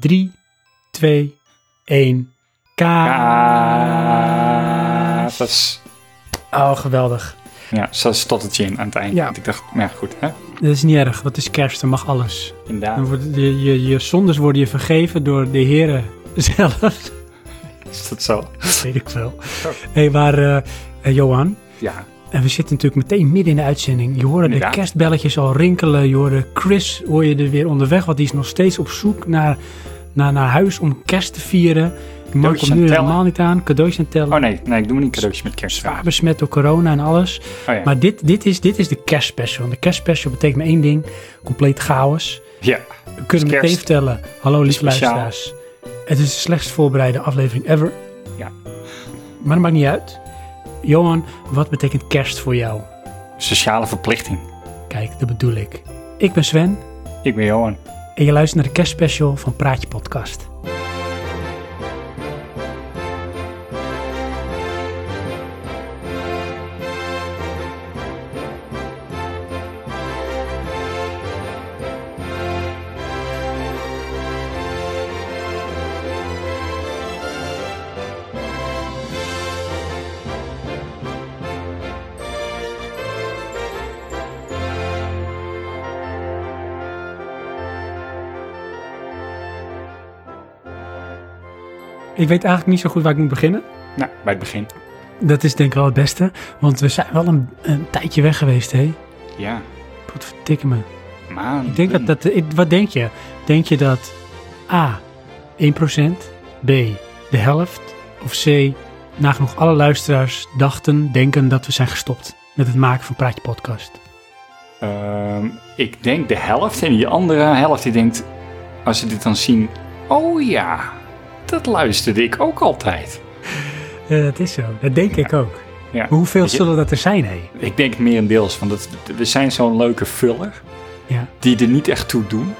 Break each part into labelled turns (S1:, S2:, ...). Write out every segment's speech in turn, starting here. S1: 3, 2, 1.
S2: Ah,
S1: Kaas.
S2: Zes.
S1: Oh, geweldig.
S2: Ja, zes tot het gin aan het eind.
S1: Ja.
S2: Want ik dacht, nou ja goed, hè?
S1: Dat is niet erg, want het is kerst, dan mag alles. Dan
S2: Inderdaad.
S1: worden je, je, je zondes worden je vergeven door de heren zelf.
S2: Is dat zo?
S1: Dat weet ik wel. Hé, hey, maar eh, eh, Johan,
S2: Ja.
S1: en we zitten natuurlijk meteen midden in de uitzending. Je hoorde de
S2: Inderdaad.
S1: kerstbelletjes al rinkelen. Je hoorde Chris, hoor je er weer onderweg, want die is nog steeds op zoek naar, naar, naar huis om kerst te vieren. Die man
S2: Cadeautjes
S1: komt
S2: aan
S1: nu
S2: het
S1: helemaal niet aan. Cadeautjes aan het tellen.
S2: Oh nee, nee, ik doe me niet cadeautjes met kerst.
S1: Zwaar besmet door corona en alles.
S2: Oh ja.
S1: Maar dit, dit, is, dit is de kerstspecial. En de kerstspecial betekent maar één ding. Compleet chaos.
S2: Ja.
S1: We kunnen
S2: Het is
S1: meteen
S2: kerst.
S1: vertellen. Hallo lieve
S2: Speciaal.
S1: luisteraars. Het is de slechtst voorbereide aflevering ever.
S2: Ja.
S1: Maar dat maakt niet uit. Johan, wat betekent kerst voor jou?
S2: Sociale verplichting.
S1: Kijk, dat bedoel ik. Ik ben Sven
S2: Ik ben Johan.
S1: en je luistert naar de kerstspecial van Praatje Podcast. Ik weet eigenlijk niet zo goed waar ik moet beginnen.
S2: Nou, bij het begin.
S1: Dat is denk ik wel het beste, want we zijn wel een, een tijdje weg geweest, hé.
S2: Ja.
S1: Potverdikke me.
S2: Maan.
S1: Ik denk dat, dat ik- wat denk je? Denk je dat A, 1%, B, de helft of C, nagenoeg alle luisteraars dachten, denken dat we zijn gestopt met het maken van Praatje Podcast?
S2: Ehm, ik denk de helft. En die andere helft die denkt, als ze dit dan zien... Oh ja, dat luisterde ik ook altijd.
S1: Ja, Eh, dat is zo. Dat denk ik ook.
S2: Ja.
S1: Maar hoeveel
S2: Weet je-
S1: zullen dat er zijn, hé?
S2: Ik denk merendeels, want het, we zijn zo'n leuke vuller...
S1: Ja.
S2: die er niet echt toe doen.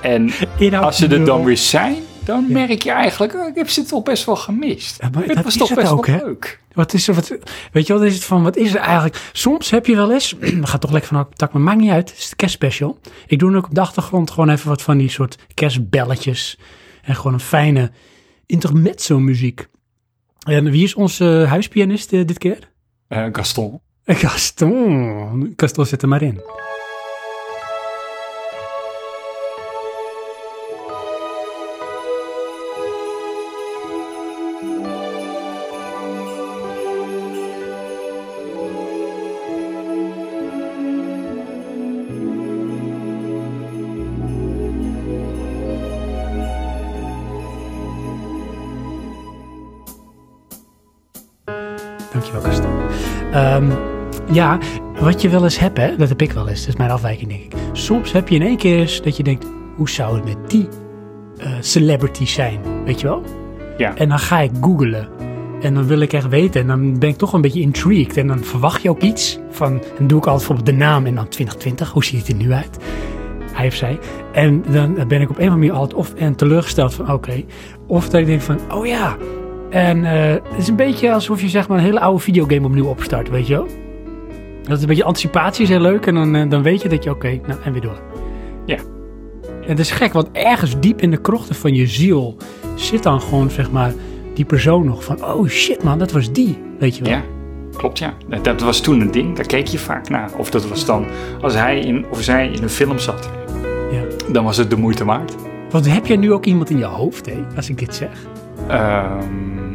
S2: en
S1: Inhoud
S2: als ze er dan
S1: nul.
S2: weer zijn, dan merk je eigenlijk... oh, ik heb ze toch best wel gemist.
S1: Ja, maar
S2: het
S1: dat
S2: was
S1: is
S2: toch
S1: het
S2: best
S1: ook,
S2: wel
S1: hè?
S2: leuk.
S1: Wat is er, wat, weet je wat is het van, wat is er eigenlijk? Soms heb je wel eens, we gaan toch lekker van contact, maar maakt niet uit. Het is de kerstspecial. Ik doe dan ook op de achtergrond gewoon even wat van die soort kerstbelletjes. En gewoon een fijne intermezzo muziek. En wie is onze huispianist eh, dit keer?
S2: Eh, Gaston.
S1: Gaston. Gaston zit er maar in. Dankjewel, Gaston. Ehm, ja, wat je wel eens hebt, hè, dat heb ik wel eens. Dat is mijn afwijking, denk ik. Soms heb je in één keer eens dat je denkt: hoe zou het met die eh, celebrity zijn? Weet je wel?
S2: Ja.
S1: En dan ga ik googlen. En dan wil ik echt weten. En dan ben ik toch een beetje intrigued. En dan verwacht je ook iets van. En doe ik altijd bijvoorbeeld de naam en dan 2020. Hoe ziet het er nu uit? Hij of zij. En dan ben ik op een of andere manier altijd of en teleurgesteld van oké. Of dat ik denk van oh ja. En eh, het is een beetje alsof je zeg maar een hele oude videogame opnieuw opstart, weet je wel? Dat is een beetje anticipatie is heel leuk. En dan, eh, dan weet je dat je oké, nou en weer door.
S2: Ja.
S1: En het is gek, want ergens diep in de krochten van je ziel zit dan gewoon zeg maar die persoon nog van oh shit man, dat was die, weet je wel?
S2: Ja, klopt ja. Dat, dat was toen een ding, daar keek je vaak naar. Of dat was dan, als hij in, of zij in een film zat,
S1: Ja.
S2: dan was het de moeite waard.
S1: Want heb jij nu ook iemand in je hoofd, hè, als ik dit zeg?
S2: Ehm,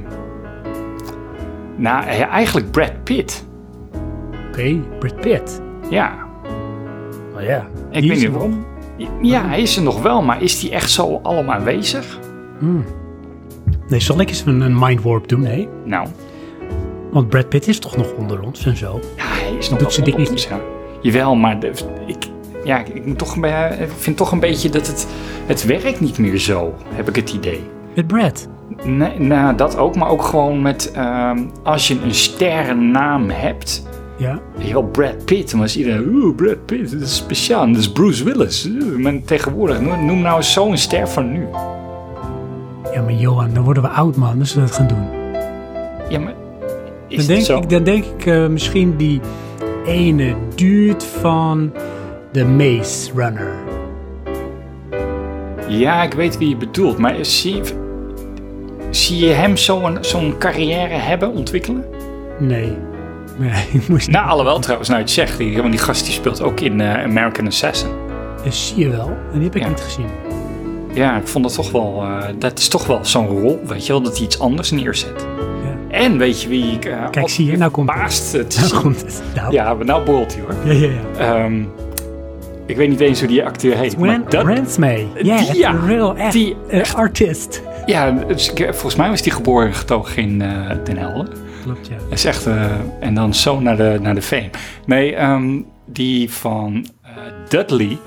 S2: nou, eh, eigenlijk Brad Pitt.
S1: Oké, Brad Pitt.
S2: Ja,
S1: Oh ja.
S2: ik weet niet waarom. Ja,
S1: Oh.
S2: hij is er nog wel, maar is die echt zo allemaal aanwezig?
S1: Nee, zal ik eens een, een mind warp doen, nee?
S2: Nou,
S1: Want Brad Pitt is toch nog onder ons en zo.
S2: ja, hij is nog
S1: Doet ze
S2: wel
S1: dit
S2: onder
S1: niet?
S2: ons, ja. Jawel, maar de- ik, ja, ik, moet toch, een be- ik vind toch een beetje dat het, het werkt niet meer zo, heb ik het idee.
S1: Met Brad.
S2: Nee, nou, dat ook, maar ook gewoon met ehm, als je een sterrennaam hebt.
S1: Ja.
S2: Heel Brad Pitt, dan was iedereen, oeh, Brad Pitt, dat is speciaal, dat is Bruce Willis. Oeh, maar tegenwoordig, noem, noem nou eens zo'n ster van nu.
S1: Ja, maar Johan, dan worden we oud, man. Dus we dat gaan doen.
S2: Ja, maar
S1: Dan
S2: is dat
S1: denk
S2: zo?
S1: ik, dan denk ik eh, misschien die ene duurt van de Maze Runner.
S2: Ja, ik weet wie je bedoelt, maar zie, zie je hem zo'n zo'n carrière hebben ontwikkelen?
S1: Nee. Nee, ik moest
S2: Nou, alhoewel trouwens, nou je het zegt, die, want die gast die speelt ook in eh, American Assassin.
S1: Dat Eh, zie je wel. En die heb ik
S2: Ja.
S1: niet gezien.
S2: Ja, ik vond dat toch wel, eh, dat is toch wel zo'n rol, weet je wel, dat hij iets anders neerzet.
S1: Ja.
S2: En weet je wie ik eh, altijd
S1: zie je, nou komt het.
S2: verbaasd eh, te
S1: Nou
S2: zien-
S1: komt het. Nou.
S2: Ja, maar nou boilt hij hoor.
S1: Ja, ja, ja.
S2: Ehm, ik weet niet eens hoe die acteur heet.
S1: Gwen
S2: maar dat, Eh,
S1: Ransme. Ja,
S2: die- ja,
S1: een real echt,
S2: die-
S1: eh, artist.
S2: ja, dus ik- volgens mij was die geboren en getogen in eh, Den Helder.
S1: Klopt, ja.
S2: Dat is echt, eh, en dan zo naar de, naar de fame. Nee, ehm, die van eh, Dudley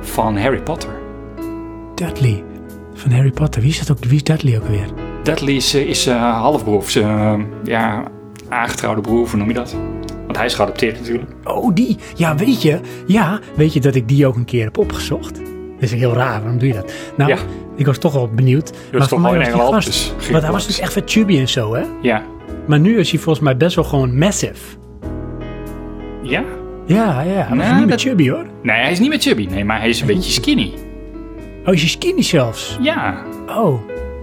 S2: van Harry Potter.
S1: Dudley van Harry Potter. Wie is, dat ook, wie is Dudley ook weer?
S2: Dudley is, eh, is eh, halfbroer, of zijn, eh, ja, aangetrouwde broer, hoe noem je dat? Want hij is geadopteerd natuurlijk.
S1: Oh, die. Ja, weet je. Ja, weet je dat ik die ook een keer heb opgezocht? Dat is heel raar. Waarom doe je dat? Nou,
S2: Ja.
S1: ik was toch wel benieuwd.
S2: was
S1: maar
S2: toch
S1: voor mij
S2: wel in
S1: die
S2: Engeland,
S1: gast-
S2: dus ging
S1: Want hij
S2: het
S1: was
S2: langs.
S1: dus echt wat chubby en zo, hè?
S2: Ja.
S1: Maar nu is hij volgens mij best wel gewoon massive.
S2: Ja?
S1: Ja, ja. Hij was
S2: Nou,
S1: niet meer
S2: dat-
S1: chubby, hoor.
S2: Nee, hij is niet meer chubby. Nee, maar hij is een beetje skinny.
S1: Oh, is hij skinny zelfs?
S2: Ja,
S1: Oh,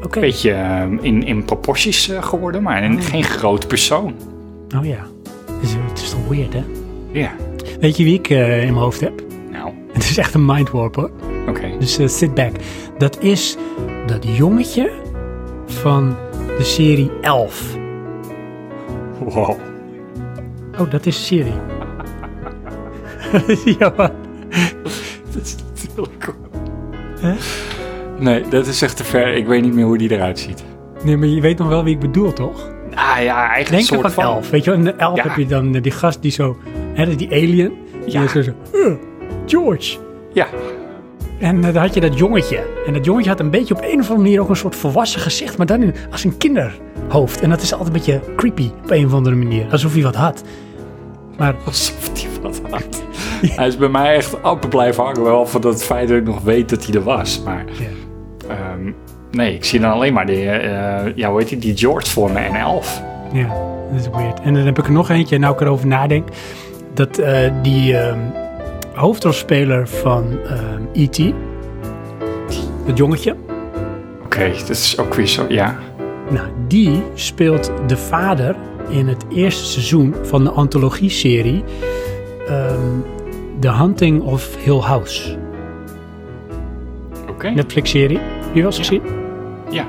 S1: oké.
S2: een beetje eh, in, in proporties eh, geworden, maar een- geen groot persoon.
S1: Oh ja. Het is, het is toch weird, hè?
S2: Ja.
S1: Weet je wie ik eh, in mijn hoofd heb?
S2: Nou,
S1: Het is echt een mindwarp, hoor.
S2: oké.
S1: Dus eh, sit back. Dat is dat jongetje van de serie Elf.
S2: Wow.
S1: Oh, dat is de serie. ja, maar-
S2: Dat is natuurlijk ook-
S1: Hè?
S2: Nee, dat is echt te ver. Ik weet niet meer hoe die eruit ziet.
S1: nee, maar je weet nog wel wie ik bedoel, toch?
S2: Ah ja, eigenlijk
S1: Denk
S2: soort
S1: aan van Elf. Weet je wel, in de Elf
S2: Ja.
S1: heb je dan eh, die gast die zo... Hè, dat is die alien. Die
S2: Ja.
S1: is zo, zo, "Eh, George.
S2: Ja,
S1: En eh, daar had je dat jongetje. En dat jongetje had een beetje op een of andere manier ook een soort volwassen gezicht. Maar dan in- als een kinderhoofd. En dat is altijd een beetje creepy op een of andere manier. Alsof hij wat had. Maar
S2: alsof die wat had. Hij is bij mij echt amper blijven hangen. Wel van dat feit dat ik nog weet dat hij er was. Maar
S1: ja.
S2: ehm, nee, ik zie dan alleen maar die, eh, ja, hoe heet die, die George voor me en Elf.
S1: Ja, dat is weird. En dan heb ik er nog eentje, nou ik erover nadenk. Dat eh, die ehm, hoofdrolspeler van ehm, E.T., dat jongetje,
S2: Oké, dat is ook weer zo, ja.
S1: nou, die speelt de vader in het eerste seizoen van de antologie-serie ehm, The Hunting of Hill House.
S2: Oké,
S1: Netflix-serie. Heb je wel eens gezien?
S2: ja.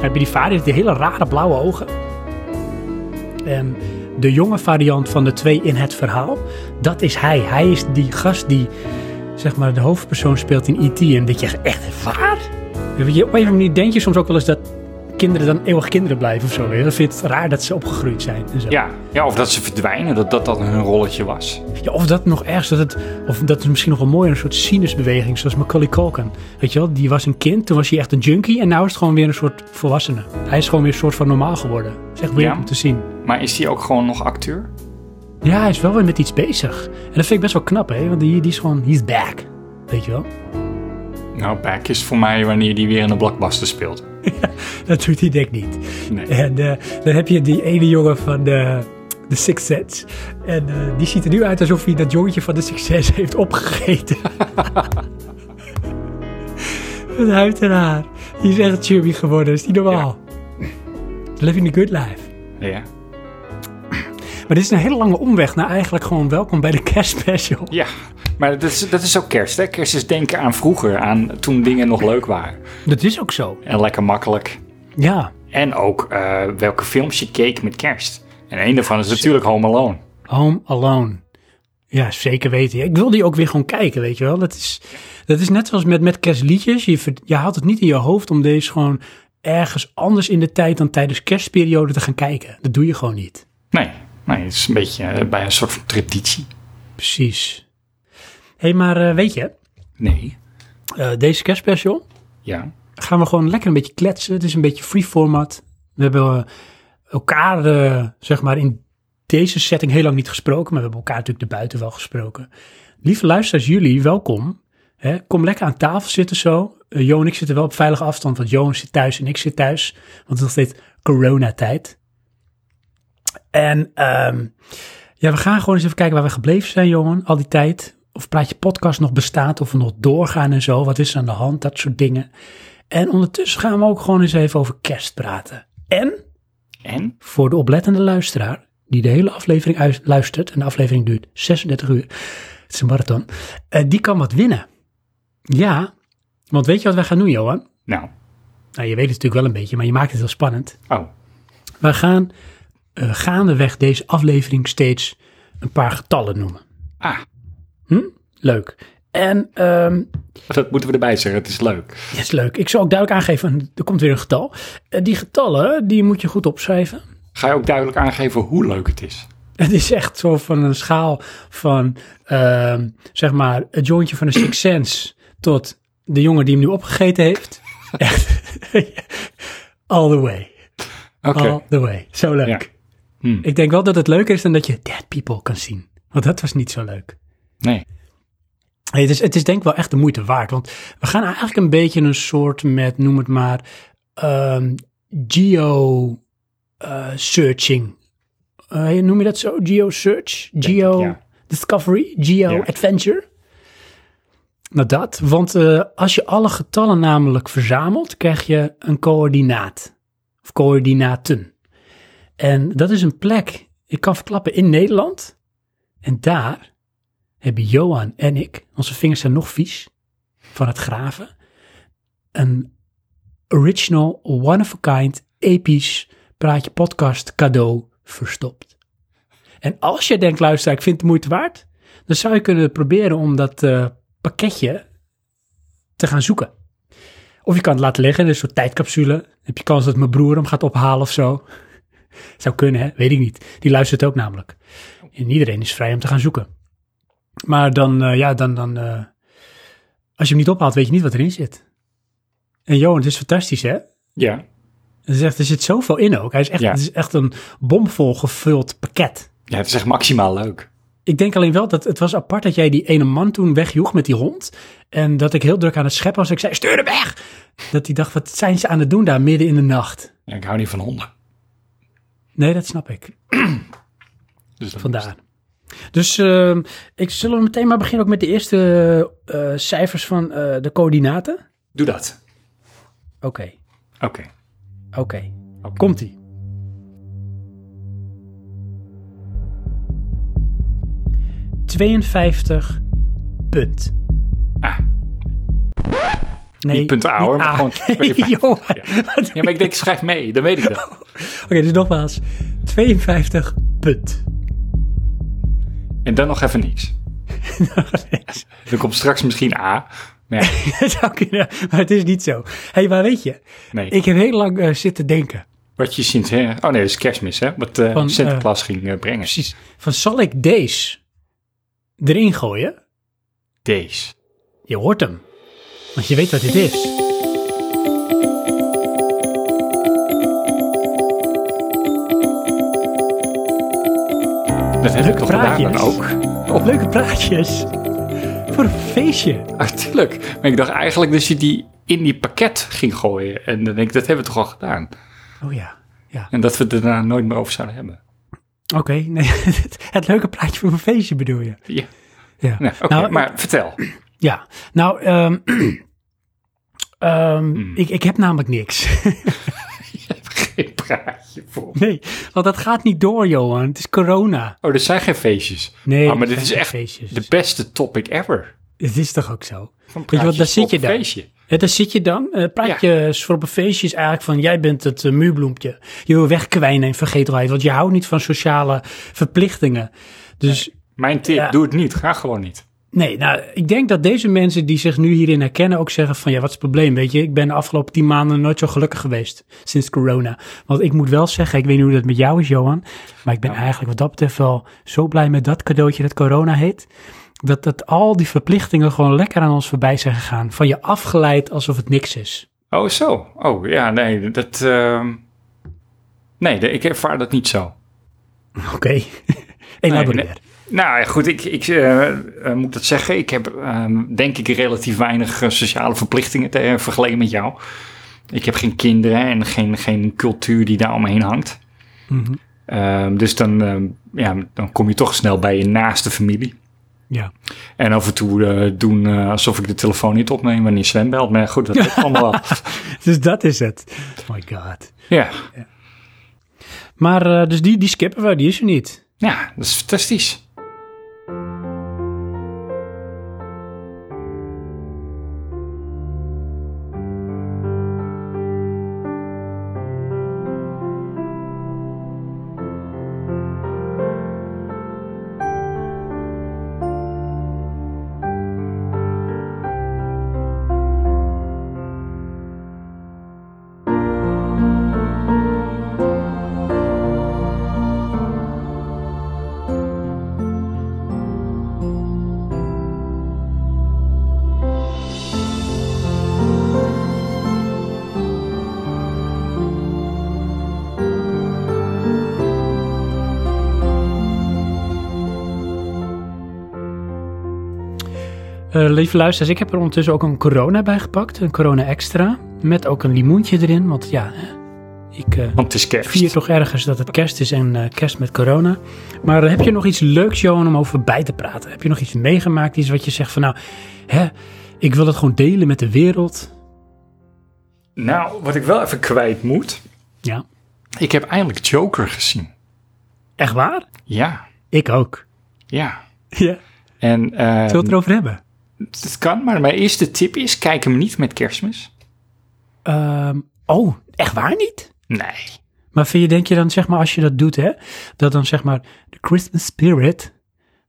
S1: heb je die vader die heeft die hele rare blauwe ogen. En de jonge variant van de twee in het verhaal, dat is hij. Hij is die gast die zeg maar, de hoofdpersoon speelt in E.T. En dat je zegt, echt waar? Weet je, op een of andere manier denk je soms ook wel eens dat kinderen dan eeuwig kinderen blijven of zo. weet je. Dan vind je het raar dat ze opgegroeid zijn. En zo.
S2: ja. Ja, of dat ze verdwijnen, dat dat dan hun rolletje was.
S1: Ja, of dat nog ergens, dat het, of dat is misschien nog wel mooier, een soort sinusbeweging, zoals Macaulay Culkin. Weet je wel, die was een kind, toen was hij echt een junkie en nu is het gewoon weer een soort volwassene. Hij is gewoon weer een soort van normaal geworden. Dat is echt weird
S2: Ja.
S1: om te zien.
S2: Maar is die ook gewoon nog acteur?
S1: Ja, hij is wel weer met iets bezig. En dat vind ik best wel knap, hè, want die, die is gewoon, he's back. Weet je wel?
S2: Nou, back is voor mij wanneer die weer in de blockbuster speelt.
S1: Dat doet hij denk ik niet.
S2: Nee.
S1: En eh, dan heb je die ene jongen van de, de Six Sense. En eh, die ziet er nu uit alsof hij dat jongetje van de Six Sense heeft opgegeten. Een huid en haar. Die is echt chubby geworden, is die normaal? Living the good life.
S2: Ja.
S1: Maar dit is een hele lange omweg naar eigenlijk gewoon welkom bij de kerstspecial.
S2: ja. Maar dat is, dat is ook kerst, hè? Kerst is denken aan vroeger, aan toen dingen nog leuk waren.
S1: Dat is ook zo.
S2: En lekker makkelijk.
S1: Ja.
S2: En ook eh, welke films je keek met kerst. En een daarvan is natuurlijk Home Alone.
S1: Home Alone. Ja, zeker weten. Ja, Ik wil die ook weer gewoon kijken, weet je wel. Dat is, dat is net zoals met, met kerstliedjes. Je, ver- je haalt het niet in je hoofd om deze gewoon ergens anders in de tijd dan tijdens kerstperiode te gaan kijken. Dat doe je gewoon niet.
S2: Nee, nee, het is een beetje eh, bij een soort van traditie.
S1: Precies. Hé, hey, maar eh, weet je,
S2: Nee.
S1: eh, deze kerstspecial
S2: Ja.
S1: gaan we gewoon lekker een beetje kletsen. Het is een beetje free format. We hebben eh, elkaar, eh, zeg maar, in deze setting heel lang niet gesproken. Maar we hebben elkaar natuurlijk erbuiten wel gesproken. Lieve luisteraars, jullie, welkom. Hè, kom lekker aan tafel zitten zo. Eh, Jo en ik zitten wel op veilige afstand, want Johan zit thuis en ik zit thuis. Want het is nog steeds coronatijd. En ehm, ja, we gaan gewoon eens even kijken waar we gebleven zijn, Johan, al die tijd. of Praatje Podcast nog bestaat, of we nog doorgaan en zo. Wat is er aan de hand, dat soort dingen. En ondertussen gaan we ook gewoon eens even over kerst praten. En
S2: En?
S1: voor de oplettende luisteraar, die de hele aflevering uit- luistert, en de aflevering duurt 36 uur, het is een marathon, eh, die kan wat winnen. Ja, want weet je wat wij gaan doen, Johan?
S2: Nou,
S1: Nou, je weet het natuurlijk wel een beetje, maar je maakt het wel spannend.
S2: oh,
S1: Wij gaan eh, gaandeweg deze aflevering steeds een paar getallen noemen.
S2: ah,
S1: Leuk. En ehm,
S2: dat moeten we erbij zeggen, het is leuk.
S1: dat is leuk. Ik zal ook duidelijk aangeven, er komt weer een getal. Eh, die getallen, die moet je goed opschrijven.
S2: Ga je ook duidelijk aangeven hoe leuk het is?
S1: Het is echt zo van een schaal van, ehm, zeg maar, het jointje van de Six Sense tot de jongen die hem nu opgegeten heeft. Echt. All the way.
S2: Oké,
S1: All the way. Zo leuk.
S2: Ja. Hmm.
S1: Ik denk wel dat het leuker is dan dat je Dead People kan zien. Want dat was niet zo leuk.
S2: nee.
S1: Nee, het, is, het is denk ik wel echt de moeite waard. Want we gaan eigenlijk een beetje een soort met, noem het maar, ehm, geo eh, searching. Eh, noem je dat zo? Geo search? Geo
S2: ja.
S1: discovery? Geo
S2: Ja.
S1: adventure? Nou dat, want eh, als je alle getallen namelijk verzamelt, krijg je een coördinaat. Of coördinaten. En dat is een plek, ik kan verklappen, in Nederland. En daar hebben Johan en ik, onze vingers zijn nog vies van het graven, een original, one of a kind, episch praatje podcast cadeau verstopt. En als je denkt, luister, ik vind het de moeite waard, dan zou je kunnen proberen om dat eh, pakketje te gaan zoeken. Of je kan het laten liggen in een soort tijdcapsule. Dan Heb je kans dat mijn broer hem gaat ophalen of zo? Zou kunnen, hè? Weet ik niet. Die luistert ook namelijk. En iedereen is vrij om te gaan zoeken. Maar dan, eh, ja, dan, dan eh, als je hem niet ophaalt, weet je niet wat erin zit. En Johan, het is fantastisch, hè?
S2: Ja,
S1: Het is echt, er zit zoveel in ook. Hij is echt,
S2: Ja.
S1: Het is echt een bomvol gevuld pakket.
S2: ja het is echt maximaal leuk.
S1: Ik denk alleen wel dat het was apart dat jij die ene man toen wegjoeg met die hond. En dat ik heel druk aan het scheppen was. Ik zei, stuur hem weg! Dat hij dacht, wat zijn ze aan het doen daar midden in de nacht?
S2: Ja, ik hou niet van honden.
S1: Nee, dat snap ik.
S2: Dus dat-
S1: Vandaar. Dus ehm, ik zullen we meteen maar beginnen ook met de eerste eh, cijfers van eh, de coördinaten.
S2: Doe dat.
S1: Oké,
S2: Oké.
S1: oké. Komt-ie. ...52 punt.
S2: Ah.
S1: Nee,
S2: Niet punt A, hoor, maar
S1: A.
S2: gewoon
S1: Nee,
S2: 52.
S1: Johan.
S2: Ja, maar ik denk, schrijf mee, dan weet ik dat.
S1: Oké, dus nogmaals. 52 punt.
S2: En dan nog even niks. Dan komt straks misschien A. Maar ja,
S1: Het zou kunnen, maar het is niet zo. Hé, hey, maar weet je,
S2: nee.
S1: ik heb heel lang eh, zitten denken.
S2: Wat je sinds... hè? Oh nee, dat is kerstmis, hè? Wat eh,
S1: Van,
S2: Sinterklaas ging eh, brengen.
S1: Precies. Van zal ik deze erin gooien?
S2: Deze.
S1: Je hoort hem. Want je weet wat dit is.
S2: Dat heb ik
S1: Leuke
S2: toch gedaan dan
S1: praatjes.
S2: ook?
S1: Leuke praatjes. Voor een feestje.
S2: Natuurlijk. Maar ik dacht eigenlijk dat je die in die pakket ging gooien. En dan denk ik, dat hebben we toch al gedaan.
S1: Oh ja. ja.
S2: En dat we het daarna nooit meer over zouden hebben.
S1: Oké, nee, het, het leuke praatje voor een feestje bedoel je.
S2: Ja.
S1: Ja.
S2: Nou, Oké,
S1: nou,
S2: maar vertel.
S1: Ja, nou, ehm, ehm, ik, ik heb namelijk niks.
S2: Je hebt geen praatje voor.
S1: nee, want dat gaat niet door, Johan. Het is corona.
S2: Oh, er zijn geen feestjes.
S1: Nee,
S2: Ah, maar
S1: er
S2: dit is
S1: zijn
S2: echt
S1: geen feestjes.
S2: de beste topic ever.
S1: Het is toch ook zo?
S2: Van
S1: Weet je wat, daar
S2: praatjes
S1: zit
S2: tot
S1: je dan.
S2: feestje.
S1: Ja, daar zit je dan. Eh, praatjes voor op een feestje is eigenlijk van... jij bent het eh, muurbloempje. Je wil wegkwijnen in vergetelheid... want je houdt niet van sociale verplichtingen. Dus
S2: Mijn tip,
S1: Ja.
S2: doe het niet. Ga gewoon niet.
S1: nee, nou, ik denk dat deze mensen die zich nu hierin herkennen... ook zeggen van, ja, wat is het probleem, weet je? Ik ben de afgelopen tien maanden nooit zo gelukkig geweest sinds corona. Want ik moet wel zeggen, ik weet niet hoe dat met jou is, Johan... maar ik ben eigenlijk wat dat betreft wel zo blij met dat cadeautje dat corona heet... Dat, dat al die verplichtingen gewoon lekker aan ons voorbij zijn gegaan. Van je afgeleid alsof het niks is.
S2: Oh, zo. Oh, ja, nee. Dat, ehm, Nee, de- ik ervaar dat niet zo.
S1: Oké. Elaboreer.
S2: nee. Nou ja, goed, ik, ik eh, eh, moet dat zeggen. Ik heb ehm, denk ik relatief weinig eh, sociale verplichtingen te, eh, vergeleken met jou. Ik heb geen kinderen en geen, geen cultuur die daar omheen hangt.
S1: Mhm.
S2: Ehm, dus dan, ehm, ja, dan kom je toch snel bij je naaste familie.
S1: Ja.
S2: En af en toe eh, doen eh, alsof ik de telefoon niet opneem wanneer Sven belt. Maar goed, dat is allemaal wel.
S1: Dus dat is het. Oh my god.
S2: Ja.
S1: Maar eh, dus die, die skippen we, die is er niet.
S2: ja, dat is fantastisch.
S1: Eh, lieve luisteraars, ik heb er ondertussen ook een corona bij gepakt. Een corona extra. Met ook een limoentje erin. Want ja, hè, ik eh,
S2: Want het is kerst.
S1: vier toch ergens dat het kerst is en eh, kerst met corona. Maar heb je nog iets leuks, Johan, om over bij te praten? Heb je nog iets meegemaakt? Iets wat je zegt van nou, hè, ik wil het gewoon delen met de wereld.
S2: Nou, wat ik wel even kwijt moet.
S1: Ja,
S2: Ik heb eindelijk Joker gezien.
S1: echt waar?
S2: Ja,
S1: Ik ook.
S2: ja.
S1: Ja.
S2: En eh,
S1: Zullen we het erover hebben?
S2: het kan, maar mijn eerste tip is: kijk hem niet met Kerstmis.
S1: Ehm, oh, echt waar niet?
S2: Nee.
S1: Maar vind je, denk je dan, zeg maar, als je dat doet, hè, dat dan zeg maar de Christmas spirit,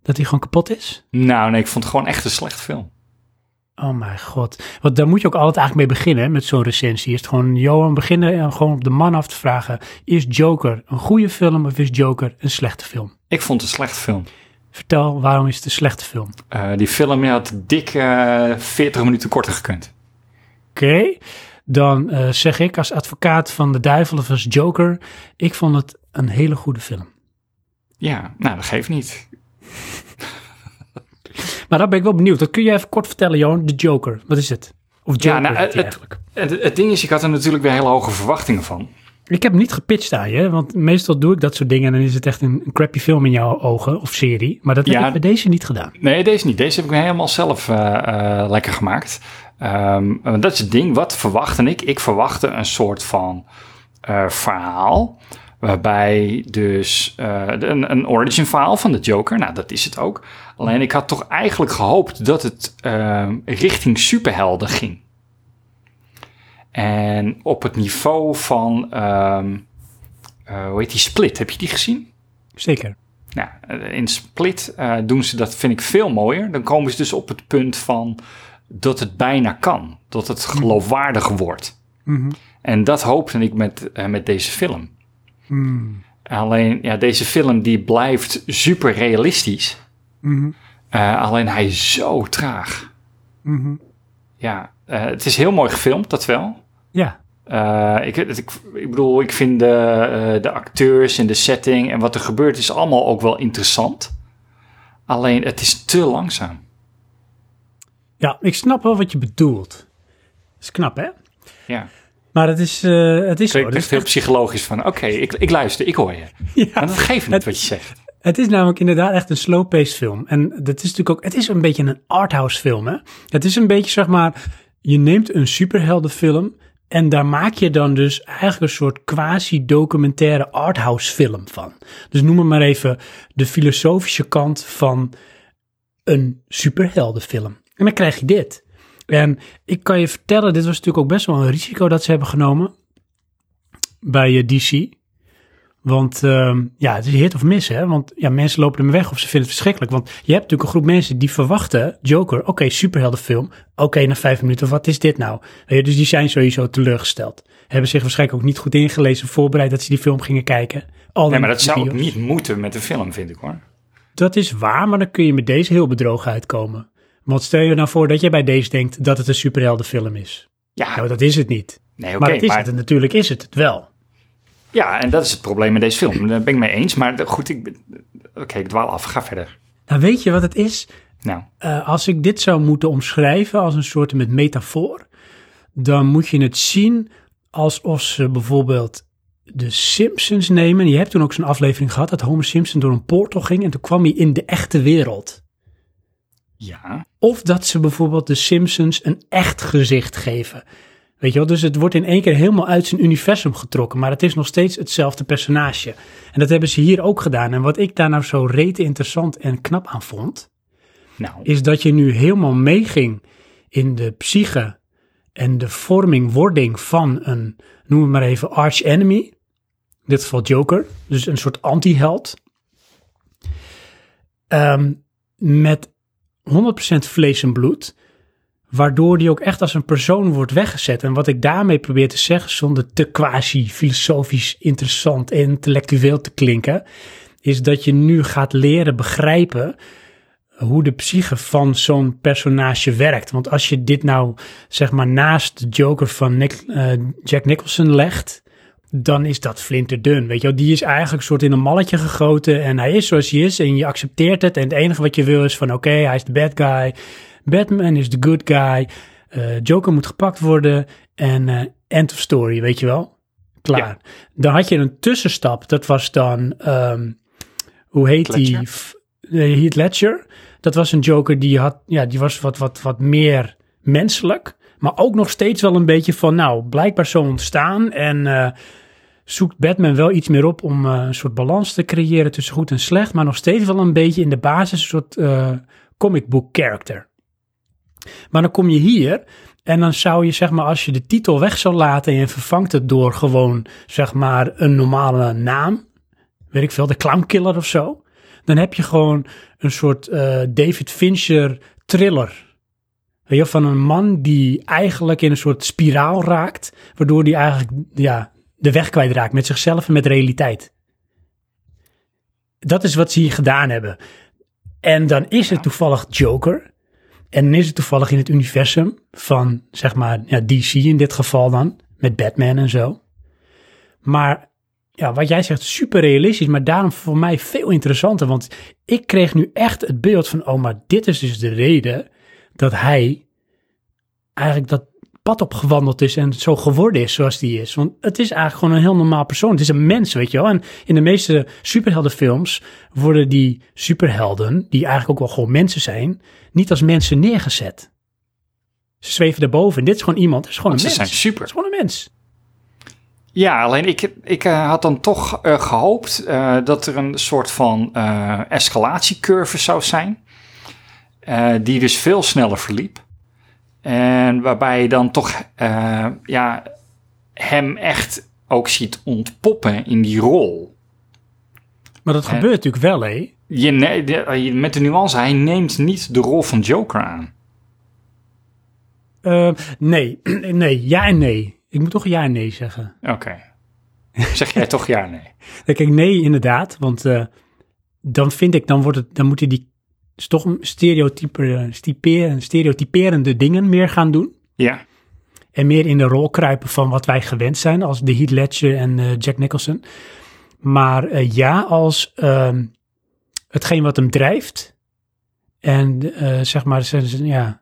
S1: dat die gewoon kapot is?
S2: Nou, nee, ik vond het gewoon echt een slecht film.
S1: Oh mijn god. Want daar moet je ook altijd eigenlijk mee beginnen, hè, met zo'n recensie. Is het gewoon, Johan, beginnen en gewoon op de man af te vragen. Is Joker een goede film of is Joker een slechte film?
S2: Ik vond het een slecht film.
S1: Vertel, waarom is het een slechte film?
S2: Eh, die film die had dik eh 40 minuten korter gekund.
S1: Oké, dan eh, zeg ik als advocaat van de duivel of als Joker, ik vond het een hele goede film.
S2: Ja, nou, dat geeft niet.
S1: Maar daar ben ik wel benieuwd. Dat kun je even kort vertellen, Johan. De Joker, wat is het? Of Joker
S2: nou,
S1: heet die
S2: het-
S1: eigenlijk.
S2: Het, het ding is, ik had er natuurlijk weer hele hoge verwachtingen van.
S1: Ik heb hem niet gepitcht aan je, want meestal doe ik dat soort dingen en dan is het echt een, een crappy film in jouw ogen of serie. Maar dat heb
S2: Ja.
S1: ik bij deze niet gedaan.
S2: Nee, deze niet. Deze heb ik me helemaal zelf eh, eh, lekker gemaakt. Ehm, want dat is het ding. Wat verwachtte ik? Ik verwachtte een soort van eh, verhaal. Waarbij dus eh, de- een, een origin verhaal van de Joker. Nou, dat is het ook. Alleen ik had toch eigenlijk gehoopt dat het ehm, richting superhelden ging. En op het niveau van, ehm, eh, hoe heet die, Split. Heb je die gezien?
S1: Zeker.
S2: Nou, in Split eh, doen ze dat, vind ik, veel mooier. Dan komen ze dus op het punt van dat het bijna kan. Dat het geloofwaardig wordt.
S1: Mhm.
S2: En dat hoopte ik met, eh, met deze film.
S1: Mm.
S2: Alleen, ja, deze film die blijft super realistisch.
S1: Mhm.
S2: Eh, alleen hij is zo traag.
S1: Mhm.
S2: Ja, eh, het is heel mooi gefilmd, dat wel.
S1: Ja,
S2: Eh, ik, het- ik, ik bedoel, ik vind de, eh, de acteurs en de setting en wat er gebeurt is allemaal ook wel interessant. Alleen het is te langzaam.
S1: ja, ik snap wel wat je bedoelt. Dat is knap, hè?
S2: Ja.
S1: Maar het is, eh, het is zo.
S2: Klinkt
S1: Dus
S2: echt heel psychologisch van, oké, ik, ik luister, ik hoor je.
S1: Ja.
S2: En dat geeft niet wat je zegt.
S1: Het is namelijk inderdaad echt een slow-paced film. En dat is natuurlijk ook, het is een beetje een arthouse film. Hè? Het is een beetje zeg maar, je neemt een superheldenfilm en daar maak je dan dus eigenlijk een soort quasi-documentaire arthouse film van. Dus noem het maar even de filosofische kant van een superheldenfilm. En dan krijg je dit. En ik kan je vertellen, dit was natuurlijk ook best wel een risico dat ze hebben genomen bij eh, DC. Want ehm, ja, het is hit of miss, hè? Want ja, mensen lopen ermee weg of ze vinden het verschrikkelijk. Want je hebt natuurlijk een groep mensen die verwachten Joker, oké, superheldenfilm. Oké, na vijf minuten, wat is dit nou? Weet je, dus die zijn sowieso teleurgesteld. Hebben zich waarschijnlijk ook niet goed ingelezen, voorbereid dat ze die film gingen kijken. Al
S2: Nee, maar
S1: dan
S2: dat zou
S1: bios.
S2: ook niet moeten met een film, vind ik hoor.
S1: Dat is waar, maar dan kun je met deze heel bedrogen uitkomen. Want stel je nou voor dat jij bij deze denkt dat het een superheldenfilm is.
S2: Ja,
S1: Nou, dat is het niet.
S2: nee, oké,
S1: maar het is
S2: maar,
S1: het en natuurlijk is het het wel.
S2: ja, en dat is het probleem met deze film. Daar ben ik mee eens, maar de- goed, ik, ben- oké, ik dwaal af, ga verder.
S1: Nou, weet je wat het is?
S2: Nou,
S1: Eh, als ik dit zou moeten omschrijven als een soort met metafoor, dan moet je het zien alsof ze bijvoorbeeld de Simpsons nemen. Je hebt toen ook zo'n aflevering gehad dat Homer Simpson door een portal ging en toen kwam hij in de echte wereld.
S2: Ja.
S1: Of dat ze bijvoorbeeld de Simpsons een echt gezicht geven. Weet je wel, dus het wordt in één keer helemaal uit zijn universum getrokken, maar het is nog steeds hetzelfde personage. En dat hebben ze hier ook gedaan. En wat ik daar nou zo rete interessant en knap aan vond,
S2: Nou,
S1: is dat je nu helemaal meeging in de psyche en de vorming, wording van een, noem het maar even, arch enemy. In dit geval Joker, dus een soort anti-held. Ehm, met 100% vlees en bloed, waardoor die ook echt als een persoon wordt weggezet. En wat ik daarmee probeer te zeggen, zonder te quasi-filosofisch interessant en intellectueel te klinken, is dat je nu gaat leren begrijpen hoe de psyche van zo'n personage werkt. Want als je dit nou, zeg maar, naast de Joker van Nic- eh, Jack Nicholson legt, dan is dat flinterdun. Weet je wel, die is eigenlijk soort in een malletje gegoten en hij is zoals hij is en je accepteert het. En het enige wat je wil is van, oké, hij is de bad guy, Batman is de good guy, eh, Joker moet gepakt worden en eh, end of story, weet je wel. Klaar.
S2: Ja.
S1: Dan had je een tussenstap, dat was dan, ehm, hoe heet
S2: Ledger?
S1: die? F- eh, Heath Ledger. Dat was een Joker die had, ja, die was wat, wat, wat meer menselijk. Maar ook nog steeds wel een beetje van, nou, blijkbaar zo ontstaan. En eh, zoekt Batman wel iets meer op om eh, een soort balans te creëren tussen goed en slecht. Maar nog steeds wel een beetje in de basis een soort eh, comic book character. Maar dan kom je hier en dan zou je, zeg maar, als je de titel weg zou laten en je vervangt het door gewoon, zeg maar, een normale naam. Weet ik veel, de clownkiller of zo. Dan heb je gewoon een soort eh, David Fincher thriller. Weet je, van een man die eigenlijk in een soort spiraal raakt, waardoor die eigenlijk ja, de weg kwijtraakt met zichzelf en met realiteit. Dat is wat ze hier gedaan hebben. En dan is het toevallig Joker. En dan is het toevallig in het universum van, zeg maar, ja, DC in dit geval dan, met Batman en zo. Maar ja, wat jij zegt, super realistisch, maar daarom voor mij veel interessanter. Want ik kreeg nu echt het beeld van, oh, maar dit is dus de reden dat hij eigenlijk dat pad opgewandeld is en zo geworden is zoals die is. Want het is eigenlijk gewoon een heel normaal persoon. Het is een mens, weet je wel. En in de meeste superheldenfilms worden die superhelden, die eigenlijk ook wel gewoon mensen zijn, niet als mensen neergezet. Ze zweven daarboven. En dit is gewoon iemand, het is gewoon een
S2: ze
S1: mens.
S2: zijn
S1: Het
S2: super.
S1: is gewoon een mens.
S2: Ja, alleen ik, ik eh, had dan toch eh, gehoopt eh, dat er een soort van eh, escalatiecurve zou zijn. eh, die dus veel sneller verliep. En waarbij je dan toch eh, ja, hem echt ook ziet ontpoppen in die rol.
S1: Maar dat gebeurt natuurlijk wel, hè?
S2: Je, ne- de- eh, je- met de nuance, hij neemt niet de rol van Joker aan.
S1: Eh, nee, nee, ja en nee. Ik moet toch ja en nee zeggen.
S2: Oké. Zeg jij toch ja, nee?
S1: Ja, Kijk, nee, inderdaad. Want eh, dan vind ik, dan, wordt het, dan moet hij die is toch een stereotype, eh, styperen- stereotyperende dingen meer gaan doen.
S2: Ja.
S1: En meer in de rol kruipen van wat wij gewend zijn als de Heath Ledger en eh, Jack Nicholson. Maar eh, ja, als ehm, hetgeen wat hem drijft en eh, zeg maar zijn, zijn- ja,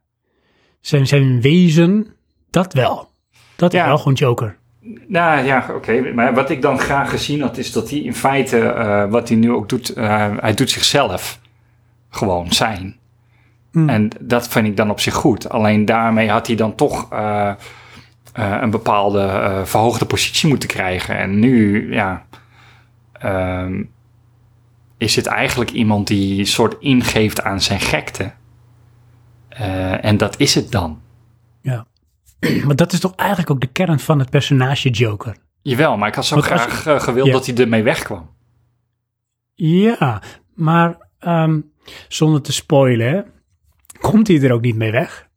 S1: zijn, zijn wezen, dat wel. Dat
S2: Ja.
S1: is wel gewoon Joker.
S2: Nou ja, oké. Maar wat ik dan graag gezien had, is dat hij in feite, eh, wat hij nu ook doet, eh, hij doet zichzelf gewoon zijn.
S1: Mm.
S2: En dat vind ik dan op zich goed. Alleen daarmee had hij dan toch eh, eh, een bepaalde eh, verhoogde positie moeten krijgen. En nu, ja, ehm, is het eigenlijk iemand die een soort ingeeft aan zijn gekte. Eh, en dat is het dan.
S1: Ja. maar dat is toch eigenlijk ook de kern van het personage Joker.
S2: Jawel, maar ik had zo
S1: Want als-
S2: graag eh, gewild
S1: Ja.
S2: dat hij ermee wegkwam.
S1: Ja, maar ehm, zonder te spoilen, hè, komt hij er ook niet mee weg?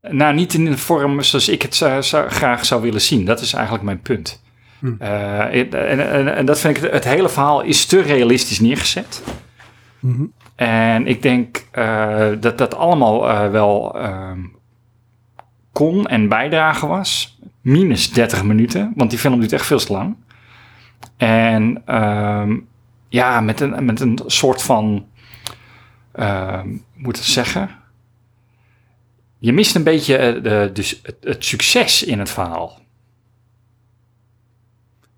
S2: Nou, niet in de vorm zoals ik het eh, zou- graag zou willen zien. Dat is eigenlijk mijn punt.
S1: Hm.
S2: Eh, en, en, en dat vind ik, het- het hele verhaal is te realistisch neergezet.
S1: Mhm.
S2: En ik denk eh, dat dat allemaal eh, wel ehm, kon en bijdrage was. Minus 30 minuten, want die film duurt echt veel te lang. En ehm, ja, met een, met een soort van, ehm, hoe moet ik het zeggen? Je mist een beetje eh, de, dus het, het succes in het verhaal.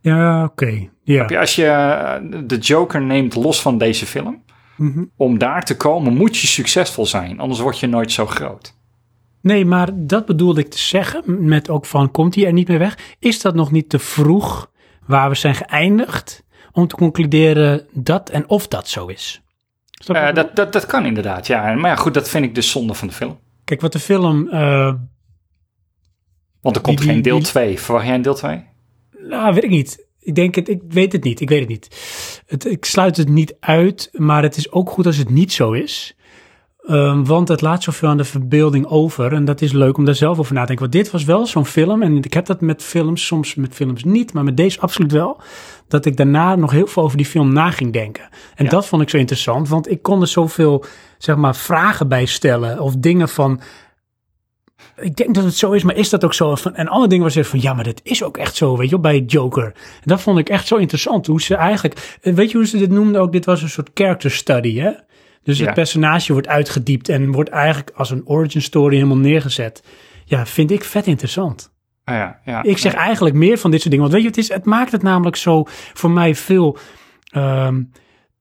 S1: Ja, oké. Ja.
S2: Als je eh, de Joker neemt los van deze film,
S1: Mhm.
S2: Om daar te komen moet je succesvol zijn, anders word je nooit zo groot.
S1: Nee, maar dat bedoelde ik te zeggen met ook van komt hij er niet meer weg? Is dat nog niet te vroeg waar we zijn geëindigd om te concluderen dat en of dat zo is? Snap je wat
S2: Eh,
S1: ik
S2: dat, dat, dat kan inderdaad, ja. Maar ja, goed, dat vind ik dus zonde van de film.
S1: bedoel? Kijk, wat de film. eh,
S2: Want er komt
S1: Die- die-
S2: geen deel
S1: die-
S2: 2. Verwacht jij een deel 2?
S1: nou, weet ik niet. Ik denk het, ik weet het niet. Ik weet het niet. Het, ik sluit het niet uit, maar het is ook goed als het niet zo is. Ehm, want het laat zoveel aan de verbeelding over. En dat is leuk om daar zelf over na te denken. Want dit was wel zo'n film. En ik heb dat met films, soms met films niet, maar met deze absoluut wel. Dat ik daarna nog heel veel over die film na ging denken. En
S2: Ja.
S1: dat vond ik zo interessant. Want ik kon er zoveel zeg maar, vragen bij stellen. Of dingen van. Ik denk dat het zo is, maar is dat ook zo? Of van- En alle dingen was er van, ja, maar dat is ook echt zo, weet je, wel, bij Joker. En dat vond ik echt zo interessant, hoe ze eigenlijk... eh, Weet je hoe ze dit noemden ook? Dit was een soort character study, hè? Dus
S2: Ja.
S1: het personage wordt uitgediept en wordt eigenlijk als een origin story helemaal neergezet. Ja, vind ik vet interessant.
S2: Ah ja, ja.
S1: Ik zeg eigenlijk meer van dit soort dingen. Want weet je, het, is, het maakt het namelijk zo voor mij veel ehm,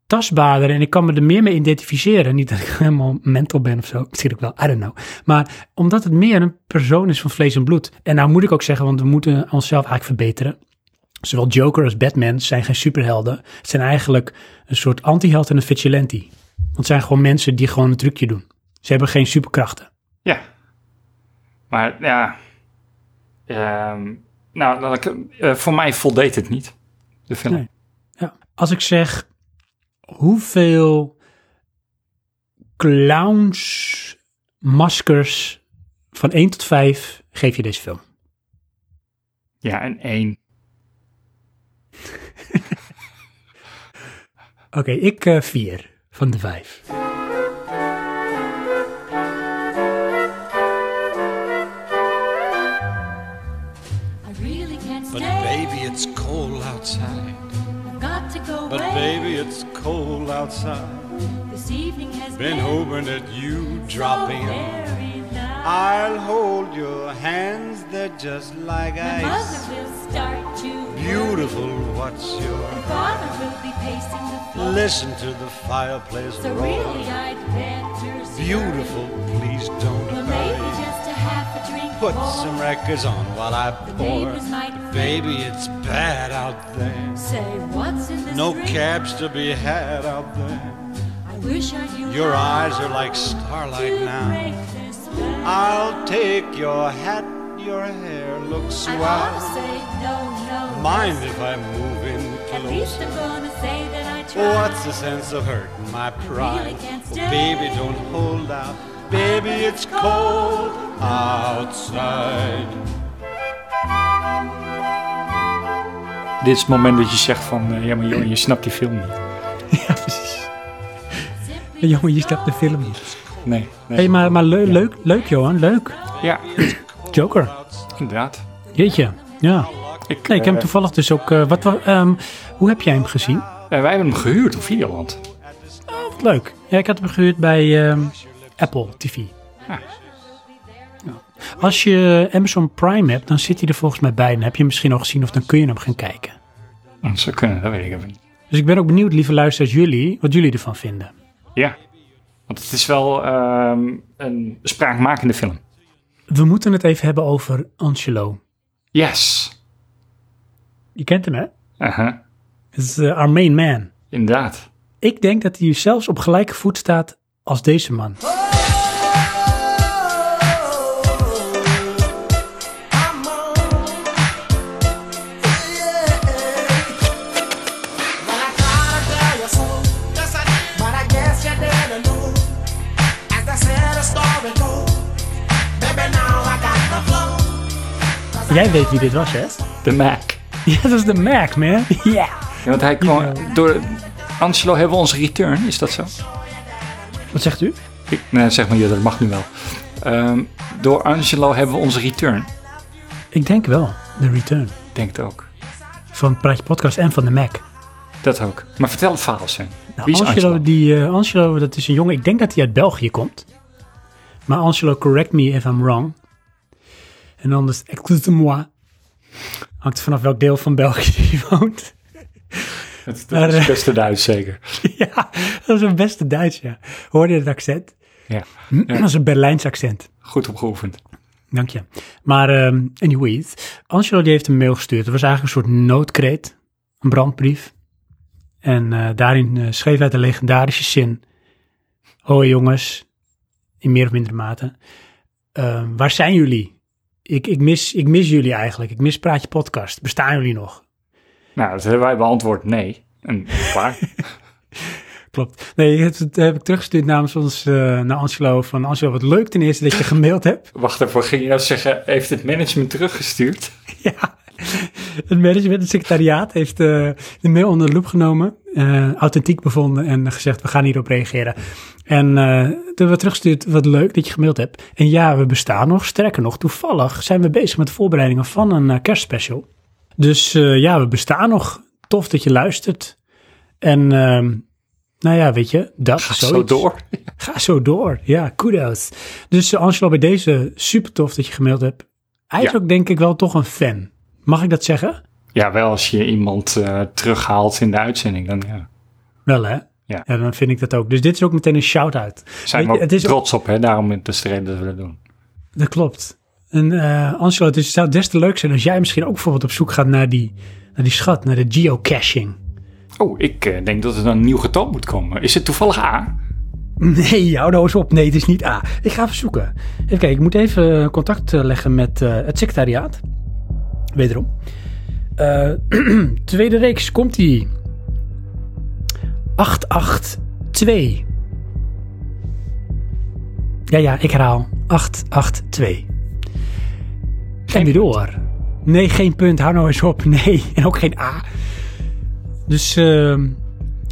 S1: tastbaarder. En ik kan me er meer mee identificeren. Niet dat ik helemaal mental ben of zo. Misschien ook wel, I don't know. Maar omdat het meer een persoon is van vlees en bloed. En nou moet ik ook zeggen, want we moeten onszelf eigenlijk verbeteren. Zowel Joker als Batman zijn geen superhelden. Het zijn eigenlijk een soort antiheld en een vigilante. Want het zijn gewoon mensen die gewoon een trucje doen. Ze hebben geen superkrachten.
S2: Ja. Maar ja. Ehm, nou, laat ik, eh, voor mij voldeed het niet, de film.
S1: Nee. Ja. Als ik zeg hoeveel clowns maskers van 1 tot 5 geef je deze film?
S2: Ja, en één.
S1: Oké, ik eh 4 van de 5.
S3: I really can't
S4: But
S3: stay.
S4: baby, it's cold outside.
S3: I've got to go
S4: But
S3: away.
S4: baby, it's cold outside.
S3: This evening has
S4: Been hoping that you drop in.
S3: very nice.
S4: I'll hold your hands, they're just like
S3: My
S4: ice.
S3: mother will start to.
S4: Beautiful, what's
S3: My
S4: your.
S3: father will be pacing the floor.
S4: Listen to the fireplace
S3: So really, uh,
S4: roar.
S3: I'd better. start.
S4: Beautiful, please don't
S3: Well, maybe
S4: hurry.
S3: just a half a drink.
S4: Put
S3: more.
S4: some records on while I
S3: The
S4: pour.
S3: neighbors might-
S4: Baby, it's bad out there.
S3: Say what's in this
S4: No
S3: drink?
S4: cabs to be had out there.
S3: I wish I knew.
S4: Your
S3: how
S4: eyes are like starlight
S3: to
S4: now.
S3: break this spell.
S4: I'll take your hat, your hair looks
S3: I ought to
S4: swell.
S3: say no, no.
S4: Mind
S3: yes.
S4: if I move in
S3: At least
S4: close?
S3: I'm gonna say that I tried.
S4: What's the sense of hurting my pride?
S3: can't
S4: Oh,
S3: stay.
S4: baby, don't hold out. Baby, it's cold outside.
S2: Dit is het moment dat je zegt van, eh, ja, maar jongen, je snapt die film niet.
S1: Ja, precies. Jongen, je snapt de film niet.
S2: Nee, nee.
S1: hey, maar, maar leu- leuk, leuk, Johan, leuk.
S2: Ja,
S1: Joker,
S2: inderdaad.
S1: jeetje. Ja.
S2: Ik,
S1: Nee, ik heb hem
S2: eh,
S1: toevallig dus ook... eh, wat, wa- ehm, hoe heb jij hem gezien?
S2: eh, wij hebben hem gehuurd op Videoland.
S1: Oh, wat leuk. Ja, ik had hem gehuurd bij ehm, Apple TV.
S2: Ja.
S1: Als je Amazon Prime hebt, dan zit hij er volgens mij bij. Dan heb je hem misschien al gezien of dan kun je hem gaan kijken.
S2: Dat zou kunnen, dat weet ik even niet.
S1: Dus ik ben ook benieuwd, lieve luisteraars, jullie, wat jullie ervan vinden.
S2: Ja. Want het is wel ehm, een spraakmakende film.
S1: We moeten het even hebben over Angelo.
S2: Yes.
S1: Je kent hem, hè?
S2: Aha,
S1: Het is eh, our main man.
S2: Inderdaad.
S1: Ik denk dat hij zelfs op gelijke voet staat als deze man. Jij weet wie dit was, hè?
S2: De Mac.
S1: Ja, dat is de Mac, man. Ja.
S2: Ja, want hij kwam door... Angelo, hebben we onze return? Is dat zo?
S1: Wat zegt u?
S2: Ik, nee, zeg maar, ja, dat mag nu wel. Ehm, door Angelo hebben we onze return.
S1: Ik denk wel. The Return.
S2: Ik Denk het ook.
S1: Van Praatje Podcast en van de Mac.
S2: Dat ook. Maar vertel het verhaal, Sam.
S1: Nou,
S2: Wie is
S1: Angelo,
S2: Angelo?
S1: Die, eh, Angelo, dat is een jongen, ik denk dat hij uit België komt. Maar Angelo, correct me if I'm wrong. En anders, excuse moi. Hangt vanaf welk deel van België hij woont.
S2: Dat, dat
S1: Maar,
S2: is
S1: eh,
S2: best een Duits zeker.
S1: ja, dat is een beste Duits, ja. Hoorde je het accent?
S2: Ja.
S1: Dat is een Berlijns accent.
S2: Goed opgeoefend.
S1: Dank je. Maar ehm anyways, Angelo die heeft een mail gestuurd. Het was eigenlijk een soort noodkreet, een brandbrief. En eh, daarin eh, schreef hij de legendarische zin. Hoi jongens, in meer of mindere mate. Ehm, waar zijn jullie? Ik, ik, mis, ik mis jullie eigenlijk. Ik mis Praatje Podcast. Bestaan jullie nog?
S2: Nou, dat hebben wij beantwoord nee. En klaar.
S1: Klopt. Nee, het, het heb ik teruggestuurd namens ons eh, naar Angelo. Van Angelo, wat leuk ten eerste dat je gemaild hebt.
S2: Wacht even, ging je nou zeggen, heeft het management teruggestuurd?
S1: Ja, het management, het secretariaat heeft eh, de mail onder de loep genomen, eh, authentiek bevonden en gezegd, we gaan hierop reageren. En eh, toen hebben we teruggestuurd, wat leuk dat je gemaild hebt. En ja, we bestaan nog, sterker nog, toevallig zijn we bezig met de voorbereidingen van een eh, kerstspecial. Dus eh, ja, we bestaan nog. Tof dat je luistert. En ehm, nou ja, weet je, dat
S2: Zo
S1: zoiets.
S2: door.
S1: Ga zo door. Ja, kudos. Dus eh, Angelo, bij deze super tof dat je gemaild hebt. Eigenlijk denk ik wel toch een fan. Mag ik dat zeggen?
S2: Ja, wel als je iemand eh, terughaalt in de uitzending, dan ja.
S1: Wel hè?
S2: Ja.
S1: dan vind ik dat ook. Dus dit is ook meteen een shout-out.
S2: zijn
S1: Weet
S2: we
S1: je,
S2: ook
S1: het is ook-
S2: trots op, hè? Daarom is het dus de reden dat we dat doen.
S1: Dat klopt. En eh Angelo, dus het zou des te leuk zijn als jij misschien ook bijvoorbeeld op zoek gaat naar die, naar die schat, naar de geocaching.
S2: Oh, ik eh, denk dat er dan een nieuw getal moet komen. Is het toevallig A?
S1: Nee, hou nou eens op. Nee, het is niet A. Ik ga even zoeken. Even kijken, ik moet even eh, contact eh, leggen met eh, het secretariaat. Wederom. Eh, tweede reeks komt die. 882. Ja, ja, ik herhaal. 882. Geen weer door. Nee, geen punt. Hou nou eens op. Nee, en ook geen A. Dus ehm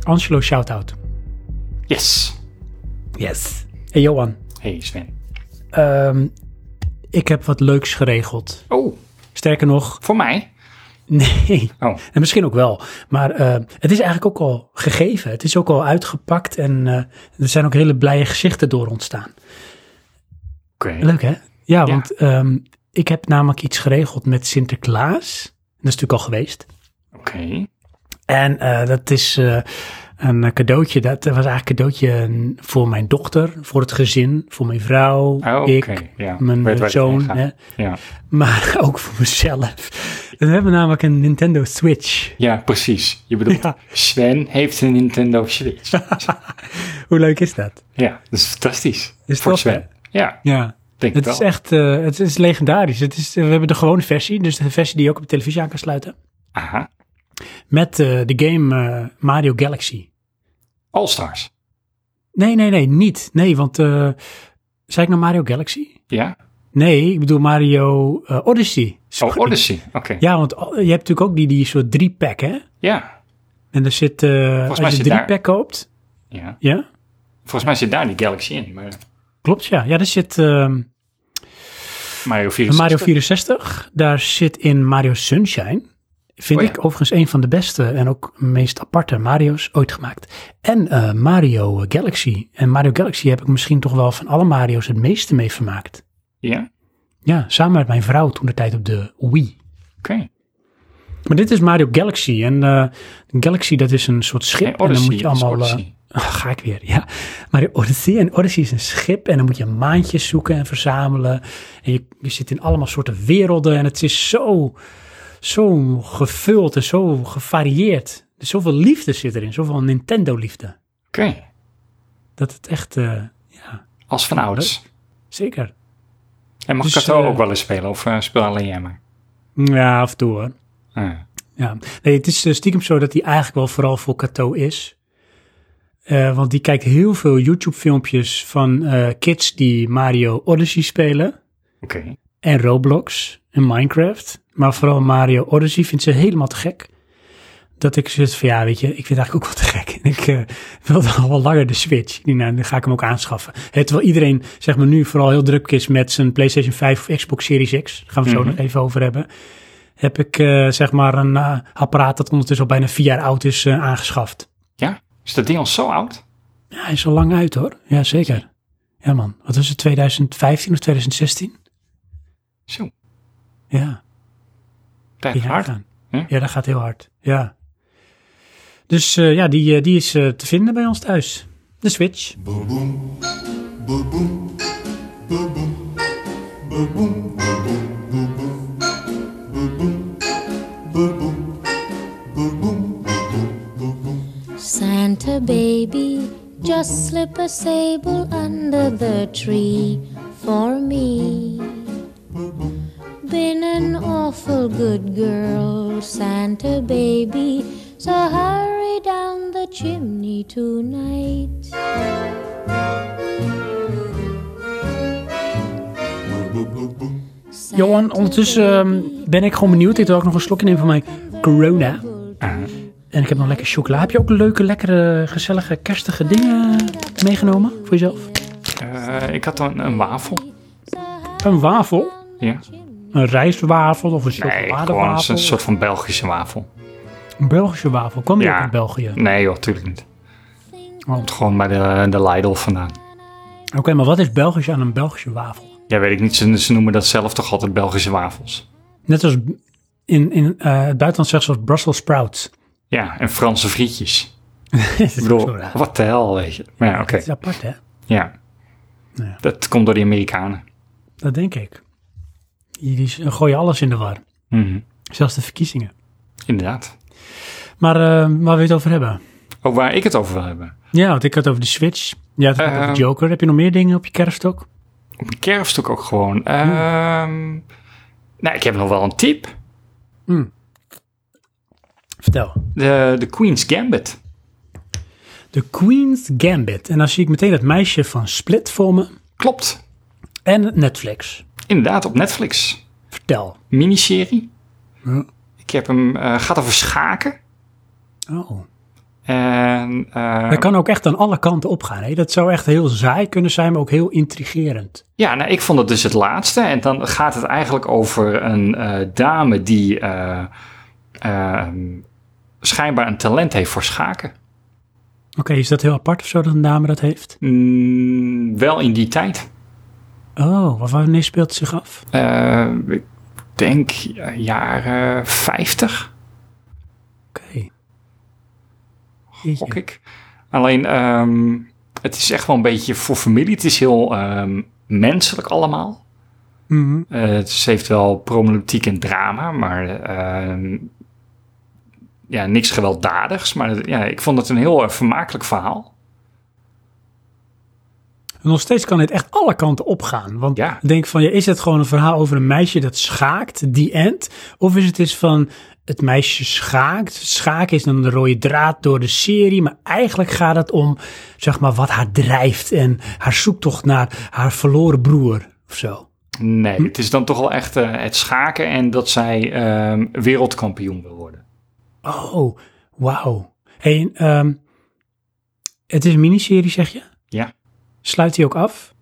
S1: Angelo, shout-out.
S2: Yes.
S1: Yes. Hey Johan,
S2: Hey Sven.
S1: ehm, ik heb wat leuks geregeld.
S2: Oh,
S1: Sterker nog,
S2: voor mij?
S1: nee.
S2: Oh,
S1: En misschien ook wel. Maar eh, het is eigenlijk ook al gegeven. Het is ook al uitgepakt en eh, er zijn ook hele blije gezichten door ontstaan.
S2: oké.
S1: Leuk hè? Ja, want ehm, ik heb namelijk iets geregeld met Sinterklaas. Dat is natuurlijk al geweest.
S2: Oké.
S1: En eh, dat is eh, een cadeautje. Dat was eigenlijk een cadeautje mm, voor mijn dochter, voor het gezin, voor mijn vrouw,
S2: Oh, oké.
S1: ik,
S2: Ja,
S1: mijn
S2: weet waar het
S1: zoon.
S2: heen gaat.
S1: Hè?
S2: Ja.
S1: maar ook voor mezelf. We hebben namelijk een Nintendo Switch.
S2: ja, precies. Je bedoelt,
S1: Ja.
S2: Sven heeft een Nintendo Switch.
S1: Hoe leuk is dat?
S2: ja, dat is fantastisch.
S1: Is
S2: voor
S1: tof,
S2: Sven. Ja,
S1: Ja.
S2: denk
S1: Het
S2: wel.
S1: is echt eh, het is legendarisch. Het is, we hebben de gewone versie, dus de versie die je ook op de televisie aan kan sluiten.
S2: Aha.
S1: Met eh, de game eh, Mario Galaxy.
S2: All Stars.
S1: Nee, nee, nee, niet. Nee, want. eh zei ik nou Mario Galaxy?
S2: Ja.
S1: Nee, ik bedoel Mario eh, Odyssey.
S2: Oh, Odyssey. Oké. Ja.
S1: Ja, want al- je hebt natuurlijk ook die, die soort drie pack, hè?
S2: ja.
S1: En er zit. eh, als
S2: mij
S1: je
S2: zit
S1: drie
S2: daar-
S1: pack koopt. Ja?
S2: Volgens mij zit daar die Galaxy in. Maar
S1: Klopt, ja. Ja, er zit. ehm,
S2: Mario 64.
S1: Mario 64, daar zit in Mario Sunshine. Vind
S2: Oh ja.
S1: ik overigens een van de beste en ook meest aparte Mario's ooit gemaakt. En eh, Mario Galaxy. En Mario Galaxy heb ik misschien toch wel van alle Mario's het meeste mee vermaakt.
S2: Ja.
S1: Ja, samen met mijn vrouw toen de tijd op de Wii.
S2: Oké.
S1: Maar dit is Mario Galaxy. En eh, Galaxy, dat is een soort schip.
S2: Nee,
S1: en dan
S2: Odyssey
S1: moet je
S2: is
S1: allemaal.
S2: Odyssey.
S1: eh, ga ik weer, ja. Mario Odyssey. En Odyssey is een schip. En dan moet je maandjes zoeken en verzamelen. En je, je zit in allemaal soorten werelden. En het is zo, zo gevuld en zo gevarieerd. Er is zoveel liefde zit erin. Zoveel Nintendo-liefde.
S2: Oké.
S1: Dat het echt. eh, ja,
S2: Als van ouds.
S1: zeker.
S2: En mag
S1: Dus,
S2: Kato
S1: eh,
S2: ook wel eens spelen? Of eh, speel alleen jij maar?
S1: Ja, af en toe hoor.
S2: Ah.
S1: Ja, nee, het is eh, stiekem zo dat hij eigenlijk wel vooral voor Kato is. Eh, want die kijkt heel veel YouTube-filmpjes van eh, kids die Mario Odyssey spelen.
S2: Oké.
S1: En Roblox en Minecraft. Maar vooral Mario Odyssey vindt ze helemaal te gek. Dat ik zoiets van, ja, weet je, ik vind het eigenlijk ook wel te gek. En ik eh, wilde al wel langer de Switch. Die, nou, dan ga ik hem ook aanschaffen. Hè, terwijl iedereen, zeg maar, nu vooral heel druk is met zijn PlayStation 5 of Xbox Series X. Daar gaan we het zo nog even over hebben. Heb ik, eh, zeg maar, een eh, apparaat dat ondertussen al bijna vier jaar oud is eh, aangeschaft.
S2: Ja? Is dat ding al zo oud?
S1: Ja, hij is al lang uit hoor. Ja, zeker. Ja man, wat was het, 2015 of 2016?
S2: Zo.
S1: Ja.
S2: Tijd
S1: die
S2: gaat hard.
S1: gaan.
S2: Hm?
S1: Ja, dat gaat heel hard. Ja. Dus eh, ja, die, eh, die is eh, te vinden bij ons thuis. De Switch.
S5: Santa baby, just slip a sable under the tree for me. Been an awful good girl, Santa baby, so hurry down the chimney tonight. Santa
S1: Johan, ondertussen ehm, ben ik gewoon benieuwd. Ik wil ook nog een slokje nemen van mijn corona.
S2: Ah.
S1: En ik heb nog lekker chocola. Heb je ook leuke, lekkere, gezellige, kerstige dingen meegenomen voor jezelf?
S2: Eh, ik had dan een wafel.
S1: Een wafel?
S2: Ja.
S1: Een rijstwafel of een
S2: Nee, gewoon het is
S1: chocoladewafel?
S2: een soort van Belgische wafel.
S1: Een Belgische wafel. Kwam die
S2: Ja.
S1: ook uit België?
S2: Nee joh, tuurlijk niet.
S1: Oh.
S2: Komt gewoon bij de, de Lidl vandaan.
S1: Oké, maar wat is Belgisch aan een Belgische wafel?
S2: Ja, weet ik niet. Ze, ze noemen dat zelf toch altijd Belgische wafels.
S1: Net als in, in eh, het buitenland zeggen ze als Brussels sprouts.
S2: Ja, en Franse frietjes.
S1: ik
S2: Ik bedoel, wat de hel, weet je. Maar ja, oké.
S1: Het is apart, hè?
S2: Ja.
S1: Ja.
S2: Dat komt door die Amerikanen.
S1: Dat denk ik. Die gooien alles in de war.
S2: Mhm,
S1: Zelfs de verkiezingen.
S2: Inderdaad.
S1: Maar eh, waar we het over hebben?
S2: Ook waar ik het over wil hebben.
S1: Ja, want ik had het over de Switch. Ja, het had het over
S2: Ehm.
S1: de Joker. Heb je nog meer dingen op je kerfstok?
S2: Op een kerfstuk ook gewoon. Ehm, nou, ik heb nog wel een tip.
S1: Vertel.
S2: De, de Queen's Gambit.
S1: De Queen's Gambit. En dan zie ik meteen dat meisje van Split voor me.
S2: Klopt.
S1: En Netflix.
S2: Inderdaad, op Netflix.
S1: Vertel.
S2: miniserie.
S1: Ja.
S2: Ik heb hem, eh, gaat over schaken.
S1: Oh.
S2: En eh,
S1: Dat kan ook echt aan alle kanten opgaan. Hè? Dat zou echt heel saai kunnen zijn, maar ook heel intrigerend.
S2: ja, nou, ik vond het dus het laatste. En dan gaat het eigenlijk over een eh, dame die eh, ehm, schijnbaar een talent heeft voor schaken.
S1: Oké, is dat heel apart of zo dat een dame dat heeft?
S2: Mm, wel in die tijd.
S1: Oh, wa- wanneer speelt het zich af?
S2: Eh, ik denk eh, jaren 50,
S1: Oké. Jeetje.
S2: gok ik. Alleen, ehm, het is echt wel een beetje voor familie. Het is heel ehm, menselijk allemaal.
S1: Mhm.
S2: Eh, het ze heeft wel problematiek en drama, maar eh, ja, niks gewelddadigs. Maar ja, ik vond het een heel eh, vermakelijk verhaal.
S1: En nog steeds kan dit echt alle kanten opgaan. Want
S2: Ja.
S1: ik denk van, ja, is het gewoon een verhaal over een meisje dat schaakt, die end? Of is het eens van, het meisje schaakt. Schaken is dan de rode draad door de serie. Maar eigenlijk gaat het om, zeg maar, wat haar drijft. En haar zoektocht naar haar verloren broer of zo. Mhm.
S2: Nee, het is dan toch wel echt eh, het schaken en dat zij ehm, wereldkampioen wil worden.
S1: Oh, wauw. Hey, en, ehm, het is een miniserie, zeg je?
S2: Ja,
S1: Sluit die ook af?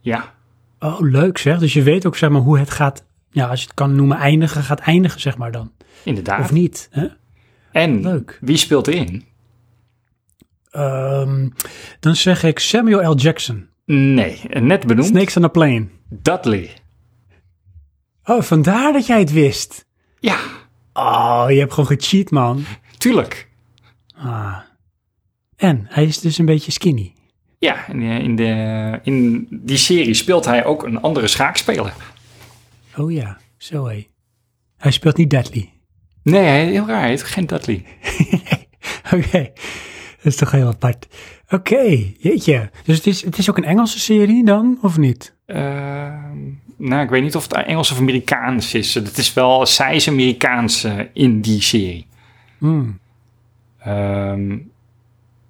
S2: ja,
S1: Oh, leuk zeg. Dus je weet ook zeg maar hoe het gaat, ja, als je het kan noemen, eindigen, gaat eindigen zeg maar dan.
S2: inderdaad.
S1: Of niet, hè?
S2: En
S1: Leuk.
S2: wie speelt erin?
S1: Ehm, dan zeg ik Samuel L. Jackson.
S2: Nee, net benoemd.
S1: Snakes on a Plane.
S2: Dudley.
S1: Oh, vandaar dat jij het wist.
S2: Ja,
S1: Oh, je hebt gewoon gecheat, man.
S2: tuurlijk.
S1: Ah. En hij is dus een beetje skinny.
S2: Ja, in, eh, in, de, in die serie speelt hij ook een andere schaakspeler.
S1: Oh ja, zo hé. Hij speelt niet Dudley.
S2: Nee, hij- heel raar. Hij heet geen Dudley.
S1: Oké, dat is toch heel apart. Oké, jeetje. Dus het is, het is ook een Engelse serie dan, of niet?
S2: Ehm, nou, ik weet niet of het Engels of Amerikaans is. Het is wel, zij is Amerikaans eh, in die serie.
S1: Hmm.
S2: Ehm,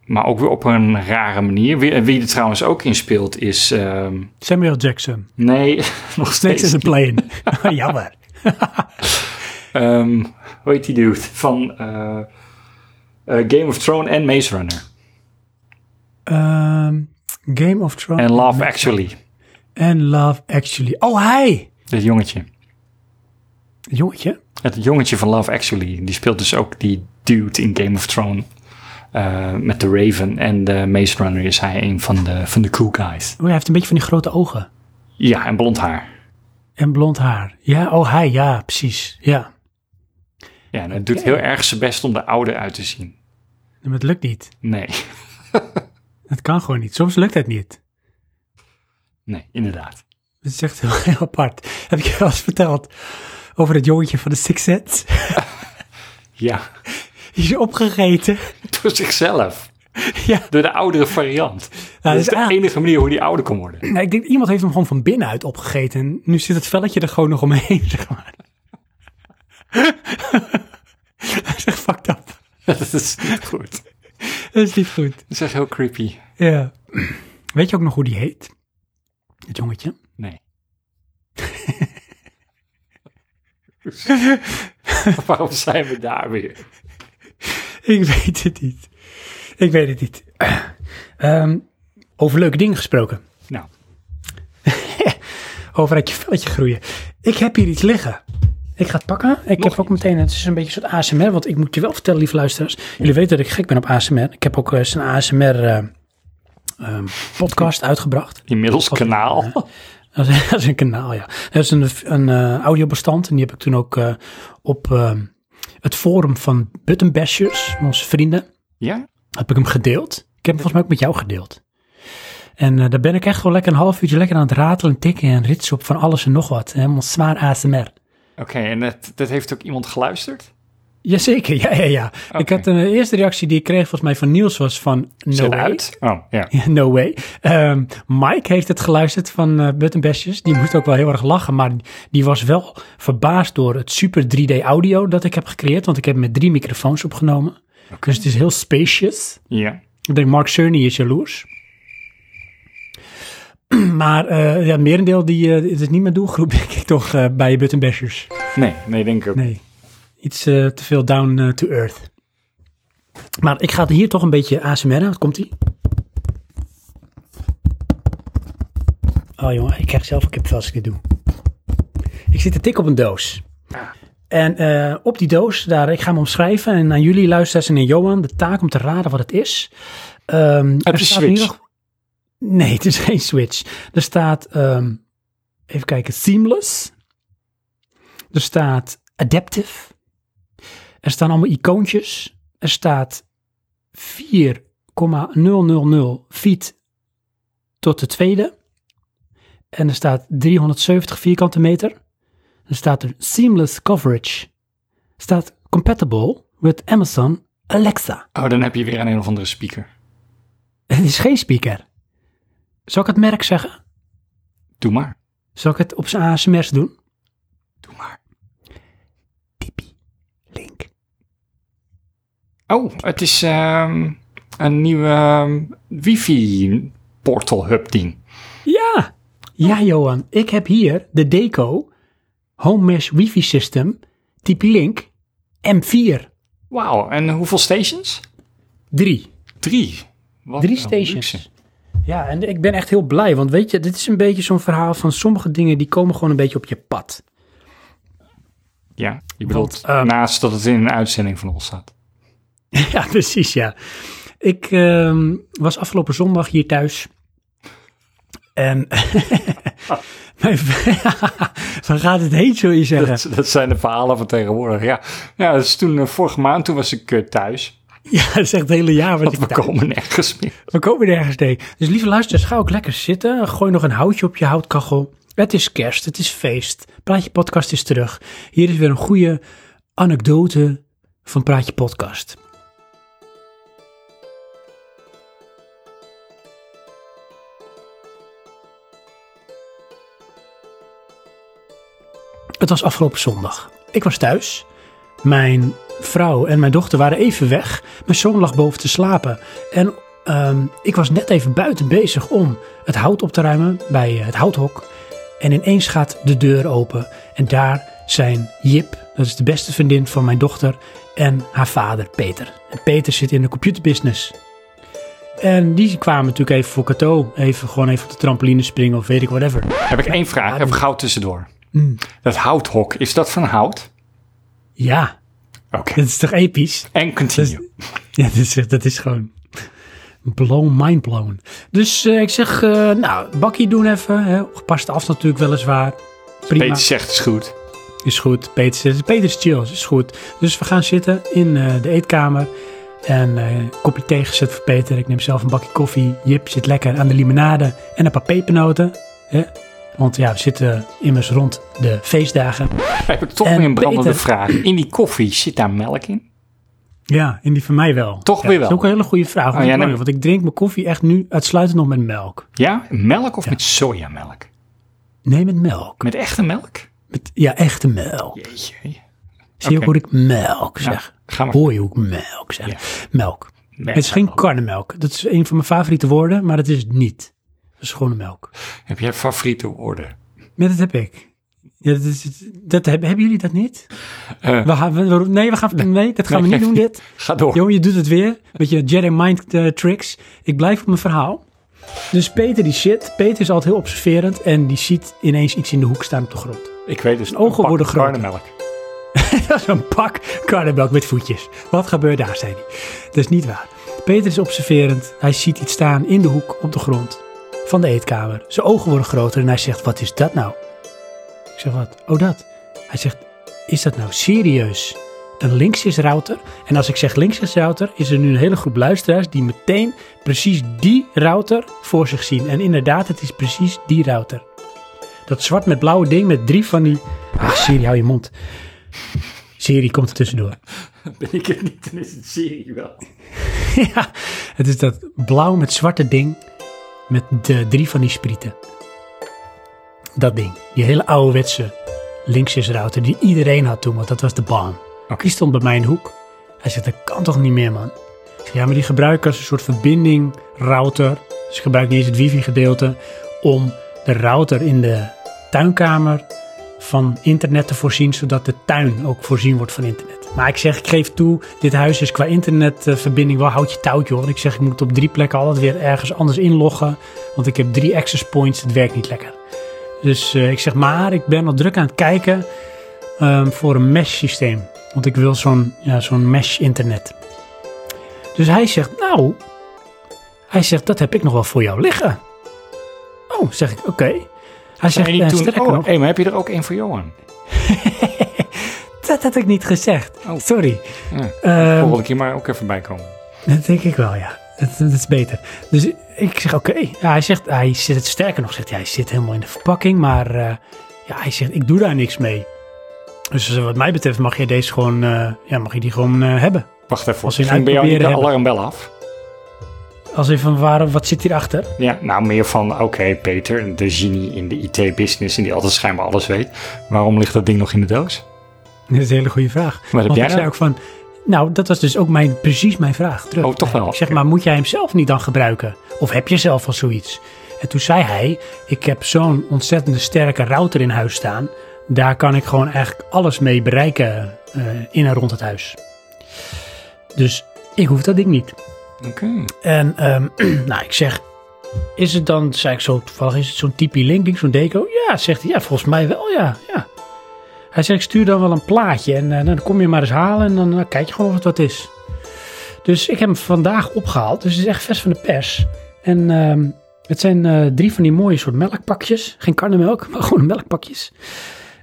S2: maar ook weer op een rare manier. Wie, wie er trouwens ook in speelt is... ehm,
S1: Samuel Jackson.
S2: nee, nog
S1: Snakes
S2: steeds.
S1: is een plane. Jammer.
S2: Ehm, hoe heet die dude? Van eh, eh, Game of Thrones en Maze Runner.
S1: Ehm, Game of Thrones.
S2: En Love Actually.
S1: En Love Actually. Oh, hij!
S2: Dat jongetje.
S1: Jongetje.
S2: Het jongetje van Love Actually. Die speelt dus ook die dude in Game of Thrones. eh, met de Raven en de Maze Runner is hij een van de, van de cool guys.
S1: Oh, hij heeft een beetje van die grote ogen.
S2: Ja, en blond haar.
S1: En blond haar. Ja, oh, hij. Ja, precies. Ja.
S2: Ja, en het doet heel erg zijn best om er ouder uit te zien.
S1: Maar het lukt niet.
S2: Nee,
S1: Het kan gewoon niet. Soms lukt het niet.
S2: nee, inderdaad.
S1: Dat is echt heel, heel apart. Heb ik je wel eens verteld over het jongetje van de Six Sense?
S2: Ja,
S1: Die is opgegeten.
S2: door zichzelf.
S1: Ja.
S2: Door de oudere variant. dat
S1: dus
S2: is de
S1: eigenlijk-
S2: enige manier hoe die ouder kon worden.
S1: Nou, ik denk, iemand heeft hem gewoon van binnenuit opgegeten. En nu zit het velletje er gewoon nog omheen, zeg maar. Dat is echt fucked up.
S2: Dat is niet goed.
S1: Dat is niet goed.
S2: Dat is echt heel creepy.
S1: Ja. Weet je ook nog hoe die heet? Het jongetje.
S2: Nee. Waarom zijn we daar weer?
S1: Ik weet het niet. Ik weet het niet. Ehm, over leuke dingen gesproken.
S2: Nou,
S1: Over uit je velletje groeien. Ik heb hier iets liggen. Ik ga het pakken. Ik
S2: Nog
S1: heb ook meteen, het is een beetje een soort ASMR. Want ik moet je wel vertellen, lieve luisteraars. Jullie weten dat ik gek ben op ASMR. Ik heb ook eens een ASMR eh, ehm, podcast uitgebracht.
S2: inmiddels kanaal.
S1: Dat is, dat is een kanaal, ja. Dat is een, een eh, audiobestand. En die heb ik toen ook eh, op ehm, het forum van Buttonbashers, onze vrienden
S2: Ja?
S1: heb ik hem gedeeld. Ik heb hem volgens mij ook met jou gedeeld. En eh, daar ben ik echt wel lekker een half uurtje lekker aan het ratelen, tikken en ritsen op van alles en nog wat. Helemaal zwaar ASMR.
S2: Oké, en dat, dat heeft ook iemand geluisterd?
S1: Jazeker, ja, ja, ja. Ik
S2: Oké.
S1: had een eerste reactie die ik kreeg volgens mij van Niels was van no
S2: Zet
S1: way.
S2: uit? Oh, ja.
S1: Ja, No way. Ehm, Mike heeft het geluisterd van eh Button Bashers. Die moest ook wel heel erg lachen, maar die was wel verbaasd door het super 3D audio dat ik heb gecreëerd. Want ik heb met drie microfoons opgenomen. Dus het is heel spacious.
S2: Ja.
S1: Ik denk, Mark Cerny is jaloers. Maar eh ja, het merendeel, die, eh, het is niet mijn doelgroep, denk ik toch, eh, bij Button Bashers.
S2: Nee, nee, denk ik ook.
S1: Nee, iets eh, te veel down eh, to earth. Maar ik ga hier toch een beetje ASMR aan. Komt ie? Oh jongen, ik krijg zelf een kipvel als ik dit doe. Ik zit te tik op een doos. En eh, op die doos, daar, ik ga hem omschrijven. En aan jullie luisteraars en aan Johan de taak om te raden wat het is. Ehm,
S2: Heb
S1: er
S2: je
S1: staat in ieder
S2: Switch?
S1: geval- Nee, het is geen Switch. Er staat, ehm, even kijken, Seamless. Er staat Adaptive. Er staan allemaal icoontjes. Er staat 4,000 feet tot de tweede. En er staat 370 vierkante meter. Dan staat er seamless coverage. Staat compatible with Amazon Alexa.
S2: Oh, dan heb je weer een, een of andere speaker.
S1: Het is geen speaker. Zal ik het merk zeggen?
S2: Doe maar.
S1: Zal ik het op zijn ASMR's doen?
S2: Doe maar.
S1: Tippy. Link.
S2: Oh, het is ehm, een nieuwe ehm, wifi portal hub ding.
S1: Ja! Ja, Johan. Ik heb hier de Deco Home Mesh Wifi System Tippy Link M4.
S2: Wauw, en hoeveel stations?
S1: 3.
S2: Drie. Wat
S1: Drie
S2: een
S1: stations.
S2: Oh, luxe.
S1: Ja, en ik ben echt heel blij, want weet je, dit is een beetje zo'n verhaal van sommige dingen die komen gewoon een beetje op je pad.
S2: Ja, je bedoelt
S1: Want, ehm,
S2: naast dat het in een uitzending van ons staat.
S1: Ja, precies, ja. Ik ehm, was afgelopen zondag hier thuis. En. Ah. Mijn v- Waar gaat het heen, zul je zeggen?
S2: Dat, dat zijn de verhalen van tegenwoordig, ja. Ja, dat is toen, eh, vorige maand, toen was ik eh, thuis.
S1: Ja, dat is echt het hele jaar. Wat
S2: Want
S1: ik
S2: we
S1: thuis-
S2: komen nergens meer.
S1: We komen nergens heen. Dus lieve luisteraars, ga ook lekker zitten. Gooi nog een houtje op je houtkachel. Het is kerst, het is feest. Praatje Podcast is terug. Hier is weer een goede anekdote van Praatje Podcast. Het was afgelopen zondag. Ik was thuis. Mijn vrouw en mijn dochter waren even weg. Mijn zoon lag boven te slapen. En ehm, ik was net even buiten bezig om het hout op te ruimen bij eh, het houthok. En ineens gaat de deur open. En daar zijn Jip, dat is de beste vriendin van mijn dochter, en haar vader Peter. En Peter zit in de computerbusiness. En die kwamen natuurlijk even voor cadeau. Even gewoon even op de trampoline springen of weet ik whatever.
S2: Heb ik één vraag, even gauw tussendoor.
S1: Mm.
S2: Dat houthok, is dat van hout?
S1: Ja,
S2: Oké.
S1: dit is toch episch?
S2: En continue.
S1: Ja, dat is, dat is gewoon blown, mind blown. Dus eh, ik zeg, eh, nou, bakkie doen even. Hè. Op gepaste afstand natuurlijk weliswaar. Prima,
S2: Peter zegt is goed.
S1: is goed. Peter, zegt, Peter is chill, is goed. Dus we gaan zitten in eh, de eetkamer. En eh, een kopje thee gezet voor Peter. Ik neem zelf een bakje koffie. Jip zit lekker aan de limonade en een paar pepernoten. Hè? Want ja, we zitten immers rond de feestdagen.
S2: Heb ik toch
S1: En
S2: weer een brandende
S1: Eh, Peter.
S2: vraag. In die koffie zit daar melk in?
S1: Ja, en die van mij wel.
S2: Toch
S1: Ja,
S2: weer
S1: Dat
S2: wel. Oh,
S1: is ook een hele goede vraag. want
S2: ja,
S1: ik-
S2: nee.
S1: Want ik drink mijn koffie echt nu uitsluitend nog met melk.
S2: Ja, melk of met sojamelk?
S1: Nee, met melk.
S2: Met echte melk?
S1: Met, ja, echte melk.
S2: Jeetje.
S1: Zie je ook
S2: oké.
S1: hoe ik melk zeg?
S2: ga maar.
S1: Hoor je hoe ik melk zeg? Melk.
S2: Melk.
S1: Het is geen karnemelk. Dat is een van mijn favoriete woorden, maar dat is het niet. Dat is gewone melk.
S2: Heb jij favoriete woorden?
S1: Ja, dat heb ik. Ja, dat is, dat hebben, hebben jullie dat niet?
S2: Eh,
S1: We gaan, we- we- nee, we gaan, nee, dat gaan we
S2: Nee,
S1: niet doen, dit.
S2: Ga door.
S1: Jongen, je doet het weer. Met je Jedi Mind eh, tricks. Ik blijf op mijn verhaal. Dus Peter die shit. Peter is altijd heel observerend. En die ziet ineens iets in de hoek staan op de grond.
S2: ik weet dus.
S1: ogen worden groter.
S2: melk.
S1: dat is een pak karnemelk met voetjes. Wat gebeurt daar, zei hij. Dat is niet waar. Peter is observerend. Hij ziet iets staan in de hoek op de grond van de eetkamer. Zijn ogen worden groter en hij zegt, wat is dat nou? Ik zeg, wat? Oh, dat. Hij zegt, is dat nou serieus? Een links is router. En als ik zeg links is router, is er nu een hele groep luisteraars die meteen precies die router voor zich zien. En inderdaad, het is precies die router. Dat zwart met blauwe ding met drie van die... Ach, Siri, hou je mond. Siri komt er tussendoor.
S2: Ben ik het niet, dan is het serie wel.
S1: ja, het is dat blauw met zwarte ding met de drie van die sprieten. Dat ding. Die hele ouderwetse linksjesrouter die iedereen had toen, want dat was de baan. Die stond bij mij in de hoek. Hij zegt, dat kan toch niet meer, man? Ik zeg, Ja, maar die gebruiken als een soort verbinding router. Dus gebruik niet eens het wifi gedeelte om de router in de tuinkamer van internet te voorzien, zodat de tuin ook voorzien wordt van internet. Maar ik zeg, ik geef toe, dit huis is qua internetverbinding wel houtje touwtje hoor. Ik zeg, ik moet op drie plekken altijd weer ergens anders inloggen, want ik heb drie access points, het werkt niet lekker. Dus eh, ik zeg, maar ik ben al druk aan het kijken ehm, voor een mesh systeem. Want ik wil zo'n ja, zo'n mesh internet. Dus hij zegt, nou, hij zegt, dat heb ik nog wel voor jou liggen. Oh, zeg ik, oké. Hij zegt,
S2: En die
S1: eh,
S2: toen,
S1: sterker
S2: oh,
S1: nog-
S2: hey, maar heb je er ook één voor Johan?
S1: dat had ik niet gezegd.
S2: Oh.
S1: Sorry.
S2: Ja.
S1: Ehm,
S2: Volgende keer maar ook even bij komen.
S1: dat denk ik wel, ja. Dat, dat is beter. Dus ik zeg, oké. Ja, hij zegt, hij zit het sterker nog. Zegt hij, hij zit helemaal in de verpakking. Maar eh, ja, hij zegt, ik doe daar niks mee. Dus eh, wat mij betreft mag je deze gewoon, eh, ja, mag je die gewoon eh, hebben.
S2: Wacht even.
S1: Als we nou
S2: Ging
S1: een
S2: bij jou niet de
S1: uitproberen
S2: alarmbel af?
S1: Als even waar, wat zit hierachter?
S2: Ja, nou meer van, oké Peter, de genie in de IT-business en die altijd schijnbaar alles weet. Waarom ligt dat ding nog in de doos?
S1: Dat is een hele goede vraag.
S2: heb
S1: Want
S2: jij
S1: ik zei
S2: dan?
S1: ook van, nou, dat was dus ook mijn, precies mijn vraag terug.
S2: Oh, toch wel.
S1: Ik zeg, maar moet jij hem zelf niet dan gebruiken? Of heb je zelf al zoiets? En toen zei hij, ik heb zo'n ontzettende sterke router in huis staan. Daar kan ik gewoon eigenlijk alles mee bereiken eh, in en rond het huis. Dus ik hoef dat ding niet.
S2: Oké.
S1: En ehm, nou, ik zeg, is het dan, zei ik zo toevallig, is het zo'n typie link, ding, zo'n deco? Ja, zegt hij, ja, volgens mij wel, ja, ja. Hij zegt, ik stuur dan wel een plaatje en eh, nou, dan kom je maar eens halen en dan eh, kijk je gewoon of het wat is. Dus ik heb hem vandaag opgehaald, dus het is echt vers van de pers. En ehm, het zijn eh, drie van die mooie soort melkpakjes, geen karnemelk, maar gewoon melkpakjes.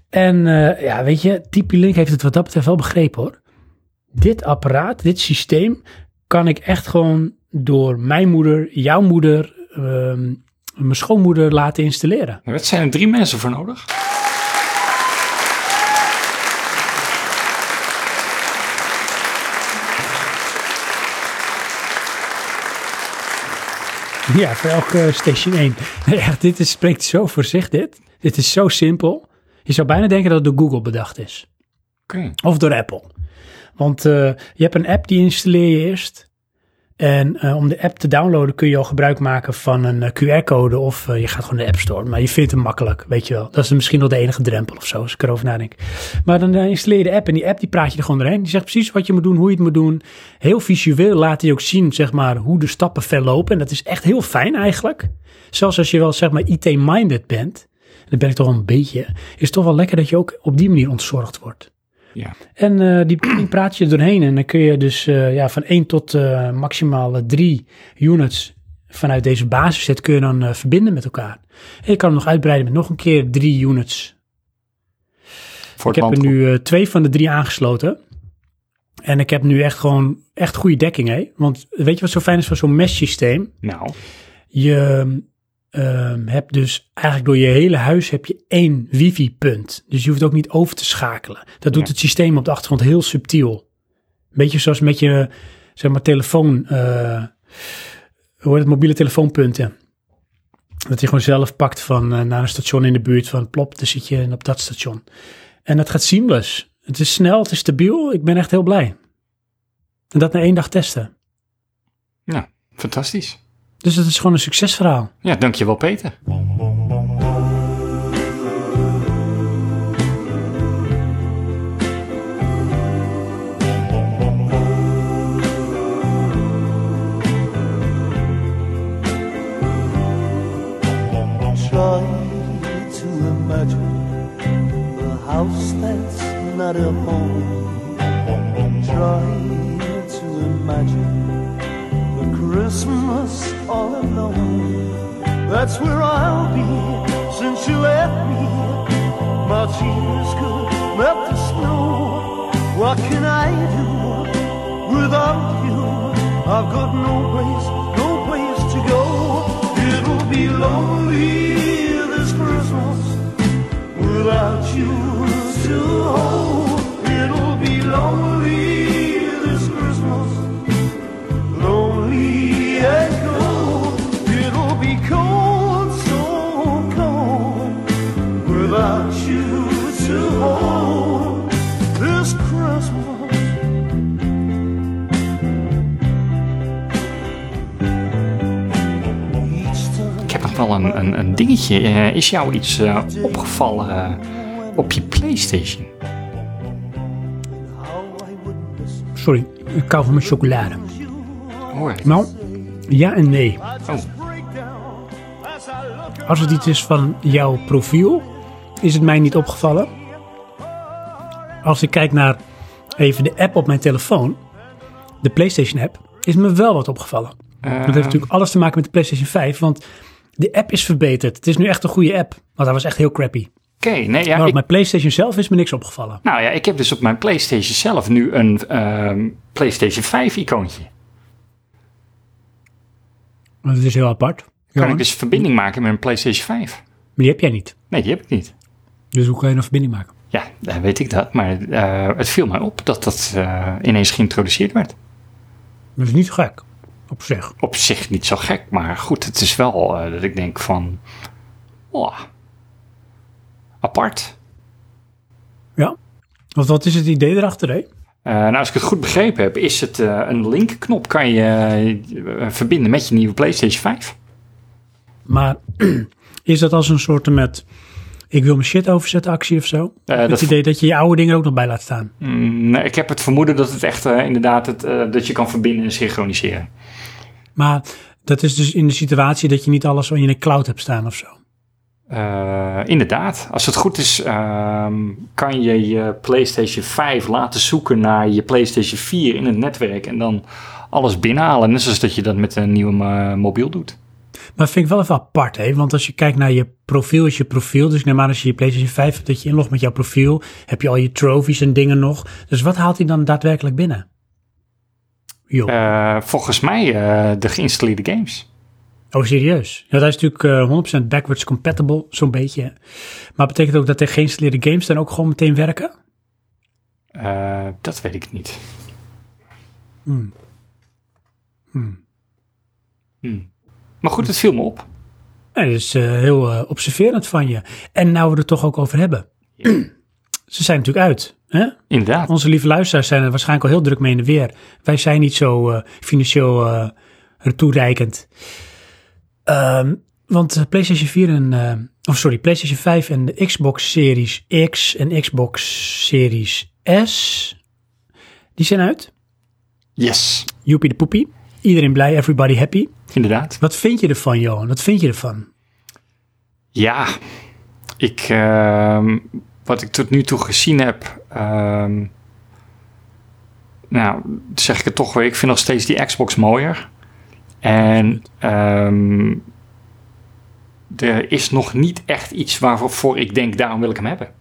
S1: En eh, ja, weet je, typie link heeft het wat dat betreft wel begrepen hoor. Dit apparaat, dit systeem, kan ik echt gewoon door mijn moeder, jouw moeder, ehm, mijn schoonmoeder laten installeren.
S2: Wat zijn er drie mensen voor nodig?
S1: Ja, voor elke station 1. Nee, echt, dit is, spreekt zo voor zich, dit. Dit is zo simpel. Je zou bijna denken dat het door Google bedacht is.
S2: Oké.
S1: Of door Apple. Want eh, je hebt een app die installeer je eerst. En eh, om de app te downloaden kun je al gebruik maken van een eh, QR-code of eh, je gaat gewoon naar de App Store. Maar je vindt hem makkelijk, weet je wel. Dat is misschien wel de enige drempel of zo, als ik erover nadenk. Maar dan eh, installeer je de app en die app die praat je er gewoon doorheen. Die zegt precies wat je moet doen, hoe je het moet doen. Heel visueel laat hij ook zien, zeg maar, hoe de stappen verlopen. En dat is echt heel fijn eigenlijk. Zelfs als je wel, zeg maar, IT-minded bent. en Dat ben ik toch wel een beetje. Is het toch wel lekker dat je ook op die manier ontzorgd wordt.
S2: Ja.
S1: En eh, die, die praat je doorheen. En dan kun je dus eh, ja, van 1 tot eh, maximaal eh, 3 units vanuit deze basisset kun je dan eh, verbinden met elkaar. En je kan hem nog uitbreiden met nog een keer 3 units.
S2: Voor
S1: Ik heb
S2: het
S1: er
S2: land.
S1: nu eh, twee van de drie aangesloten. En ik heb nu echt gewoon echt goede dekking, hè? Want weet je wat zo fijn is van zo'n mesh-systeem?
S2: Nou,
S1: Je ehm, hebt dus eigenlijk door je hele huis heb je één wifi-punt. Dus je hoeft ook niet over te schakelen. Dat doet
S2: Ja.
S1: het systeem op de achtergrond heel subtiel. Beetje zoals met je, zeg maar, telefoon, eh hoe heet het, mobiele telefoonpunten. Dat hij gewoon zelf pakt van eh, naar een station in de buurt van plop, dan zit je op dat station. En dat gaat seamless. Het is snel, het is stabiel. Ik ben echt heel blij. En dat na één dag testen.
S2: nou, fantastisch.
S1: Dus het is gewoon een succesverhaal.
S2: Ja, dankjewel Peter.
S6: Try to imagine a house that's not a home. Try to imagine a Christmas all alone. That's where I'll be since you left me. My tears could melt the snow. What can I do? Without you, I've got no place, no place to go. It'll be lonely this Christmas without you to hold. It'll be lonely this Christmas, lonely and cold. It'll be cold, so cold without you to hold this Christmas.
S2: Ik heb nog wel een, een, een dingetje. Eh, is jou iets eh, opgevallen eh, op je PlayStation?
S1: Sorry, ik kou van mijn chocolade.
S2: Hoor.
S1: Nou, ja en nee.
S6: Oh.
S1: Als het iets is van jouw profiel, is het mij niet opgevallen. Als ik kijk naar even de app op mijn telefoon, de PlayStation app, is me wel wat opgevallen.
S2: Eh.
S1: Dat heeft natuurlijk alles te maken met de PlayStation 5, want de app is verbeterd. Het is nu echt een goede app, want dat was echt heel crappy.
S2: Oké, nee, ja,
S1: Maar op
S2: ik,
S1: mijn PlayStation zelf is me niks opgevallen.
S2: nou ja, ik heb dus op mijn PlayStation zelf nu een ehm, PlayStation 5 icoontje.
S1: Want het is heel apart.
S2: Kan
S1: Jammer.
S2: ik dus verbinding maken met een PlayStation 5?
S1: Maar die heb jij niet.
S2: Nee, die heb ik niet.
S1: Dus hoe kan je een verbinding maken?
S2: Ja, eh, weet ik dat. Maar eh, het viel mij op dat dat eh, ineens geïntroduceerd werd.
S1: Dat is niet gek, op zich.
S2: Op zich niet zo gek, maar goed, het is wel eh, dat ik denk van... Oh, apart.
S1: Ja. Want wat is het idee erachter, hè?
S2: Eh, nou, als ik het goed begrepen heb, is het eh, een linkknop kan je eh, verbinden met je nieuwe PlayStation Eh, 5.
S1: Maar is dat als een soort met ik wil mijn shit overzetten actie of zo? het
S2: dat-
S1: idee dat je je oude dingen er ook nog bij laat staan.
S2: Mm, nee, ik heb het vermoeden dat het echt eh, inderdaad het, eh, dat je kan verbinden en synchroniseren.
S1: Maar dat is dus in de situatie dat je niet alles in een cloud hebt staan of zo.
S2: Eh, inderdaad, als het goed is, ehm, kan je je PlayStation 5 laten zoeken naar je PlayStation 4 in het netwerk en dan alles binnenhalen. Net zoals dat je dat met een nieuwe eh, mobiel doet.
S1: Maar vind ik wel even apart, hè? Want als je kijkt naar je profiel, is je profiel. Dus ik neem aan als je je PlayStation 5 hebt, dat je inlogt met jouw profiel. Heb je al je trophies en dingen nog. Dus wat haalt hij dan daadwerkelijk binnen? Joh.
S2: Eh, volgens mij eh, de geïnstalleerde games.
S1: Oh, serieus? Ja, dat is natuurlijk eh, 100% backwards compatible, zo'n beetje. hè. Maar betekent ook dat de geïnstalleerde games dan ook gewoon meteen werken?
S2: Eh, dat weet ik niet. Hmm. Maar goed, het viel me op.
S1: Ja, dat is eh, heel eh, observerend van je. En nou we het toch ook over hebben. Ze zijn natuurlijk uit. Hè?
S2: Inderdaad.
S1: Onze lieve luisteraars zijn er waarschijnlijk al heel druk mee in de weer. Wij zijn niet zo eh, financieel eh, toereikend. Ehm, want eh, PlayStation 4 en... eh, of sorry, PlayStation 5 en de Xbox Series X en Xbox Series S... Die zijn uit.
S2: Yes.
S1: Joepie de poepie. Iedereen blij, everybody happy.
S2: Inderdaad.
S1: Wat vind je ervan, Johan? Wat vind je ervan?
S2: Ja, ik, ehm, wat ik tot nu toe gezien heb. ehm, nou, zeg ik het toch weer. Ik vind nog steeds die Xbox mooier. En ehm, er is nog niet echt iets waarvoor ik denk, daarom wil ik hem hebben.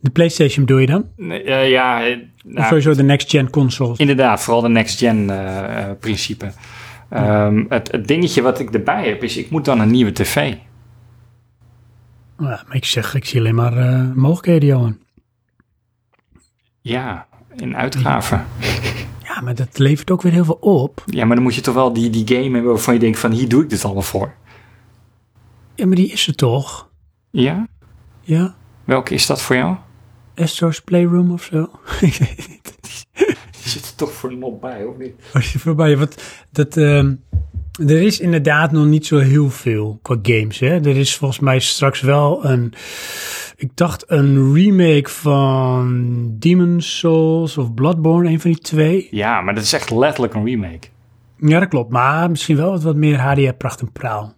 S1: De PlayStation bedoel je dan?
S2: Nee, eh, ja, eh,
S1: of
S2: nou,
S1: sowieso de next-gen consoles?
S2: inderdaad, vooral de next-gen eh, eh, principe. Ehm, het, het dingetje wat ik erbij heb is, ik moet dan een nieuwe tv.
S1: Ja, maar ik zeg, ik zie alleen maar eh, mogelijkheden, Johan.
S2: Ja, in uitgaven.
S1: Ja, maar dat levert ook weer heel veel op.
S2: Ja, maar dan moet je toch wel die, die game hebben waarvan je denkt van, hier doe ik dit allemaal voor.
S1: Ja, maar die is er toch?
S2: Ja?
S1: Ja?
S2: Welke is dat voor jou?
S1: Astro's Playroom of zo? ik weet niet.
S2: Je zit er toch voor een mop bij, of niet?
S1: Als je voorbij, want dat, ehm, er is inderdaad nog niet zo heel veel qua games. Hè? Er is volgens mij straks wel een, ik dacht een remake van Demon's Souls of Bloodborne, een van die twee.
S2: Ja, maar dat is echt letterlijk een remake.
S1: Ja, dat klopt, maar misschien wel wat, wat meer HDR pracht en praal.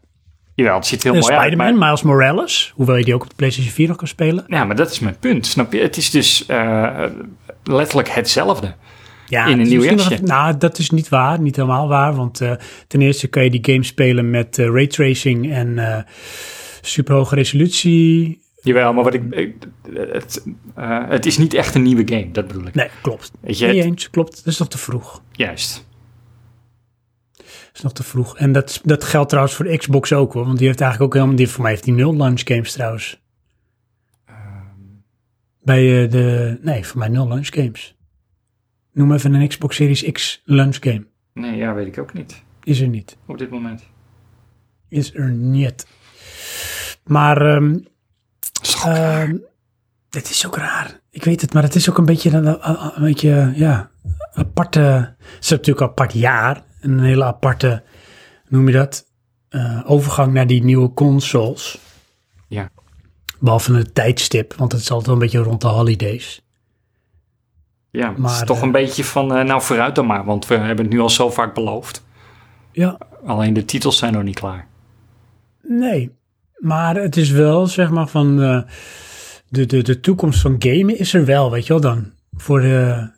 S2: Jawel, het ziet er heel
S1: En
S2: mooi uit. maar-
S1: Spider-Man, Miles Morales, hoewel je die ook op de PlayStation 4 nog kan spelen.
S2: Ja, maar dat is mijn punt, snap je? Het is dus eh, letterlijk hetzelfde.
S1: Ja,
S2: In een
S1: het is
S2: nieuw
S1: misschien
S2: jasje.
S1: nog even- nou, dat is niet waar, niet helemaal waar. Want eh, ten eerste kan je die game spelen met eh, raytracing en eh superhoge resolutie.
S2: Jawel, maar wat ik, ik- het, eh, het is niet echt een nieuwe game, dat bedoel ik.
S1: Nee, klopt.
S2: Weet je,
S1: Niet
S2: het-
S1: eens, klopt. Dat is nog te vroeg.
S2: juist.
S1: Dat is nog te vroeg. En dat, dat geldt trouwens voor de Xbox ook hoor. Want die heeft eigenlijk ook helemaal... Die, voor mij heeft die nul launch games trouwens.
S2: Ehm.
S1: Bij eh, de... Nee, voor mij nul launch games. Noem even een Xbox Series X launch game.
S2: Nee, ja, weet ik ook niet.
S1: Is er niet.
S2: Op dit moment.
S1: Is er niet. Maar... ehm,
S2: Dat is toch-
S1: Ehm, het is ook raar. Ik weet het, maar het is ook een beetje een, een een beetje, ja, aparte... Het is natuurlijk een apart jaar. en Een hele aparte, hoe noem je dat? eh, overgang naar die nieuwe consoles.
S2: Ja.
S1: Behalve het tijdstip, want het is altijd wel een beetje rond de holidays.
S2: ja, maar, het
S1: maar,
S2: is toch
S1: eh,
S2: een beetje van, eh, nou vooruit dan maar, want we hebben het nu al zo vaak beloofd.
S1: Ja,
S2: Alleen de titels zijn nog niet klaar.
S1: nee. Maar het is wel, zeg maar, van... eh, de, de, de toekomst van gamen is er wel, weet je wel, dan. Voor, de,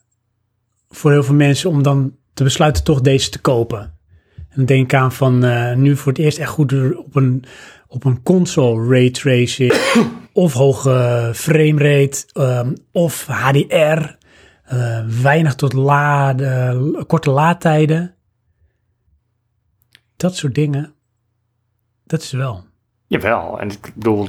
S1: voor heel veel mensen om dan te besluiten toch deze te kopen. En denk aan van eh, nu voor het eerst echt goed door- op een, op een console raytracing of hoge framerate ehm, of HDR. eh, weinig tot laden, korte laadtijden. Dat soort dingen. Dat is er wel.
S2: Jawel, en ik bedoel,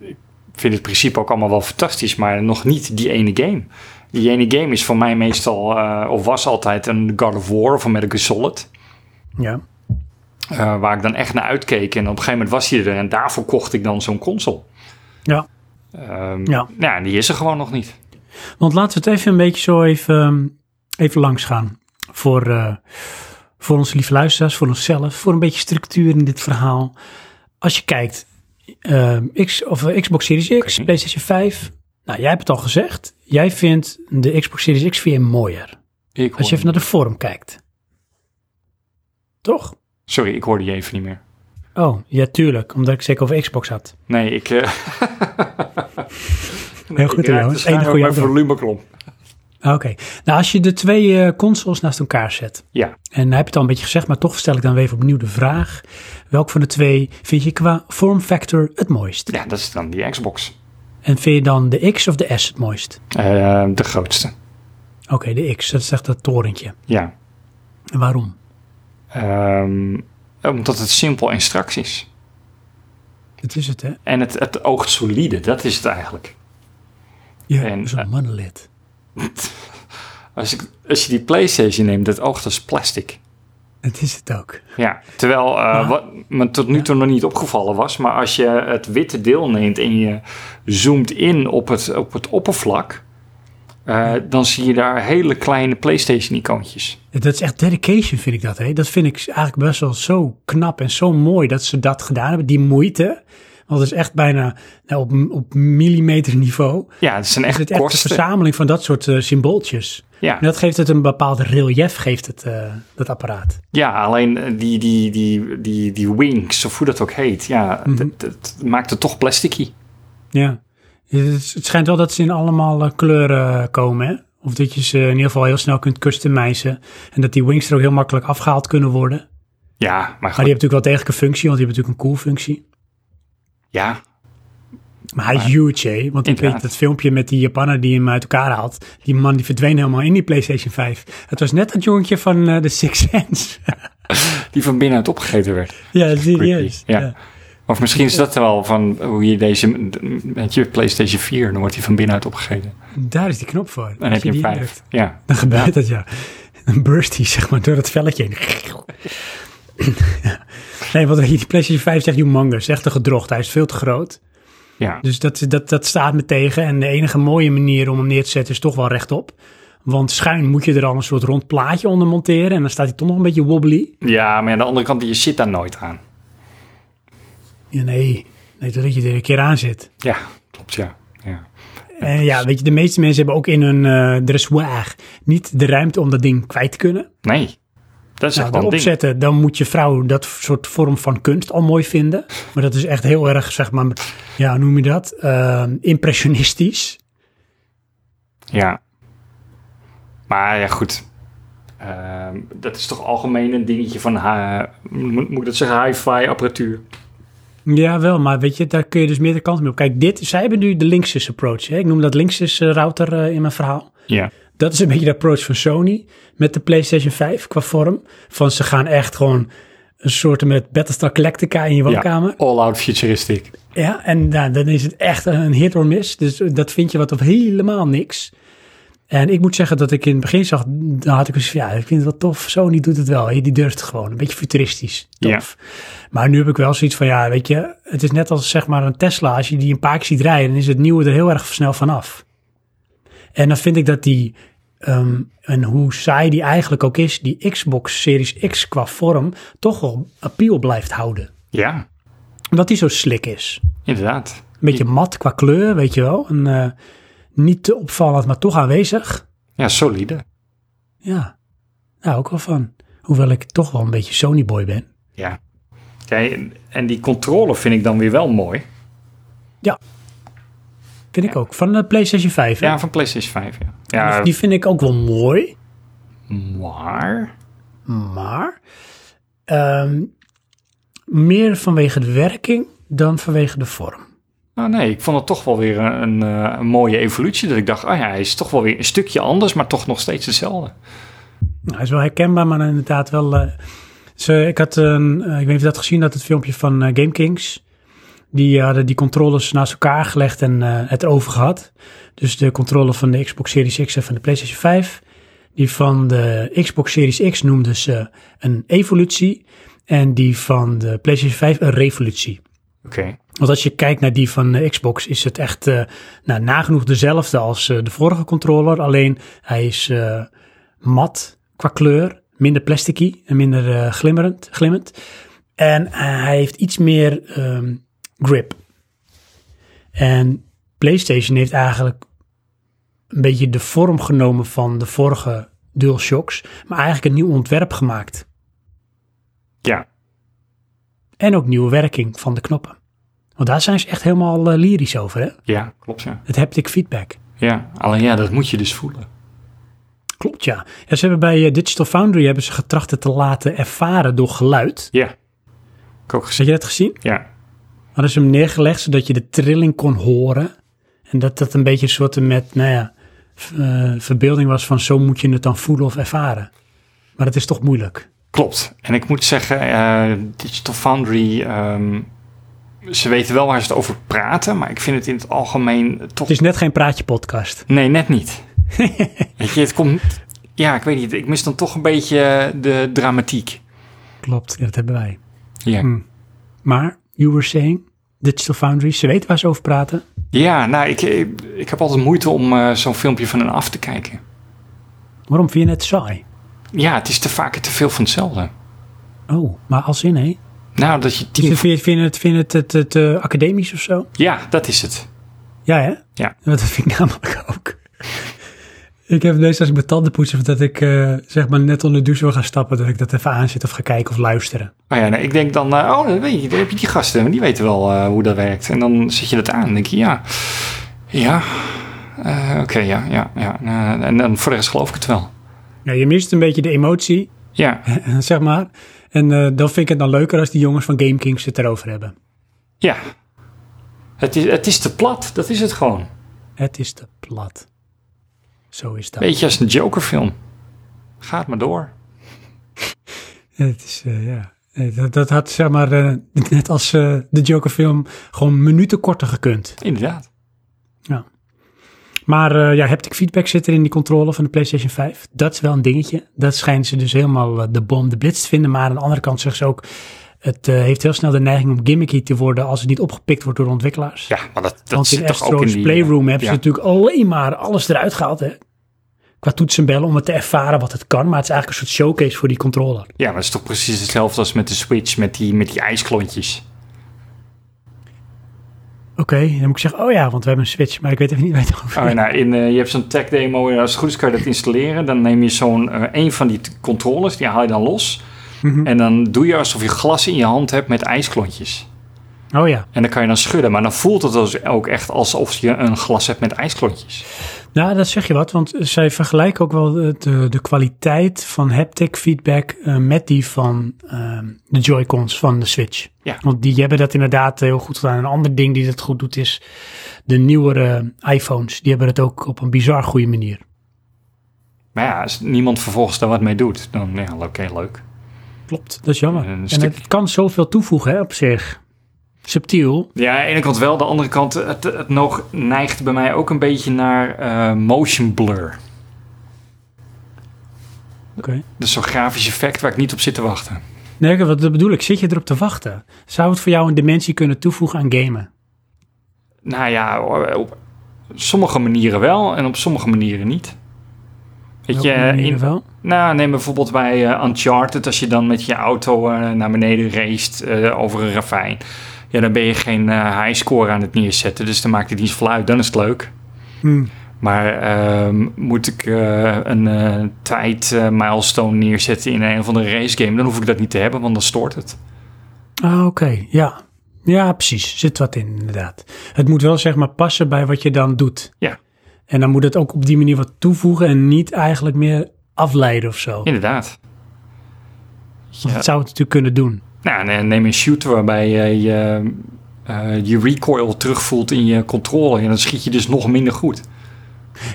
S2: ik vind het principe ook allemaal wel fantastisch, maar nog niet die ene game. Die ene game is voor mij meestal, eh, of was altijd een God of War of een Metal Gear Solid.
S1: Ja.
S2: Eh, waar ik dan echt naar uitkeek. En op een gegeven moment was hij er. En daarvoor kocht ik dan zo'n console.
S1: Ja.
S2: Ehm,
S1: Ja.
S2: ja. en die is er gewoon nog niet.
S1: Want laten we het even een beetje zo even, ehm, even langs gaan. Voor, eh, voor onze lieve luisteraars, voor onszelf, voor een beetje structuur in dit verhaal. Als je kijkt, ehm, X, of eh, Xbox Series X,
S2: Oké.
S1: PlayStation 5. Nou, jij hebt het al gezegd. Jij vindt de Xbox Series X weer mooier.
S2: Ik
S1: Als je even naar de vorm kijkt. Toch?
S2: Sorry, ik hoorde je even niet meer.
S1: Oh, ja, tuurlijk. Omdat ik het zeker over Xbox had.
S2: Nee, ik... eh
S1: Heel goed, hè, jongens. Eén goede
S2: mijn
S1: antwoord.
S2: volumeklomp.
S1: Oké. Nou, als je de twee eh, consoles naast elkaar zet.
S2: Ja,
S1: En heb je het al een beetje gezegd, maar toch stel ik dan weer even opnieuw de vraag. Welk van de twee vind je qua form factor het mooist?
S2: ja, dat is dan die Xbox.
S1: En vind je dan de X of de S het mooist?
S2: Eh, de grootste.
S1: Oké, de X, dat is echt dat torentje.
S2: Ja.
S1: En waarom?
S2: Ehm, omdat het simpel en straks is.
S1: Dat is het, hè?
S2: En het, het oogt solide, dat is het eigenlijk.
S1: Ja,
S2: En,
S1: zo'n
S2: eh,
S1: mannenlid.
S2: Als, ik, als je die PlayStation neemt, dat oogt als plastic.
S1: Dat is het ook.
S2: Ja, terwijl eh,
S1: Ah.
S2: wat me tot nu toe nog niet opgevallen was, maar als je het witte deel neemt en je zoomt in op het, op het oppervlak, eh, dan zie je daar hele kleine PlayStation-icoontjes.
S1: Dat is echt dedication, vind ik dat, hè? Dat vind ik eigenlijk best wel zo knap en zo mooi dat ze dat gedaan hebben. Die moeite, want dat is echt bijna nou, op, op millimeter niveau.
S2: Ja, het zijn
S1: Is
S2: echt
S1: het echt een
S2: korsten.
S1: verzameling van dat soort eh, symbooltjes.
S2: Ja,
S1: En dat geeft het een bepaald relief, geeft het, eh, dat apparaat.
S2: ja, alleen eh, die, die, die, die, die wings, of hoe dat ook heet, ja,
S1: Mhm.
S2: dat, dat maakt het toch plasticky.
S1: Ja. Het, het schijnt wel dat ze in allemaal eh, kleuren komen, hè? Of dat je ze in ieder geval heel snel kunt customizen. En dat die wings er ook heel makkelijk afgehaald kunnen worden. Maar
S2: Ja, maar
S1: die
S2: goed,
S1: hebben natuurlijk wel degelijk een functie, want die hebben natuurlijk een cool functie.
S2: ja.
S1: Maar hij is huge, hè? Want ik weet
S2: Inderdaad.
S1: dat filmpje met die Japaner die hem uit elkaar haalt. Die man die verdween helemaal in die PlayStation 5. Het was net dat jongetje van eh, de Six Sense.
S2: Die van binnenuit opgegeten werd.
S1: ja, serieus.
S2: Creepy,
S1: Ja.
S2: Ja. Of misschien is dat wel van hoe je deze met je PlayStation 4, dan wordt die van binnenuit opgegeten.
S1: Daar is die knop voor.
S2: Dan heb je een 5. Ja.
S1: Dan gebeurt dat, ja. Dan burst hij, zeg maar, door het velletje heen. Ja. nee, want die PlayStation 5 zegt humongous. Echt een gedrocht. Hij is veel te groot.
S2: Ja.
S1: Dus dat, dat, dat staat me tegen. En de enige mooie manier om hem neer te zetten is toch wel rechtop. Want schuin moet je er al een soort rond plaatje onder monteren. En dan staat hij toch nog een beetje wobbly.
S2: ja, maar aan de andere kant, je zit daar nooit aan.
S1: Ja, nee. Nee, totdat je er een keer aan zit.
S2: Ja, klopt, ja. ja.
S1: En ja, weet je, de meeste mensen hebben ook in hun eh dressoir niet de ruimte om dat ding kwijt te kunnen.
S2: Nee, dat is
S1: Nou,
S2: echt wel een
S1: erop
S2: ding.
S1: zetten, dan moet je vrouw dat soort vorm van kunst al mooi vinden. Maar dat is echt heel erg, zeg maar, ja, hoe noem je dat? Eh, impressionistisch.
S2: Ja. Maar ja, goed. Ehm, dat is toch algemeen een dingetje van, ha- moet moet ik dat zeggen, hi-fi apparatuur.
S1: Ja, wel, maar weet je, daar kun je dus meerdere kanten mee op. Kijk, dit, zij hebben nu de Linksys approach. Hè? Ik noem dat Linksys eh, router eh, in mijn verhaal.
S2: Ja.
S1: Dat is een beetje de approach van Sony met de PlayStation 5 qua vorm. Van ze gaan echt gewoon een soort met Battlestar Galactica in je woonkamer.
S2: Ja, all-out futuristic.
S1: Ja, en nou, dan is het echt een hit or miss. Dus dat vind je wat of helemaal niks. En ik moet zeggen dat ik in het begin zag, dan had ik eens van, ja, ik vind het wel tof. Sony doet het wel. hè. Die durft het gewoon. Een beetje futuristisch. Tof. Maar nu heb ik wel zoiets van, ja, weet je, het is net als zeg maar een Tesla. Als je die een paar keer ziet rijden, dan is het nieuwe er heel erg snel vanaf. En dan vind ik dat die, ehm, en hoe saai die eigenlijk ook is, die Xbox Series X qua vorm toch wel appeal blijft houden.
S2: Ja,
S1: Omdat die zo slik is.
S2: inderdaad.
S1: Een beetje mat qua kleur, weet je wel. En, eh, niet te opvallend, maar toch aanwezig.
S2: Ja, solide.
S1: Ja, daar hou ik wel van. Hoewel ik toch wel een beetje Sony-boy ben.
S2: Ja. Kijk, en- en die controle vind ik dan weer wel mooi.
S1: Vind ik ook. Van de PlayStation 5. hè? Dus
S2: Ja, van PlayStation 5, ja. Ja,
S1: Die vind ik ook wel mooi.
S2: maar...
S1: Maar ehm, meer vanwege de werking dan vanwege de vorm.
S2: Nou nee, ik vond het toch wel weer een, een, eh, een mooie evolutie. Dat ik dacht, ah ja, hij is toch wel weer een stukje anders, maar toch nog steeds hetzelfde.
S1: Nou, hij is wel herkenbaar, maar inderdaad wel. eh, ze, ik had een. eh, ik weet niet of je dat gezien had, het filmpje van eh, Game Kings. Die eh, hadden die controllers naast elkaar gelegd en eh, het erover gehad. Dus de controller van de Xbox Series X en van de PlayStation 5. Die van de Xbox Series X noemden ze een evolutie. En die van de PlayStation 5 een revolutie.
S2: Oké.
S1: Want als je kijkt naar die van de Xbox, is het echt eh, nou, nagenoeg dezelfde als eh, de vorige controller. Alleen hij is eh, mat qua kleur, minder plasticky en minder eh, glimmerend, glimmend. En eh, hij heeft iets meer ehm, grip. En PlayStation heeft eigenlijk een beetje de vorm genomen van de vorige DualShocks, maar eigenlijk een nieuw ontwerp gemaakt.
S2: Ja,
S1: En ook nieuwe werking van de knoppen. Want daar zijn ze echt helemaal eh, lyrisch over, hè?
S2: ja, klopt ja.
S1: Het haptic feedback.
S2: Ja, alleen ja, dat moet je dus voelen.
S1: Klopt, ja. ja ze hebben bij eh, Digital Foundry hebben ze getracht het te laten ervaren door geluid.
S2: Ja. Heb ik ook gezien.
S1: Heb je dat gezien?
S2: Ja.
S1: Hadden ze hem neergelegd zodat je de trilling kon horen. En dat dat een beetje een soort met, nou ja, v- eh, verbeelding was van zo moet je het dan voelen of ervaren. Maar dat is toch moeilijk.
S2: Klopt. En ik moet zeggen, eh, Digital Foundry, ehm, ze weten wel waar ze het over praten, maar ik vind het in het algemeen toch...
S1: Het is net geen praatje podcast.
S2: Nee, net niet. Weet je, het komt... Ja, ik weet niet. Ik mis dan toch een beetje eh, de dramatiek.
S1: Klopt, ja, dat hebben wij.
S2: Ja.
S1: Maar, you were saying, Digital Foundry, ze weten waar ze over praten.
S2: Ja, nou, ik, ik, ik heb altijd moeite om eh, zo'n filmpje van hen af te kijken.
S1: Waarom vind je het saai?
S2: Ja, het is te vaak te veel van hetzelfde.
S1: Oh, maar als in, hè?
S2: Nou, dat je tien...
S1: Vind je, vind je het, vind je het, het, het eh, academisch of zo?
S2: Ja, dat is het.
S1: Ja, hè?
S2: Ja.
S1: Dat vind ik namelijk ook. Ik heb deze als ik mijn tanden poets of dat ik eh, zeg maar net onder de douche wil gaan stappen, dat ik dat even aanzet of ga kijken of luisteren.
S2: Oh ja, nou, ik denk dan, eh, oh, dat weet je, dan heb je die gasten, die weten wel eh, hoe dat werkt. En dan zet je dat aan, dan denk je, ja, ja, eh, oké, ja, ja, ja. Nou, en dan voor de rest geloof ik het wel.
S1: Nou, je mist een beetje de emotie,
S2: Ja,
S1: zeg maar. En eh, dan vind ik het dan leuker als die jongens van GameKings het erover hebben.
S2: ja. Het is, het is te plat, dat is het gewoon.
S1: Het is te plat. Zo is dat.
S2: Beetje als een Joker-film. Gaat maar door.
S1: Het is, eh, ja. Eh, Dat, dat had, zeg maar, eh, net als eh, de Joker-film, gewoon minuten korter gekund.
S2: Inderdaad.
S1: Maar eh, ja, haptic feedback zit er in die controle van de PlayStation 5. Dat is wel een dingetje. Dat schijnen ze dus helemaal eh, de bom, de blitz te vinden. Maar aan de andere kant zeggen ze ook, het eh, heeft heel snel de neiging om gimmicky te worden als het niet opgepikt wordt door de ontwikkelaars.
S2: Ja, maar dat, dat
S1: Want
S2: zit
S1: in
S2: toch ook in
S1: Astro's
S2: die... eh,
S1: Playroom hebben
S2: ja.
S1: ze natuurlijk alleen maar alles eruit gehaald, hè. Qua toetsen en bellen om het te ervaren wat het kan. Maar het is eigenlijk een soort showcase voor die controller.
S2: Ja, maar dat is toch precies hetzelfde als met de Switch, met die, met die ijsklontjes.
S1: Oké, dan moet ik zeggen, oh ja, want we hebben een Switch. Maar ik weet even niet waar je het over
S2: Oh,
S1: hebt.
S2: nou, in, eh, je hebt zo'n tech demo, en als het goed is kan je dat installeren. Dan neem je zo'n, eh, een van die t- controllers, die haal je dan los.
S1: Mhm.
S2: En dan doe je alsof je glas in je hand hebt met ijsklontjes.
S1: Oh ja.
S2: En dan kan je dan schudden, maar dan voelt het dus ook echt alsof je een glas hebt met ijsklontjes.
S1: Nou, dat zeg je wat, want zij vergelijken ook wel de, de, de kwaliteit van haptic feedback eh, met die van ehm, de Joy-Cons van de Switch.
S2: Ja.
S1: Want die hebben dat inderdaad heel goed gedaan. Een ander ding die dat goed doet is de nieuwere iPhones. Die hebben het ook op een bizar goede manier.
S2: Maar ja, als niemand vervolgens daar wat mee doet, dan ja, oké, leuk.
S1: Klopt. Dat is jammer.
S2: Een
S1: en
S2: stuk-
S1: het kan zoveel toevoegen hè, op zich. Subtiel.
S2: Ja, aan de ene kant wel, aan de andere kant, het, het nog neigt bij mij ook een beetje naar eh, motion blur.
S1: Oké.
S2: Dus zo'n grafisch effect waar ik niet op zit te wachten.
S1: Nee, wat dat bedoel ik. Zit je erop te wachten? Zou het voor jou een dimensie kunnen toevoegen aan gamen?
S2: Nou ja, op sommige manieren wel en op sommige manieren niet. Weet
S1: Welke
S2: je, eh,
S1: manieren
S2: in,
S1: wel?
S2: nou, neem bijvoorbeeld bij eh, Uncharted, als je dan met je auto eh, naar beneden raced eh, over een ravijn. Ja, dan ben je geen eh highscore aan het neerzetten, dus dan maakt het niet zoveel uit, dan is het leuk.
S1: Hmm.
S2: Maar ehm, moet ik eh, een eh, tijd eh, milestone neerzetten in een of andere race game, dan hoef ik dat niet te hebben, want dan stoort het.
S1: Ah, oké. Ja. Ja, precies. Zit wat in, inderdaad. Het moet wel, zeg maar, passen bij wat je dan doet.
S2: Ja.
S1: En dan moet het ook op die manier wat toevoegen en niet eigenlijk meer afleiden of zo.
S2: Inderdaad.
S1: Want Dat zou het natuurlijk kunnen doen.
S2: Nou, ne- neem een shooter waarbij je je, eh, je recoil terugvoelt in je controle. En dan schiet je dus nog minder goed.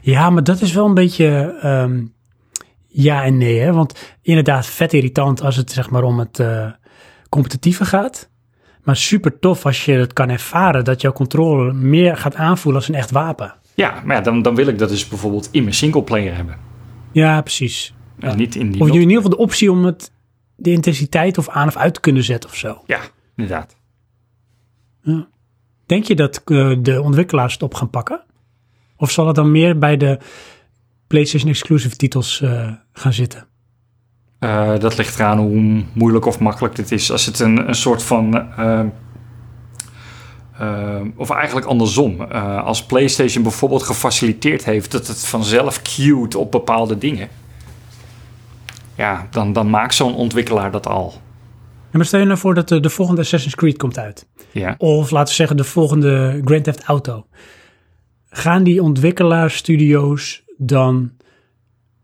S1: Ja, maar dat is wel een beetje ehm, ja en nee, hè. Want inderdaad, vet irritant als het, zeg maar, om het eh, competitieve gaat. Maar super tof als je het kan ervaren dat jouw controle meer gaat aanvoelen als een echt wapen.
S2: Ja, maar ja, dan, dan wil ik dat dus bijvoorbeeld in mijn singleplayer hebben.
S1: Ja, precies.
S2: En niet in die...
S1: Of je in
S2: multi-
S1: ieder geval de optie om het, de intensiteit of aan of uit te kunnen zetten of zo.
S2: Ja, inderdaad.
S1: Denk je dat eh, de ontwikkelaars het op gaan pakken? Of zal het dan meer bij de PlayStation exclusive titels eh, gaan zitten?
S2: Eh, dat ligt eraan hoe moeilijk of makkelijk dit is. Als het een, een soort van... eh, eh, of eigenlijk andersom. Eh, als PlayStation bijvoorbeeld gefaciliteerd heeft... dat het vanzelf cued op bepaalde dingen... Ja, dan, dan maakt zo'n ontwikkelaar dat al.
S1: En maar stel je nou voor dat de, de volgende Assassin's Creed komt uit.
S2: Ja.
S1: Of laten we zeggen de volgende Grand Theft Auto. Gaan die ontwikkelaarsstudio's dan,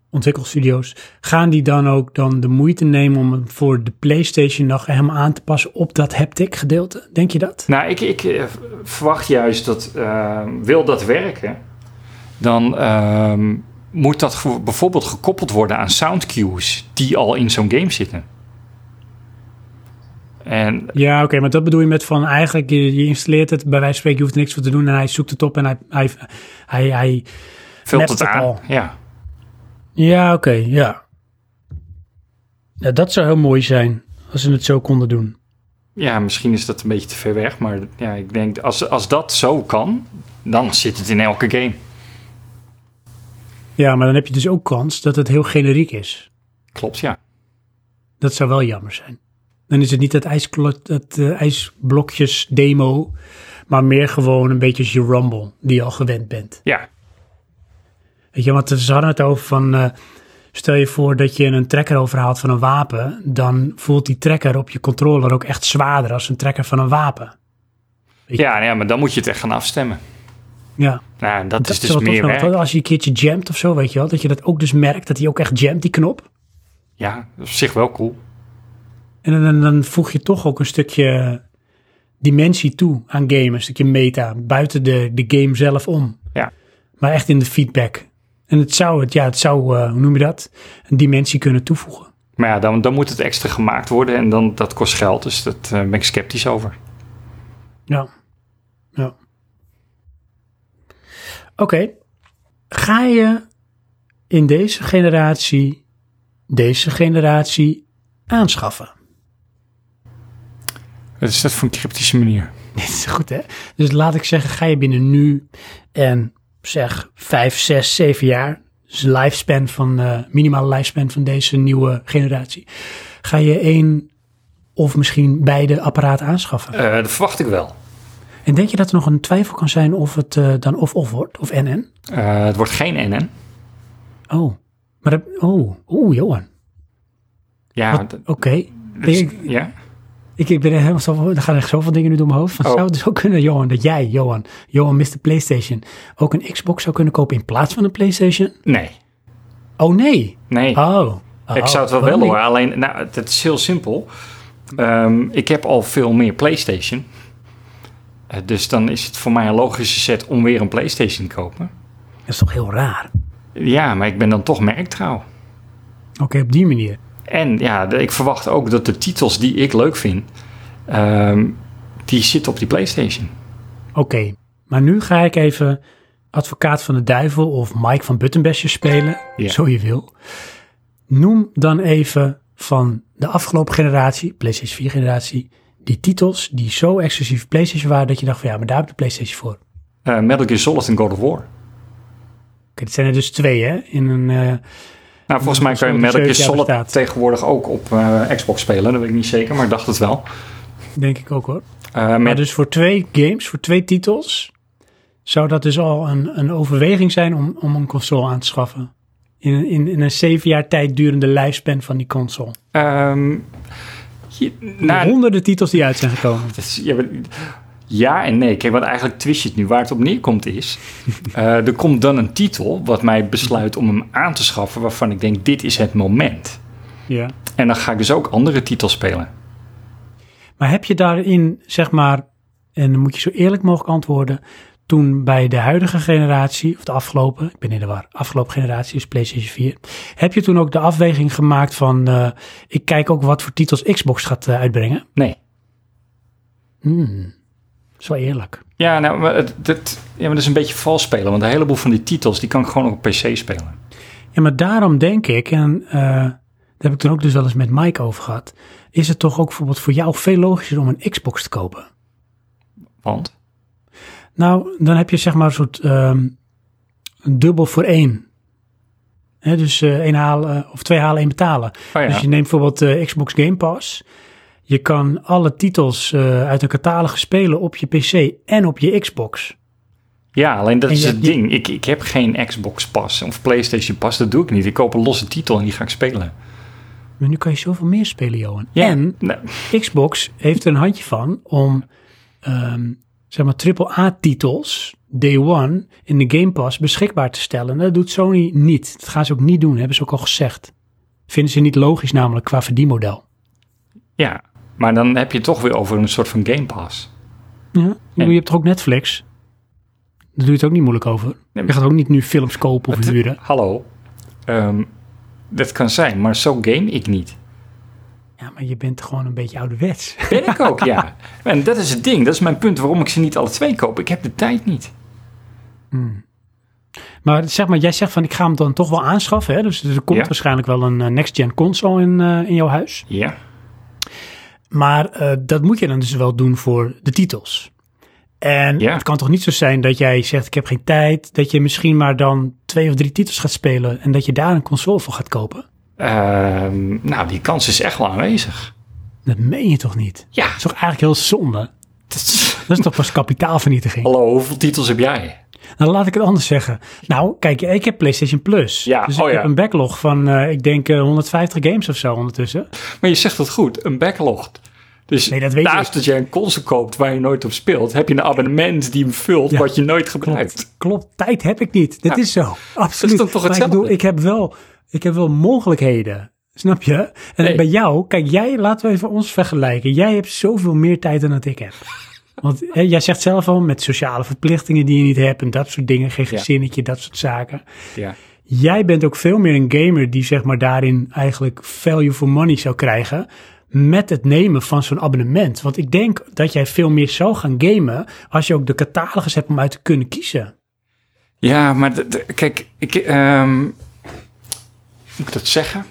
S1: ontwikkelstudio's, gaan die dan ook dan de moeite nemen om hem voor de PlayStation nog helemaal aan te passen op dat haptic gedeelte? Denk je dat?
S2: Nou, ik, ik eh, v- verwacht juist dat, eh, wil dat werken, dan ehm, moet dat ge- bijvoorbeeld gekoppeld worden aan sound cues die al in zo'n game zitten. En
S1: Ja, oké, maar dat bedoel je met van eigenlijk, je, je installeert het, bij wijze van spreken, je hoeft er niks voor te doen en hij zoekt het op en hij, hij, hij, hij-
S2: vult
S1: Mapt
S2: het
S1: het
S2: aan.
S1: al.
S2: Ja.
S1: ja, oké, ja. ja. Dat zou heel mooi zijn, als ze het zo konden doen.
S2: ja, misschien is dat een beetje te ver weg, maar ja, ik denk als, als dat zo kan, dan zit het in elke game.
S1: Ja, maar dan heb je dus ook kans dat het heel generiek is.
S2: Klopt, ja.
S1: Dat zou wel jammer zijn. Dan is het niet het, ijsklo- het eh, ijsblokjes demo, maar meer gewoon een beetje je rumble, die je al gewend bent.
S2: Ja,
S1: Weet je, want ze hadden het over van... eh, stel je voor dat je een trekker overhaalt van een wapen... dan voelt die trekker op je controller ook echt zwaarder... als een trekker van een wapen.
S2: ja, nou ja maar dan moet je het echt gaan afstemmen.
S1: Ja,
S2: Nou, en dat, is dus
S1: wel tof,
S2: meer
S1: want
S2: werk.
S1: Als je een keertje jamt of zo, weet je wel... dat je dat ook dus merkt, dat hij ook echt jamt, die knop.
S2: Ja, op zich wel cool.
S1: En dan, dan voeg je toch ook een stukje dimensie toe aan gamen, een stukje meta, buiten de, de game zelf om.
S2: Ja.
S1: Maar echt in de feedback. En het zou, het, ja, het zou eh, hoe noem je dat, een dimensie kunnen toevoegen.
S2: Maar ja, dan, dan moet het extra gemaakt worden en dan, dat kost geld. Dus daar ben ik sceptisch over.
S1: Ja. ja. Oké. Ga je in deze generatie deze generatie aanschaffen?
S2: Wat is dat voor een cryptische manier?
S1: Dit is goed, hè? Dus laat ik zeggen, ga je binnen nu en zeg 5, 6, 7 jaar, dus de lifespan van, eh minimale lifespan van deze nieuwe generatie, ga je één of misschien beide apparaten aanschaffen?
S2: Eh, dat verwacht ik wel.
S1: En denk je dat er nog een twijfel kan zijn of het eh, dan of-of wordt, of NN?
S2: Eh, het wordt geen NN.
S1: Oh, maar dat, oh, oeh, Johan.
S2: Ja,
S1: Wat-
S2: dat-
S1: Oké.
S2: dus-
S1: Ik,
S2: ja.
S1: ik, ik ben er helemaal zo, er gaan echt zoveel dingen nu door mijn hoofd. Van,
S2: Oh.
S1: Zou het zo kunnen, Johan, dat jij, Johan, Johan Mr. PlayStation, ook een Xbox zou kunnen kopen in plaats van een PlayStation?
S2: Nee.
S1: Oh nee.
S2: Nee.
S1: Oh.
S2: ik zou het wel willen hoor. Alleen, nou, het, het is heel simpel. Ehm, ik heb al veel meer PlayStation. Eh, dus dan is het voor mij een logische set om weer een PlayStation te kopen.
S1: Dat is toch heel raar?
S2: Ja, maar ik ben dan toch merktrouw.
S1: Oké, op die manier.
S2: En ja, de- ik verwacht ook dat de titels die ik leuk vind, ehm, die zitten op die PlayStation.
S1: Oké, maar nu ga ik even advocaat van de duivel of Mike van Buttenbesje spelen,
S2: Ja.
S1: zo je wil. Noem dan even van de afgelopen generatie, PlayStation 4 generatie, die titels die zo exclusief PlayStation waren dat je dacht van ja, maar daar heb ik de PlayStation voor. Oké,
S2: Eh, Metal Gear Solid en God of War.
S1: dit zijn er dus twee hè, in een... eh,
S2: Nou, volgens mij kan je
S1: Solid
S2: Metal Gear
S1: zeven jaar
S2: Solid
S1: bestaat.
S2: tegenwoordig ook op eh, Xbox spelen. Dat weet ik niet zeker, maar ik dacht het wel.
S1: denk ik ook hoor.
S2: Eh,
S1: Maar
S2: met,
S1: dus voor twee games, voor twee titels, zou dat dus al een, een overweging zijn om, om een console aan te schaffen. In, in, in een zeven jaar tijd durende lifespan van die console.
S2: ehm, hier- nou,
S1: Honderden titels die uit zijn gekomen.
S2: Dat is- ja, maar- ja en nee. Kijk, wat eigenlijk twist je het nu. Waar het op neerkomt is... eh, er komt dan een titel wat mij besluit om hem aan te schaffen... waarvan ik denk, dit is het moment.
S1: Ja.
S2: En dan ga ik dus ook andere titels spelen.
S1: Maar heb je daarin, zeg maar, en dan moet je zo eerlijk mogelijk antwoorden, toen bij de huidige generatie, of de afgelopen, ik ben in de war, afgelopen generatie is PlayStation 4, heb je toen ook de afweging gemaakt van, eh, ik kijk ook wat voor titels Xbox gaat eh, uitbrengen?
S2: Nee.
S1: Zo eerlijk.
S2: Ja, nou, maar, het, dat, ja, maar dat is een beetje vals spelen. Want een heleboel van die titels... die kan ik gewoon op PC spelen.
S1: Ja, maar daarom denk ik, en eh, daar heb ik toen ook dus wel eens met Mike over gehad, is het toch ook bijvoorbeeld voor jou veel logischer om een Xbox te kopen?
S2: Want...
S1: Nou, dan heb je zeg maar een soort ehm, een dubbel voor één. Hè, dus eh één halen of twee halen, één betalen.
S2: Oh ja.
S1: Dus je neemt bijvoorbeeld eh, Xbox Game Pass. Je kan alle titels eh, uit een catalogus spelen op je PC en op je Xbox.
S2: Ja, alleen dat
S1: En
S2: is
S1: je-
S2: het
S1: je-
S2: ding. Ik, ik heb geen Xbox Pass of PlayStation Pass. Dat doe ik niet. Ik koop een losse titel en die ga ik spelen.
S1: Maar nu kan je zoveel meer spelen, Johan.
S2: Ja,
S1: En
S2: nou,
S1: Xbox heeft er een handje van om ehm, zeg maar AAA-titels day one in de Game Pass beschikbaar te stellen. Dat doet Sony niet. Dat gaan ze ook niet doen, hebben ze ook al gezegd. Vinden ze niet logisch namelijk qua verdienmodel.
S2: ja, maar dan heb je het toch weer over een soort van Game Pass.
S1: Ja, ik bedoel,
S2: En-
S1: je hebt toch ook Netflix? Daar doe je het ook niet moeilijk over.
S2: maar-
S1: Je gaat ook niet nu films kopen of huren.
S2: Hallo. Ehm, dat kan zijn, maar zo game ik niet.
S1: Ja, maar je bent gewoon een beetje ouderwets.
S2: Ben ik ook, ja. En dat is het ding. Dat is mijn punt waarom ik ze niet alle twee koop. Ik heb de tijd niet.
S1: Maar zeg maar, jij zegt van ik ga hem dan toch wel aanschaffen. Hè? Dus er komt
S2: Ja.
S1: waarschijnlijk wel een eh, next-gen console in, eh, in jouw huis.
S2: Ja.
S1: Maar eh, dat moet je dan dus wel doen voor de titels. En
S2: Ja.
S1: het kan toch niet zo zijn dat jij zegt: Ik heb geen tijd. Dat je misschien maar dan twee of drie titels gaat spelen. En dat je daar een console voor gaat kopen.
S2: Ehm, nou, die kans is echt wel aanwezig.
S1: Dat meen je toch niet?
S2: Ja.
S1: Dat is toch eigenlijk heel zonde?
S2: Dat is- Oh.
S1: Dat is toch pas kapitaalvernietiging?
S2: Hallo, hoeveel titels heb jij?
S1: Nou, laat ik het anders zeggen. Nou, kijk, ik heb PlayStation Plus.
S2: Ja,
S1: dus
S2: oh
S1: ik
S2: ja.
S1: heb een backlog van, eh, ik denk, eh, 150 games of zo ondertussen.
S2: Maar je zegt het goed, een backlog. Dus
S1: Nee, dat weet
S2: naast
S1: ik.
S2: dat jij een console koopt waar je nooit op speelt, heb je een abonnement die hem vult
S1: Ja,
S2: wat je nooit gebruikt.
S1: Klopt, tijd heb ik niet. Dat is zo. Absoluut.
S2: toch toch
S1: Maar ik
S2: hetzelfde?
S1: bedoel, ik heb wel, ik heb wel mogelijkheden. Snap je? En
S2: Nee.
S1: bij jou, kijk, jij, laten we even ons vergelijken. Jij hebt zoveel meer tijd dan dat ik heb. Want hè, jij zegt zelf al, met sociale verplichtingen die je niet hebt en dat soort dingen, geen
S2: Ja.
S1: gezinnetje, dat soort zaken.
S2: Ja.
S1: Jij bent ook veel meer een gamer die zeg maar daarin eigenlijk value for money zou krijgen met het nemen van zo'n abonnement. Want ik denk dat jij veel meer zou gaan gamen als je ook de catalogus hebt om uit te kunnen kiezen.
S2: Ja, maar d- d- kijk, ik, ehm, hoe moet ik dat zeggen?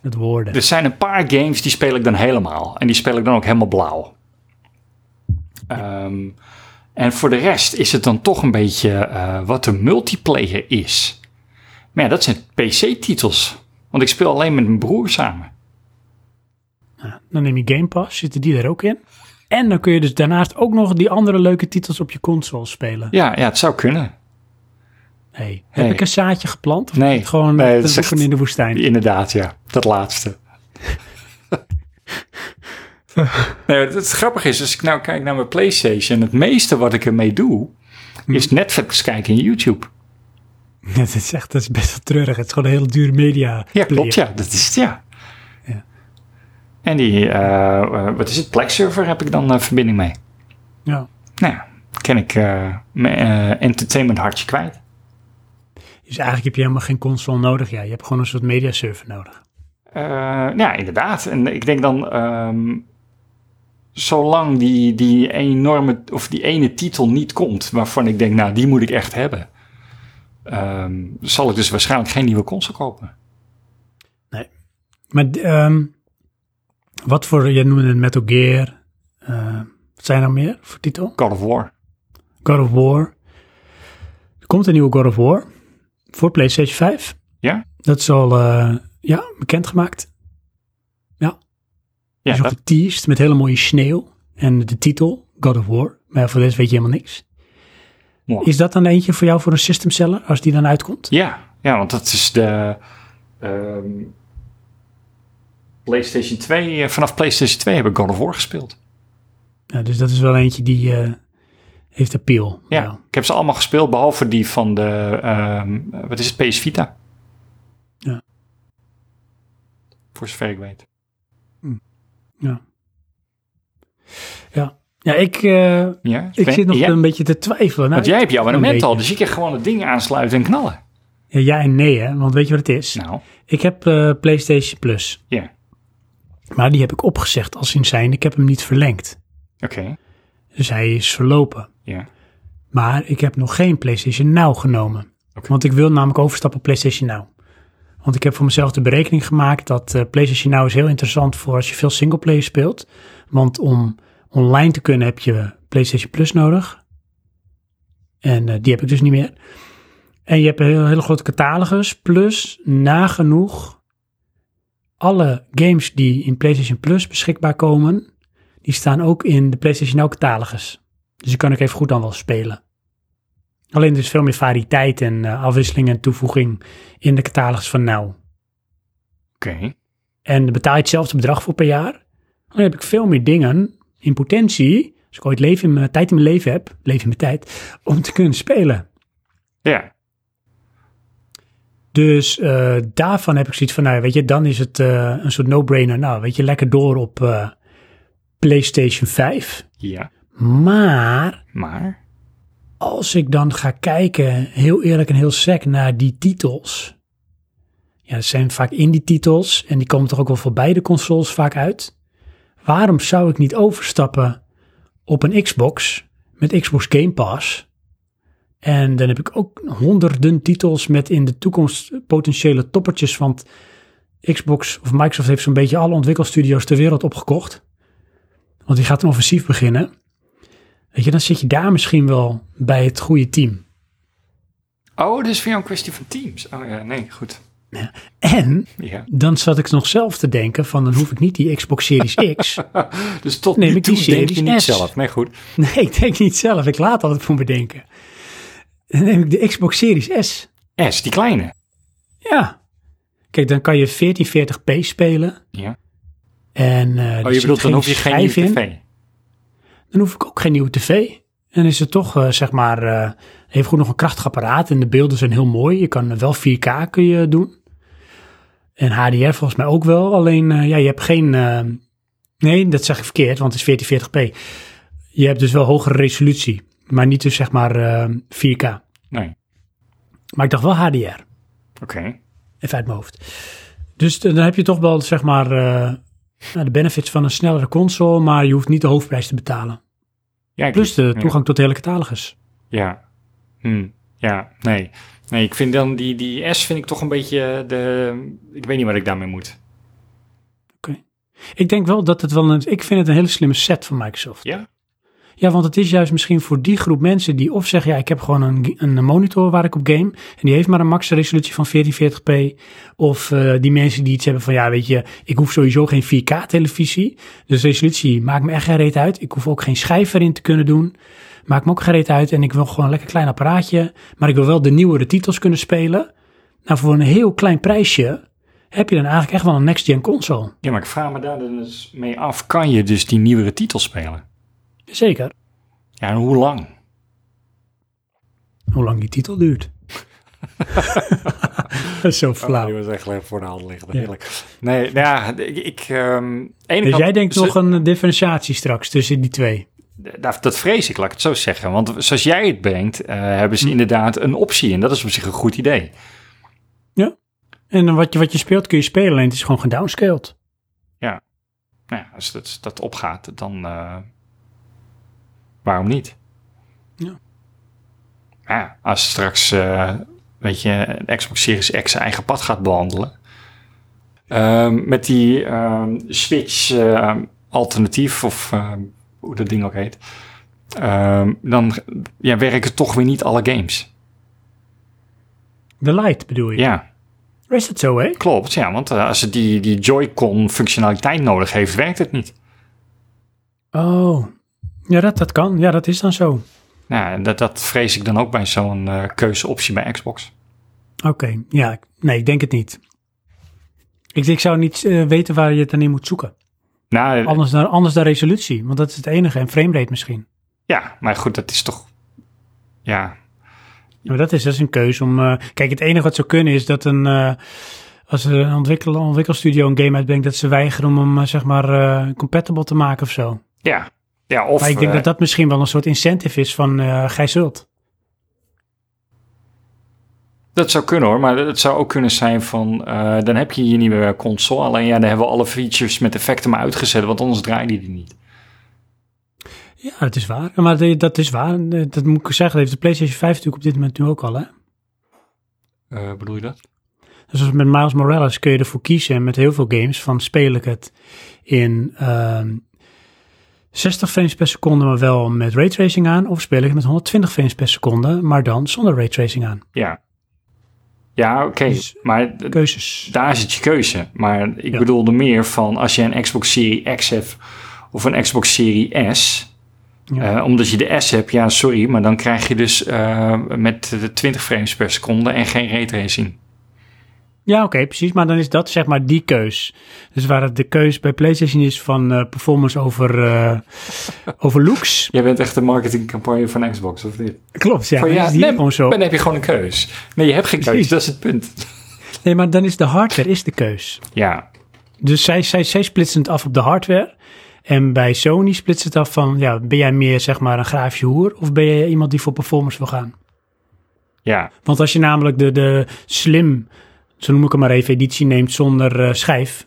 S1: Met woorden.
S2: Er zijn een paar games die speel ik dan helemaal. En die speel ik dan ook helemaal blauw. Ehm, en voor de rest is het dan toch een beetje eh, wat de multiplayer is. Maar ja, dat zijn PC-titels. Want ik speel alleen met mijn broer samen.
S1: Dan neem je Game Pass, zitten die er ook in. En dan kun je dus daarnaast ook nog die andere leuke titels op je console spelen.
S2: Ja, ja het zou kunnen.
S1: Hey,
S2: Hey.
S1: Heb ik een zaadje geplant? Of
S2: Nee.
S1: is het gewoon
S2: Nee,
S1: te
S2: het is
S1: zoeken
S2: echt-
S1: in de woestijn?
S2: Inderdaad, ja. Dat laatste. nee, wat het grappige is, als ik nou kijk naar mijn PlayStation, het meeste wat ik ermee doe, is Netflix kijken en YouTube.
S1: Dat is echt dat is best wel treurig. Het is gewoon een heel duur media.
S2: Ja,
S1: player.
S2: klopt, ja. Dat is het, ja.
S1: Ja.
S2: En die, eh, eh, wat is het, Plex server heb ik dan eh, verbinding mee.
S1: Ja.
S2: Nou ja, ken ik eh, mijn eh, entertainment hartje kwijt.
S1: Dus eigenlijk heb je helemaal geen console nodig. Ja, je hebt gewoon een soort media server nodig.
S2: Eh, ja, inderdaad. En ik denk dan, ehm, zolang die, die enorme, of die ene titel niet komt, waarvan ik denk, nou, die moet ik echt hebben, ehm, zal ik dus waarschijnlijk geen nieuwe console kopen.
S1: Maar ehm, wat voor, jij noemde het Metal Gear. eh, wat zijn er meer voor titel?
S2: God of War.
S1: God of War. Er komt een nieuwe God of War voor PlayStation 5.
S2: Ja?
S1: Dat is al eh, ja, bekendgemaakt.
S2: Ja,
S1: is nog
S2: dat,
S1: geteased met hele mooie sneeuw. En de titel, God of War. Maar voor de rest weet je helemaal niks.
S2: Mooi.
S1: Is dat dan eentje voor jou voor een system seller, als die dan uitkomt?
S2: ja, ja, want dat is de ehm, PlayStation 2. eh, vanaf PlayStation 2 heb ik God of War gespeeld.
S1: Ja, dus dat is wel eentje die eh, heeft appeal.
S2: Ja,
S1: Nou,
S2: ik heb ze allemaal gespeeld, behalve die van de, ehm, eh, wat is het, PS Vita.
S1: Ja.
S2: Voor zover ik weet.
S1: ja. ja ik, eh,
S2: Ja,
S1: ik
S2: Ben-
S1: zit nog
S2: ja,
S1: een beetje te twijfelen. Nou,
S2: Want jij hebt je abonnement
S1: beetje.
S2: al, dus je kan gewoon het ding aansluiten en knallen.
S1: ja, ja en nee, hè? want weet je wat het is?
S2: Nou,
S1: Ik heb eh, PlayStation Plus,
S2: ja,
S1: maar die heb ik opgezegd als in zijn. Ik heb hem niet verlengd.
S2: oké,
S1: Dus hij is verlopen.
S2: ja.
S1: Maar ik heb nog geen PlayStation Now genomen.
S2: Oké.
S1: Want ik wil namelijk overstappen op PlayStation Now. Want ik heb voor mezelf de berekening gemaakt dat eh, PlayStation Now is heel interessant voor als je veel singleplayer speelt. Want om online te kunnen heb je PlayStation Plus nodig. En eh, die heb ik dus niet meer. En je hebt een heel- hele grote catalogus. Plus nagenoeg alle games die in PlayStation Plus beschikbaar komen, die staan ook in de PlayStation Now catalogus. Dus je kan ook even goed dan wel spelen. Alleen er is veel meer variëteit en eh, afwisseling en toevoeging in de catalogus van Now.
S2: Oké,
S1: En daar betaal je hetzelfde bedrag voor per jaar. Dan heb ik veel meer dingen in potentie, als ik ooit leven in mijn, tijd in mijn leven heb, leven in mijn tijd, om te kunnen spelen.
S2: ja,
S1: Dus eh, daarvan heb ik zoiets van, nou weet je, dan is het eh, een soort no-brainer. Nou, weet je, lekker door op eh, PlayStation 5.
S2: ja,
S1: Maar
S2: maar,
S1: als ik dan ga kijken, heel eerlijk en heel sec, naar die titels. Ja, dat zijn vaak indie titels en die komen toch ook wel voor beide consoles vaak uit. Waarom zou ik niet overstappen op een Xbox met Xbox Game Pass? En dan heb ik ook honderden titels met in de toekomst potentiële toppertjes. Want Xbox of Microsoft heeft zo'n beetje alle ontwikkelstudio's ter wereld opgekocht. Want die gaat een offensief beginnen. Weet je, dan zit je daar misschien wel bij het goede team.
S2: oh, dus weer een kwestie van teams. Oh ja, nee, goed,
S1: En
S2: ja.
S1: dan zat ik nog zelf te denken van dan hoef ik niet die Xbox Series X.
S2: Dus tot
S1: Neem
S2: nu
S1: ik die
S2: toe denk je
S1: Series
S2: niet
S1: S.
S2: zelf. Nee, goed.
S1: Nee, ik denk niet zelf. Ik laat altijd voor me denken. Dan neem ik de Xbox Series S.
S2: S, die kleine.
S1: Ja. Kijk, dan kan je 1440p spelen.
S2: Ja.
S1: En, eh, er
S2: Oh, je
S1: zit
S2: bedoelt, dan hoef je geen
S1: schijf
S2: nieuwe
S1: in.
S2: tv.
S1: Dan hoef ik ook geen nieuwe tv. En is het toch, eh, zeg maar, eh heeft goed nog een krachtig apparaat. En de beelden zijn heel mooi. Je kan wel 4K kun je doen. En HDR volgens mij ook wel. Alleen, eh, ja, je hebt geen... eh, nee, dat zeg ik verkeerd, want het is 1440p. je hebt dus wel hogere resolutie, maar niet dus zeg maar eh, 4K.
S2: Nee.
S1: Maar ik dacht wel HDR,
S2: Oké.
S1: even uit mijn hoofd. Dus dan heb je toch wel zeg maar eh, nou, de benefits van een snellere console, maar je hoeft niet de hoofdprijs te betalen.
S2: Ja, ik-
S1: Plus de
S2: ja.
S1: toegang tot de hele catalogus.
S2: Ja. Hm. Ja, nee. Nee, ik vind dan die, die S vind ik toch een beetje de... Ik weet niet wat ik daarmee moet.
S1: Ik denk wel dat het wel een, ik vind het een hele slimme set van Microsoft.
S2: Ja?
S1: Ja, want het is juist misschien voor die groep mensen die of zeggen, ja, ik heb gewoon een, een monitor waar ik op game en die heeft maar een max resolutie van 1440p. Of eh, die mensen die iets hebben van, ja, weet je, ik hoef sowieso geen 4K televisie. Dus resolutie maakt me echt geen reet uit. Ik hoef ook geen schijf erin te kunnen doen. Maakt me ook geen reet uit en ik wil gewoon een lekker klein apparaatje. Maar ik wil wel de nieuwere titels kunnen spelen. Nou, voor een heel klein prijsje heb je dan eigenlijk echt wel een next-gen console.
S2: Ja, maar ik vraag me daar dus mee af. Kan je dus die nieuwere titels spelen?
S1: Zeker.
S2: Ja, en hoe lang?
S1: Hoe lang die titel duurt. Dat is
S2: Oh,
S1: zo flauw.
S2: was echt voor de hand liggen. Heerlijk. Nee, nou ja, ik... ik ehm, ene
S1: Dus
S2: kant-
S1: jij denkt
S2: ze-
S1: nog een differentiatie straks tussen die twee.
S2: Dat, dat vrees ik, laat ik het zo zeggen. Want zoals jij het brengt, eh, hebben
S1: Hm.
S2: ze inderdaad een optie. En dat is op zich een goed idee.
S1: En dan wat je, wat je speelt kun je spelen, alleen het is gewoon gedownscaled.
S2: Nou ja, als dat, dat opgaat, dan eh, waarom niet?
S1: Ja.
S2: Ja, als straks, eh, weet je, een Xbox Series X zijn eigen pad gaat behandelen. Ehm, met die ehm, Switch eh, alternatief, of ehm, hoe dat ding ook heet. ehm, dan ja, werken toch weer niet alle games.
S1: De light bedoel je.
S2: Ja,
S1: Is dat zo, hè?
S2: klopt. Ja, want eh, als het die, die Joy-Con functionaliteit nodig heeft, werkt het niet.
S1: Oh. Ja, dat, dat kan. Ja, dat is dan zo. Oké.
S2: Nou, en dat, dat vrees ik dan ook bij zo'n eh, keuzeoptie bij Xbox.
S1: Ja, ik- nee, ik denk het niet. Ik, ik zou niet eh, weten waar je het dan in moet zoeken.
S2: Nou,
S1: Anders dan, anders dan resolutie, want dat is het enige. En framerate misschien.
S2: ja, maar goed, dat is toch... Ja,
S1: Maar dat is, dat is een keuze om. eh, kijk, het enige wat zou kunnen is dat een. eh, als er een ontwikkel, ontwikkelstudio een game uitbrengt, dat ze weigeren om hem eh, zeg maar eh, compatible te maken of zo.
S2: ja. ja of,
S1: maar ik denk
S2: eh,
S1: dat dat misschien wel een soort incentive is van eh gij zult.
S2: dat zou kunnen hoor, maar het zou ook kunnen zijn van... eh, dan heb je je nieuwe console, alleen ja, dan hebben we alle features met effecten maar uitgezet, want anders draaide die niet.
S1: Ja, dat is waar. Maar de- dat is waar. Eh, Dat moet ik zeggen. Dat heeft de PlayStation 5 natuurlijk op dit moment nu ook al. Hè?
S2: Eh, bedoel je dat?
S1: Dus als met Miles Morales kun je ervoor kiezen. En met heel veel games van speel ik het in ehm, 60 frames per seconde, maar wel met raytracing aan. Of speel ik het met 120 frames per seconde, maar dan zonder raytracing aan.
S2: Ja. Ja, oké,
S1: Dus-
S2: maar d-
S1: Keuzes.
S2: daar zit je keuze. Maar ik
S1: Ja.
S2: bedoelde meer van als je een Xbox Series X hebt of een Xbox Series S...
S1: Ja.
S2: Eh, omdat je de S hebt, ja, sorry, maar dan krijg je dus eh, met de 20 frames per seconde en geen raytracing.
S1: Ja, oké, precies. Maar dan is dat zeg maar die keus. Dus waar het de keus bij PlayStation is van eh, performance over, eh, over looks.
S2: Jij bent echt de marketingcampagne van Xbox, of niet?
S1: Klopt, ja.
S2: Van,
S1: dan
S2: ja,
S1: is die
S2: nee,
S1: gewoon zo.
S2: Dan heb je gewoon een keus. Nee, je hebt geen keus,
S1: Precies.
S2: dat is het punt.
S1: Nee, maar dan is de hardware is de keus.
S2: Ja,
S1: Dus zij, zij, zij splitsen het af op de hardware. En bij Sony splitsen het af van, ja, ben jij meer zeg maar een grafische hoer? Of ben jij iemand die voor performance wil gaan?
S2: ja,
S1: Want als je namelijk de, de slim, zo noem ik hem maar even, editie neemt zonder eh, schijf.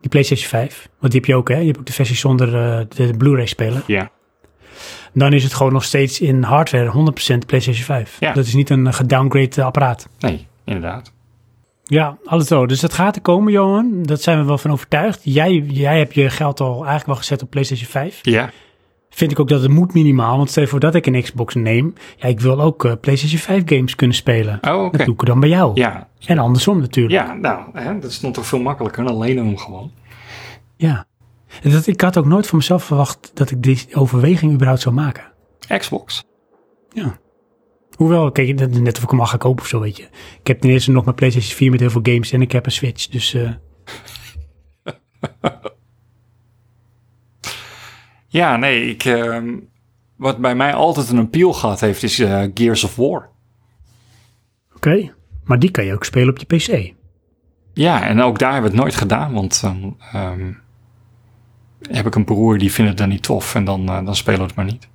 S1: Die PlayStation 5, want die heb je ook hè. Je hebt ook de versie zonder eh, de Blu-ray speler.
S2: ja.
S1: dan is het gewoon nog steeds in hardware 100% PlayStation 5.
S2: Ja.
S1: Dat is niet een eh, gedowngrade eh, apparaat.
S2: Nee, inderdaad.
S1: Ja, alles zo. Dus dat gaat er komen, Johan. Dat zijn we wel van overtuigd. Jij, jij hebt je geld al eigenlijk wel gezet op PlayStation 5.
S2: Ja,
S1: Vind ik ook dat het moet minimaal. Want stel je voor dat ik een Xbox neem. Ja, ik wil ook eh, PlayStation 5 games kunnen spelen.
S2: oh, oké.
S1: Dat doe ik dan bij jou.
S2: Ja,
S1: En andersom natuurlijk.
S2: ja, nou, hè, dat is nog toch veel makkelijker dan lenen hem gewoon.
S1: Ja. En Dat, ik had ook nooit van mezelf verwacht dat ik die overweging überhaupt zou maken.
S2: Xbox.
S1: Hoewel, kijk, dat is net of ik hem al ga kopen of zo, weet je. Ik heb ten eerste nog mijn PlayStation 4 met heel veel games en ik heb een Switch, dus... eh,
S2: Ja, nee, ik, ehm, wat bij mij altijd een appeal gehad heeft, is eh, Gears of War.
S1: Oké, maar die kan je ook spelen op je PC.
S2: Ja, en ook daar hebben we het nooit gedaan, want ehm, ehm, heb ik een broer die vindt het dan niet tof en dan, eh, dan spelen we het maar niet.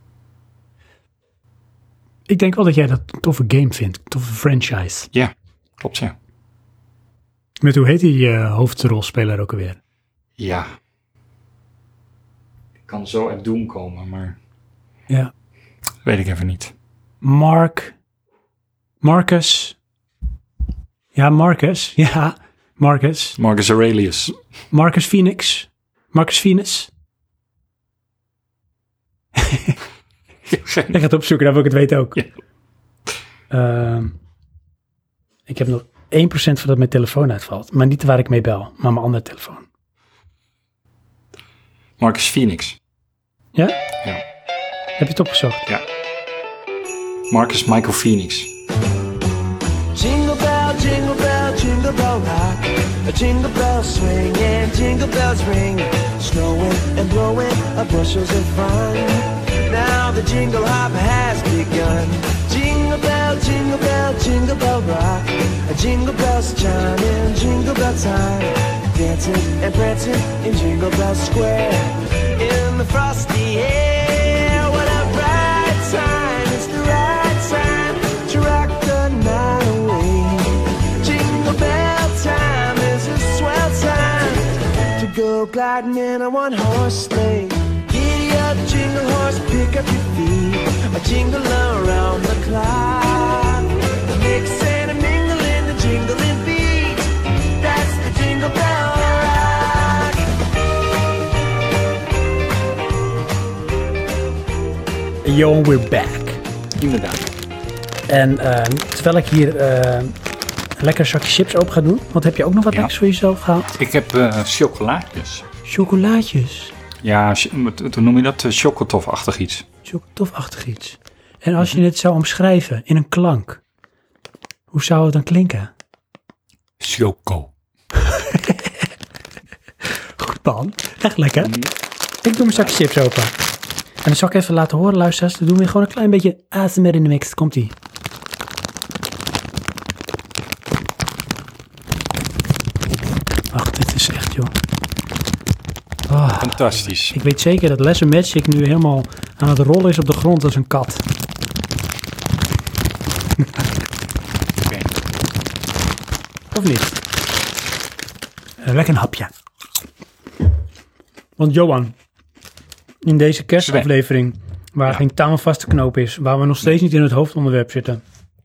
S1: Ik denk wel dat jij dat een toffe game vindt. Een toffe franchise.
S2: Ja, klopt ja.
S1: Met hoe heet die eh, hoofdrolspeler ook alweer?
S2: Ja. Ik kan zo uit Doom komen, maar
S1: Ja.
S2: weet ik even niet.
S1: Mark. Marcus. Ja, Marcus. Ja, Marcus.
S2: Marcus Aurelius.
S1: Marcus Phoenix. Marcus Venus. Ik ga het opzoeken, dan wil ik het weten ook.
S2: Ja.
S1: Ehm, ik heb nog 1% voordat mijn telefoon uitvalt. Maar niet waar ik mee bel, maar mijn andere telefoon.
S2: Marcus Phoenix.
S1: Ja?
S2: Ja.
S1: Heb je het opgezocht?
S2: ja. Marcus Michael Phoenix.
S7: Jingle bell, jingle bell, jingle bell rock. A jingle bell swing and jingle bells ring. Snowing and blowing a bushels of fun. Now the jingle hop has begun. Jingle bell, jingle bell, jingle bell rock. A jingle bells chime in jingle bell time. Dancing and prancing in Jingle Bell Square. In the frosty air, what a bright time! It's the right time to rock the night away. Jingle bell time is a swell time to go gliding in a one horse sleigh. Giddy up, jingle horse, pick up your feet. A jingle around the clock. Mix and a mingle in the jingling beat. That's the jingle bell rock.
S1: Yo, we're back.
S2: Inderdaad.
S1: En eh, terwijl ik hier eh, een lekker zakje chips open ga doen, wat heb je ook nog wat
S2: Ja.
S1: lekkers voor jezelf gehaald?
S2: Ik heb eh, chocolaatjes.
S1: Chocolaatjes.
S2: Ja, ch- wat- wat- hoe noem je dat? Eh, Chocotofachtig iets.
S1: Zo'n tofachtig iets. En als je het zou omschrijven in een klank, hoe zou het dan klinken?
S2: Choco.
S1: Goed man. Mhm. Echt lekker. Ik doe mijn zakje chips open. En dan zal ik even laten horen, luisteraars. Dan doen we gewoon een klein beetje ASMR in de mix. Komt-ie. Wacht, dit is echt, joh. Ah.
S2: Fantastisch.
S1: Ik weet zeker dat Lesser Magic nu helemaal aan het rollen is op de grond als een kat.
S2: Oké.
S1: Of niet? Eh, lekker een hapje. Want Johan, in deze kerstaflevering, waar
S2: Ja.
S1: geen taal aan vast te knoop is, waar we nog steeds niet in het hoofdonderwerp zitten.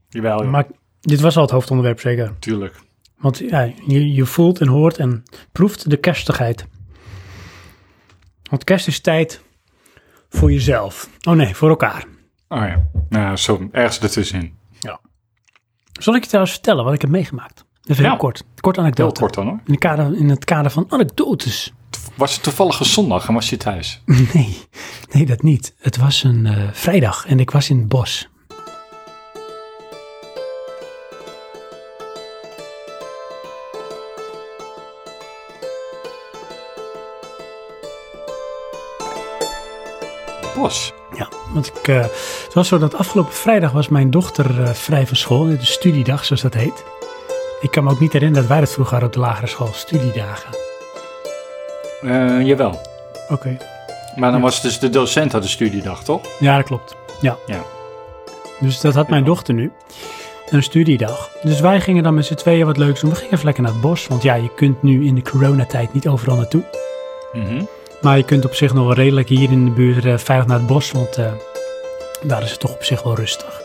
S2: Jawel, ja.
S1: Maar dit was al het hoofdonderwerp zeker.
S2: Tuurlijk.
S1: Want ja, je, je voelt en hoort en proeft de kerstigheid. Want kerst is tijd voor jezelf. Oh nee, voor elkaar.
S2: Oh ja. Nou, zo ergens ertussenin.
S1: Zal ik je trouwens vertellen wat ik heb meegemaakt? Even heel
S2: Ja.
S1: kort. Kort
S2: Heel
S1: anekdote.
S2: kort dan hoor.
S1: In, de kader, in het kader van anekdotes.
S2: Was het toevallig een zondag en was je thuis?
S1: Nee, nee, dat niet. Het was een eh, vrijdag en ik was in het bos.
S2: Bos.
S1: Ja, want ik, eh, het was zo dat afgelopen vrijdag was mijn dochter eh, vrij van school. De studiedag, zoals dat heet. Ik kan me ook niet herinneren dat wij dat vroeger hadden op de lagere school. Studiedagen.
S2: Eh, jawel.
S1: Oké.
S2: Maar dan was dus de docent had de studiedag, toch?
S1: Ja, dat klopt. Ja.
S2: Ja.
S1: Dus dat had mijn dochter nu. Een studiedag. Dus wij gingen dan met z'n tweeën wat leuks doen. We gingen even lekker naar het bos. Want ja, je kunt nu in de coronatijd niet overal naartoe.
S2: Mhm.
S1: Maar je kunt op zich nog wel redelijk hier in de buurt eh, veilig naar het bos, want eh, daar is het toch op zich wel rustig.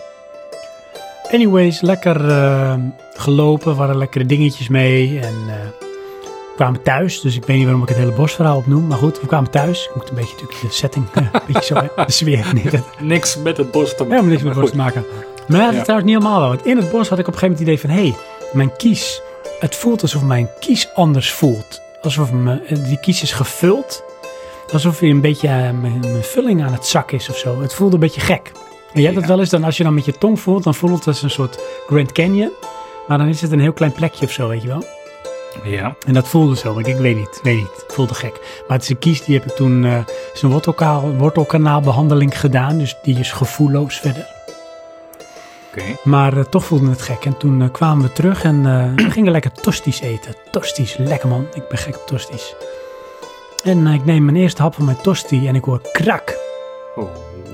S1: Anyways, lekker eh, gelopen, waren lekkere dingetjes mee en eh, we kwamen thuis. Dus ik weet niet waarom ik het hele bosverhaal opnoem, maar goed, we kwamen thuis. Ik moet een beetje natuurlijk de setting, eh, een beetje zo, hè, de sfeer neerzetten.
S2: Niks met het bos te maken.
S1: Helemaal niks met het bos te
S2: Goed.
S1: maken. Maar ja, dat
S2: Ja.
S1: is trouwens niet helemaal wel, want in het bos had ik op een gegeven moment het idee van, hé, hey, mijn kies, het voelt alsof mijn kies anders voelt. Alsof me, die kies is gevuld alsof je een beetje eh, mijn, mijn vulling aan het zak is of zo. Het voelde een beetje gek. En je hebt het wel eens dan als je dan met je tong voelt, dan voelt het als een soort Grand Canyon. Maar dan is het een heel klein plekje of zo, weet je wel.
S2: Ja.
S1: En dat voelde zo, maar ik denk, weet niet, weet niet. Het voelde gek. Maar het is een kies, die heb ik toen eh zijn wortelkaal, wortelkanaalbehandeling gedaan. Dus die is gevoelloos verder.
S2: Oké.
S1: Maar eh, toch voelde het gek. En toen eh, kwamen we terug en eh, we gingen lekker tosties eten. Tosties, lekker man. Ik ben gek op tosties. En eh, ik neem mijn eerste hap van mijn tosti en ik hoor krak.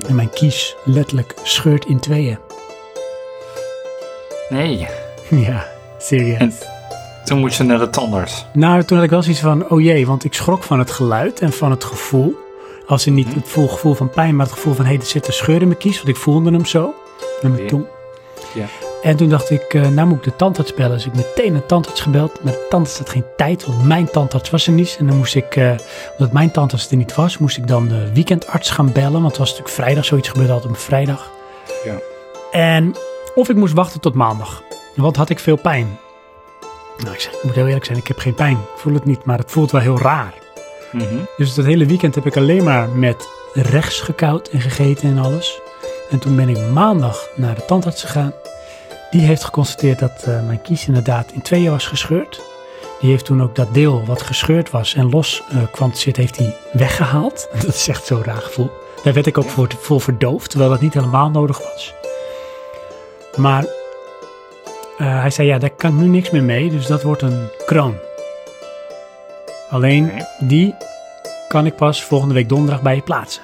S1: En mijn kies letterlijk scheurt in tweeën.
S2: Nee.
S1: Ja, serieus.
S2: En toen moet ze naar de tandarts.
S1: Nou, toen had ik wel zoiets van, oh jee, want ik schrok van het geluid en van het gevoel. Als in
S2: Mhm.
S1: niet het vol- gevoel van pijn, maar het gevoel van, hé, hey, er zit een scheur in mijn kies, want ik voelde hem zo, met mijn
S2: Ja.
S1: tong.
S2: Ja.
S1: En toen dacht ik, eh, nou moet ik de tandarts bellen. Dus ik meteen een tandarts gebeld. Maar de tandarts had geen tijd, want mijn tandarts was er niet. En dan moest ik, eh, omdat mijn tandarts er niet was, moest ik dan de weekendarts gaan bellen. Want het was natuurlijk vrijdag, zoiets gebeurde altijd op vrijdag.
S2: Ja.
S1: En of ik moest wachten tot maandag, want had ik veel pijn. Nou, ik, zeg, ik moet heel eerlijk zijn, ik heb geen pijn. Ik voel het niet, maar het voelt wel heel raar.
S2: Mhm.
S1: Dus dat hele weekend heb ik alleen maar met rechts gekoud en gegeten en alles. En toen ben ik maandag naar de tandarts gegaan. Die heeft geconstateerd dat eh, mijn kies inderdaad in tweeën was gescheurd. Die heeft toen ook dat deel wat gescheurd was en los eh, kwam te zitten, heeft hij weggehaald. Dat is echt zo'n raar gevoel. Daar werd ik ook voor, voor verdoofd, terwijl dat niet helemaal nodig was. Maar eh, hij zei, ja, daar kan ik nu niks meer mee, dus dat wordt een kroon. Alleen,
S2: Oké.
S1: die kan ik pas volgende week donderdag bij je plaatsen.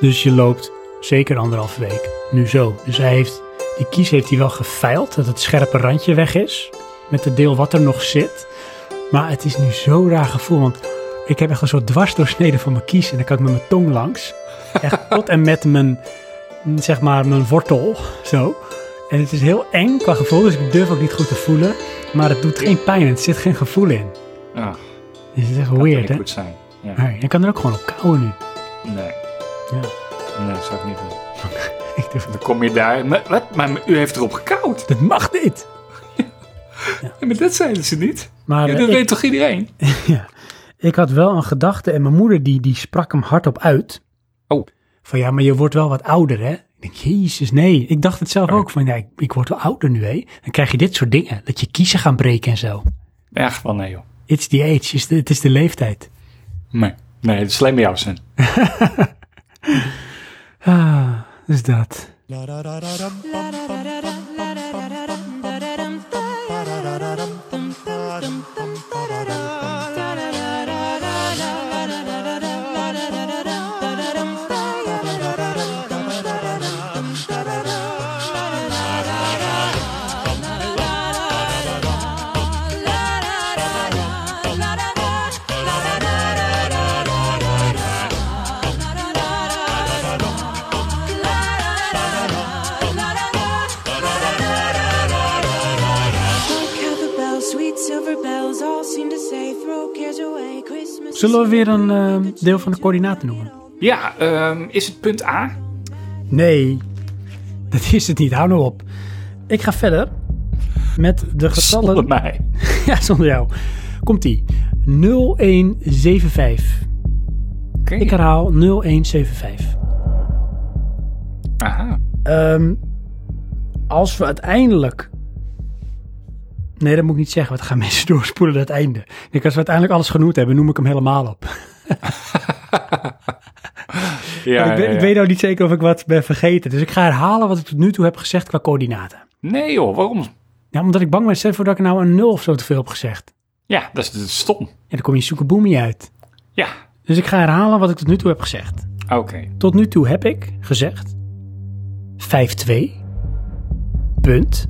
S1: Dus je loopt zeker anderhalve week. Nu zo. Dus hij heeft, die kies heeft hij wel geveild, dat het scherpe randje weg is. Met het deel wat er nog zit. Maar het is nu zo'n raar gevoel, want ik heb echt een soort dwarsdoorsnede van mijn kies. En dan kan ik met mijn tong langs. Echt tot en met mijn, mm, zeg maar, mijn wortel. Zo. En het is heel eng qua gevoel, dus ik durf ook niet goed te voelen. Maar het doet geen pijn, en het zit geen gevoel in.
S2: Ah,
S1: Dus het is echt
S2: dat kan
S1: weird,
S2: niet
S1: hè?
S2: goed zijn. Ja.
S1: Maar je kan er ook gewoon op kouwen nu.
S2: Nee.
S1: Ja.
S2: Nee, dat zou ik niet doen.
S1: Ik durf
S2: Dan kom je daar. Maar, wat? Maar u heeft erop gekauwd.
S1: Dat mag niet.
S2: Ja, maar dat zeiden ze niet.
S1: Maar
S2: Ja,
S1: eh,
S2: dat
S1: ik,
S2: weet toch iedereen?
S1: ik had wel een gedachte en mijn moeder die, die sprak hem hardop uit.
S2: Oh.
S1: Van ja, maar je wordt wel wat ouder hè. Ik denk, jezus nee. Ik dacht het zelf ook van ja, ik, ik word wel ouder nu hè. Dan krijg je dit soort dingen. Dat je kiezen gaan breken en zo.
S2: Echt wel nee, joh.
S1: It's the age. Is de- Het is de leeftijd.
S2: Nee. Nee, dat is alleen bij jou zijn.
S1: Ah, dus dat.
S8: Hark how the bells, sweet silver bells, all seem to say, throw cares away. Christmas.
S1: Zullen we weer een eh, deel van de coördinaten noemen?
S2: Ja, ehm, is het punt A?
S1: Nee, dat is het niet. Hou nou op. Ik ga verder met de getallen.
S2: Zonder mij.
S1: Ja, zonder jou. Komt-ie. 0175.
S2: Oké.
S1: Ik herhaal 0175.
S2: Aha.
S1: Ehm, als we uiteindelijk. Nee, dat moet ik niet zeggen, want dan gaan mensen doorspoelen naar het einde. Ik denk, als we uiteindelijk alles genoemd hebben, noem ik hem helemaal op.
S2: Ja,
S1: ik, ben-
S2: ja, ja.
S1: ik weet nou niet zeker of ik wat ben vergeten. Dus ik ga herhalen wat ik tot nu toe heb gezegd qua coördinaten.
S2: Nee joh, waarom?
S1: Ja, omdat ik bang ben, stel voor dat ik nou een 0 of zo te veel heb gezegd.
S2: Ja, dat is, dat is stom.
S1: Ja, dan kom je zoekenboemie uit.
S2: Ja,
S1: Dus ik ga herhalen wat ik tot nu toe heb gezegd.
S2: oké.
S1: Tot nu toe heb ik gezegd 5-2 punt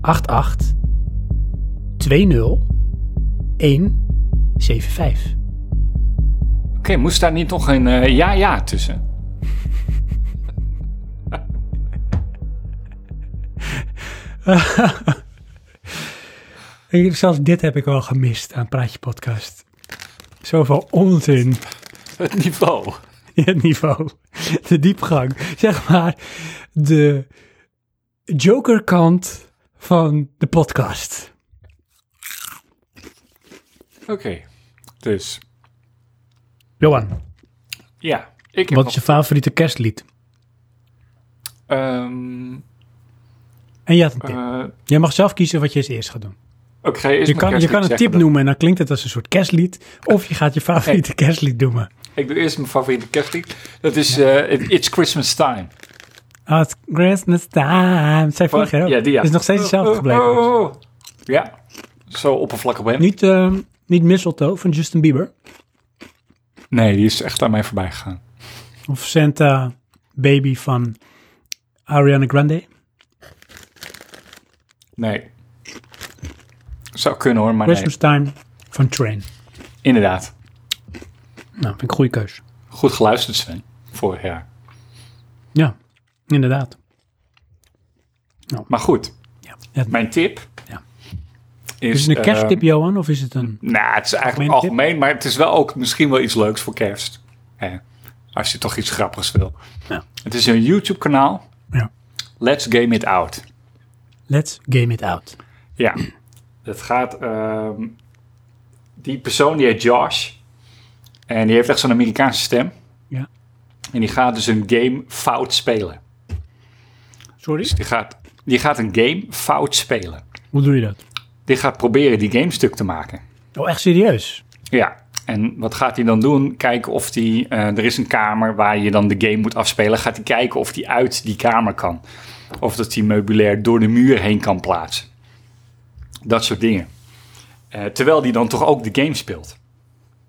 S1: 88 20 175.
S2: Oké, moest daar niet nog een eh, ja-ja tussen?
S1: Ik- Zelfs dit heb ik wel gemist aan Praatje Podcast. Zoveel onzin
S2: Het niveau.
S1: in het niveau. De diepgang. Zeg maar de jokerkant van de podcast.
S2: Oké. Dus,
S1: Johan,
S2: ja. Ik heb
S1: wat
S2: nog-
S1: is je favoriete kerstlied?
S2: Ehm,
S1: En je had een tip.
S2: eh,
S1: Jij mag zelf kiezen wat je als eerst gaat doen.
S2: Oké,
S1: Je
S2: eerst mijn
S1: kan, je
S2: kerstlied
S1: kan een
S2: zeggen,
S1: tip
S2: dan-
S1: noemen en dan klinkt het als een soort kerstlied. Of je gaat je favoriete kerstlied noemen.
S2: Ik doe eerst mijn favoriete kerstlied. Dat is eh, It's Christmas Time.
S1: Oh, it's Christmas time. Zij vorig jaar ook.
S2: Oh, Ja, die ja.
S1: Het is nog steeds hetzelfde
S2: Oh,
S1: gebleven.
S2: oh, oh, oh. Ja, zo oppervlakkig ben ik.
S1: Niet, ehm, niet Mistletoe van Justin Bieber.
S2: Nee, die is echt aan mij voorbij gegaan.
S1: Of Santa Baby van Ariana Grande.
S2: Nee. Zou kunnen hoor, maar nee.
S1: Christmas Time van Train.
S2: Inderdaad.
S1: Nou, vind ik een goede keus.
S2: Goed geluisterd, Sven. Vorig jaar.
S1: Ja, inderdaad.
S2: Maar goed,
S1: Ja. Het-
S2: mijn tip
S1: Ja.
S2: is...
S1: is het een
S2: eh,
S1: kersttip, Johan, of is het een...
S2: Nou, het is eigenlijk
S1: Algemene tip?
S2: algemeen, maar het is wel ook misschien wel iets leuks voor kerst. Hè, als je toch iets grappigs wil.
S1: Ja.
S2: Het is een YouTube-kanaal.
S1: Ja.
S2: Let's Game It Out.
S1: Let's game it out.
S2: Ja. Het gaat... ehm, die persoon, die heet Josh. En die heeft echt zo'n Amerikaanse stem.
S1: Ja.
S2: En die gaat dus een game fout spelen.
S1: Sorry?
S2: Dus die gaat, die gaat een game fout spelen.
S1: Hoe doe je dat?
S2: Die gaat proberen die game stuk te maken.
S1: Oh, echt serieus?
S2: Ja, en wat gaat hij dan doen? Kijken of hij... er is een kamer waar je dan de game moet afspelen. Gaat hij kijken of hij uit die kamer kan. Of dat hij meubilair door de muur heen kan plaatsen. Dat soort dingen. Eh, terwijl hij dan toch ook de game speelt.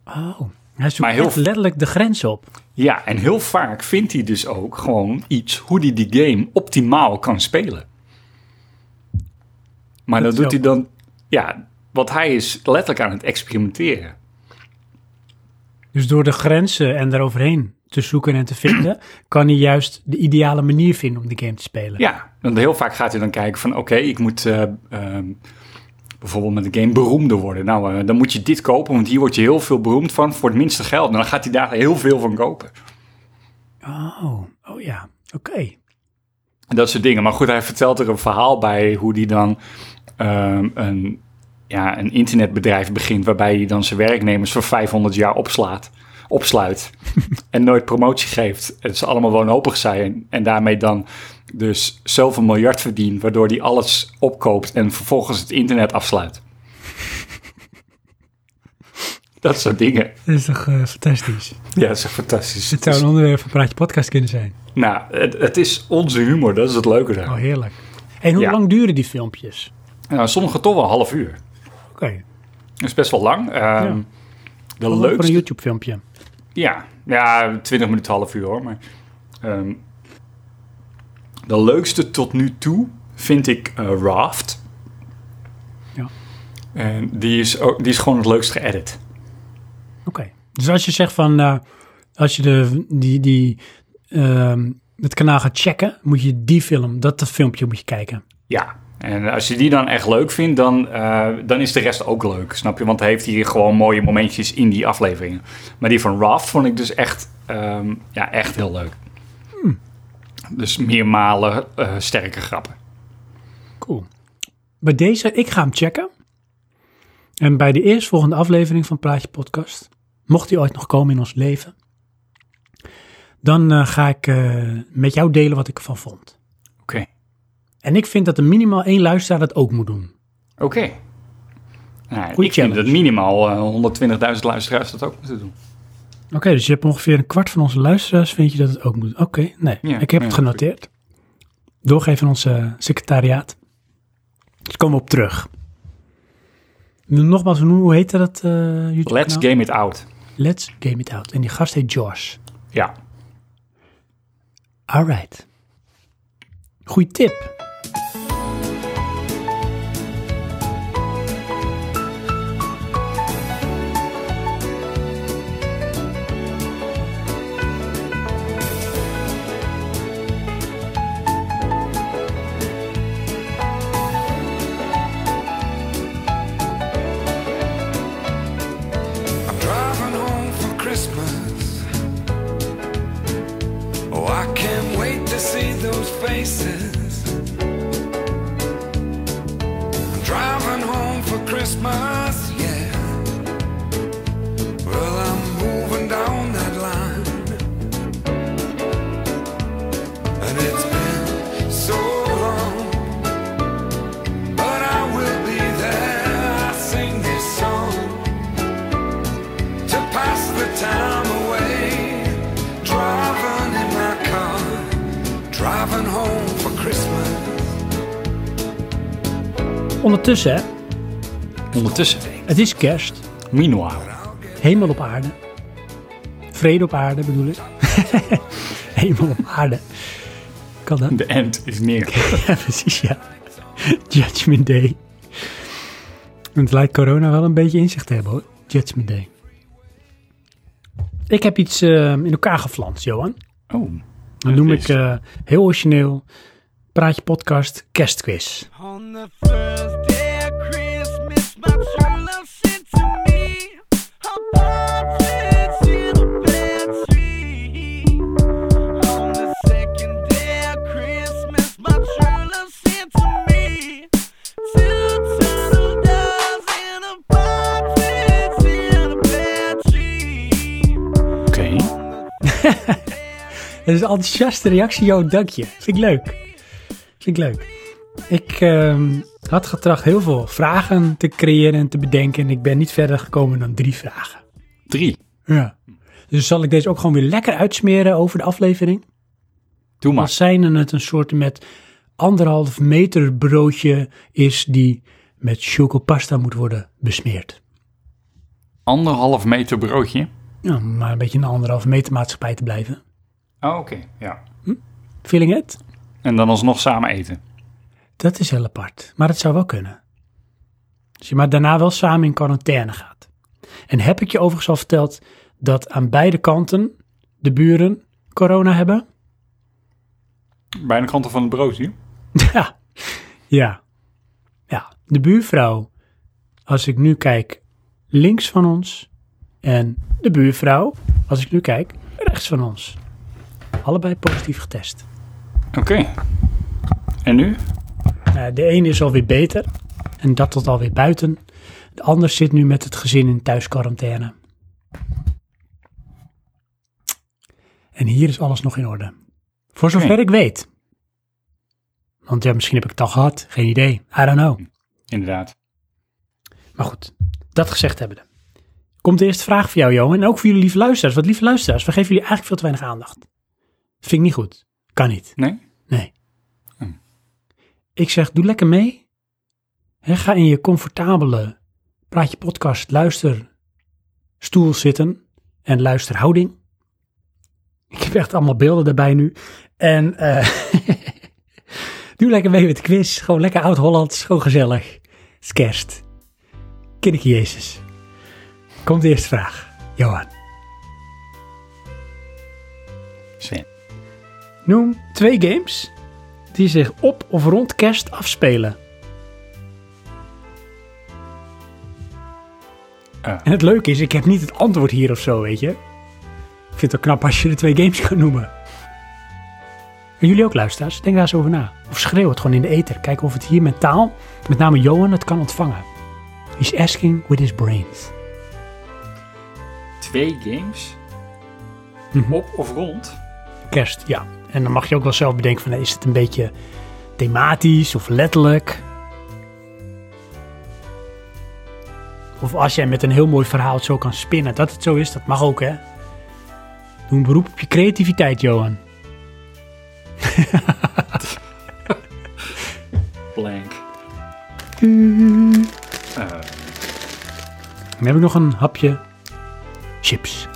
S1: Oh, hij zoekt
S2: Maar heel-
S1: echt letterlijk de grens op.
S2: Ja, en heel vaak vindt hij dus ook gewoon iets... hoe hij die game optimaal kan spelen. Maar
S1: Dat
S2: dat,
S1: is
S2: doet
S1: wel-
S2: hij dan... Ja, want hij is letterlijk aan het experimenteren.
S1: Dus door de grenzen en daaroverheen te zoeken en te vinden, kan hij juist de ideale manier vinden om de game te spelen.
S2: Ja, want heel vaak gaat hij dan kijken van... oké, ik moet eh, ehm, bijvoorbeeld met een game beroemder worden. Nou, eh, dan moet je dit kopen, want hier word je heel veel beroemd van... voor het minste geld. En dan gaat hij daar heel veel van kopen.
S1: Oh, oh ja, oké.
S2: En dat soort dingen. Maar goed, hij vertelt er een verhaal bij... hoe hij dan ehm, een, ja, een internetbedrijf begint... waarbij hij dan zijn werknemers voor 500 jaar opslaat, opsluit... en nooit promotie geeft. En ze allemaal wanhopig zijn. En daarmee dan dus zoveel miljard verdient... waardoor hij alles opkoopt en vervolgens het internet afsluit. Dat soort dingen.
S1: Dat is toch eh, fantastisch?
S2: Ja, dat is echt fantastisch. Dus
S1: Dit zou een onderwerp van Praatje Podcast kunnen zijn.
S2: nou, het, het is onze humor. Dat is het leuke daar.
S1: Oh, heerlijk. En hoe
S2: Ja.
S1: lang duren die filmpjes?
S2: Nou, sommige toch wel een half uur.
S1: Oké,
S2: Dat is best wel lang. Ehm, De
S1: voor een
S2: leukste...
S1: YouTube-filmpje.
S2: Ja, ja, 20 minuten, half uur hoor. Maar, ehm, de leukste tot nu toe vind ik eh, Raft.
S1: Ja.
S2: En die is, ook, die is gewoon het leukst geëdit.
S1: Oké. Dus als je zegt van, eh, als je de, die, die, ehm, het kanaal gaat checken, moet je die film, dat filmpje moet je kijken.
S2: Ja. En als je die dan echt leuk vindt, dan, eh, dan is de rest ook leuk, snap je? Want hij heeft hier gewoon mooie momentjes in die afleveringen. Maar die van Raft vond ik dus echt, ehm, ja, echt heel leuk.
S1: Hmm.
S2: Dus meermalen eh, sterke grappen.
S1: Cool. Bij deze, ik ga hem checken. En bij de eerstvolgende aflevering van Praatje Podcast, mocht die ooit nog komen in ons leven, dan eh, ga ik eh, met jou delen wat ik ervan vond.
S2: Oké.
S1: En ik vind dat er minimaal één luisteraar dat ook moet doen.
S2: Oké. Nou, ik
S1: challenge.
S2: vind dat minimaal eh 120.000 luisteraars dat ook moeten doen.
S1: Oké, dus je hebt ongeveer een kwart van onze luisteraars, vind je dat het ook moet. Oké, nee,
S2: Ja,
S1: ik heb
S2: ja,
S1: het genoteerd. Doorgeven aan ons eh, secretariaat. Dus komen we op terug. Nu Nogmaals, hoe hoe heette dat eh YouTube
S2: Let's game it out.
S1: Let's Game It Out. En die gast heet Josh.
S2: Ja.
S1: Alright. Goeie tip.
S9: Driving home for Christmas. Oh, I can't wait to see those faces. I'm driving home for Christmas, yeah. Well, I'm moving down that line. And it's been so long. But I will be there. I sing this song to pass the time away. Driving in my car, driving home for Christmas.
S1: Ondertussen, hè,
S2: Ondertussen.
S1: het is kerst.
S2: Meanwhile.
S1: Hemel op aarde. Vrede op aarde bedoel ik. Hemel op aarde. Kan dat?
S2: De end is neer.
S1: Ja, precies, ja. Judgment Day. Het lijkt corona wel een beetje inzicht te hebben, hoor. Judgment Day. Ik heb iets eh, in elkaar geflanst, Johan.
S2: Oh.
S1: Dan noem ik
S2: is-
S1: eh, heel origineel Praatje Podcast Kerstquiz.
S10: On the first day of Christmas, my true love sent to me a partridge in a pear tree. On the second day of Christmas, my true love sent to me two turtle doves and a partridge in a pear tree.
S2: Oké.
S1: Het is een enthousiaste reactie, Jo, dank je. Vind ik leuk. Vind ik leuk. Ik ehm, had getracht heel veel vragen te creëren en te bedenken. En ik ben niet verder gekomen dan drie vragen.
S2: Drie.
S1: Ja. Dus zal ik deze ook gewoon weer lekker uitsmeren over de aflevering?
S2: Doe
S1: Als
S2: maar.
S1: zijn het een soort met anderhalf meter broodje is die met chocopasta moet worden besmeerd.
S2: Anderhalf meter broodje.
S1: Ja, Nou, om maar een beetje een anderhalf meter maatschappij te blijven.
S2: Oh, oké. Ja.
S1: Feeling it?
S2: En dan alsnog samen eten.
S1: Dat is heel apart, maar het zou wel kunnen. Als je maar daarna wel samen in quarantaine gaat. En heb ik je overigens al verteld dat aan beide kanten de buren corona hebben?
S2: Bij de kanten van het broodje.
S1: Ja. Ja. Ja. De buurvrouw, als ik nu kijk, links van ons. En de buurvrouw, als ik nu kijk, rechts van ons. Allebei positief getest.
S2: Oké. En nu?
S1: Eh, de ene is alweer beter en dat tot alweer buiten. De ander zit nu met het gezin in thuisquarantaine. En hier is alles nog in orde. Voor zover
S2: Oké.
S1: ik weet. Want ja, misschien heb ik het al gehad. Geen idee. I don't know.
S2: Inderdaad.
S1: Maar goed, dat gezegd hebben we. Komt de eerste vraag voor jou, Johan. En ook voor jullie lieve luisteraars. Want lieve luisteraars, we geven jullie eigenlijk veel te weinig aandacht. Vind ik niet goed. Kan niet.
S2: Nee?
S1: Nee. Ik zeg, doe lekker mee. Hè, ga in je comfortabele praatje podcast luister stoel zitten en luister houding. Ik heb echt allemaal beelden daarbij nu. En eh, doe lekker mee met de quiz. Gewoon lekker oud-Hollands. Gewoon gezellig. Het is kerst. Kinderke Jezus. Komt de eerste vraag. Johan,
S2: Sven.
S1: noem twee games die zich op of rond kerst afspelen.
S2: Eh.
S1: En het leuke is, ik heb niet het antwoord hier of zo, weet je. Ik vind het wel knap als je de twee games kan noemen. En jullie ook luisteraars, denk daar eens over na. Of schreeuw het gewoon in de ether. Kijk of het hier met taal, met name Johan, het kan ontvangen. He's asking with his brains.
S2: Twee games. Op of rond?
S1: Kerst, ja. En dan mag je ook wel zelf bedenken van, nou, is het een beetje thematisch of letterlijk? Of als jij met een heel mooi verhaal het zo kan spinnen, dat het zo is, dat mag ook, hè? Doe een beroep op je creativiteit, Johan.
S2: Blank. Eh,
S1: Dan heb ik nog een hapje chips.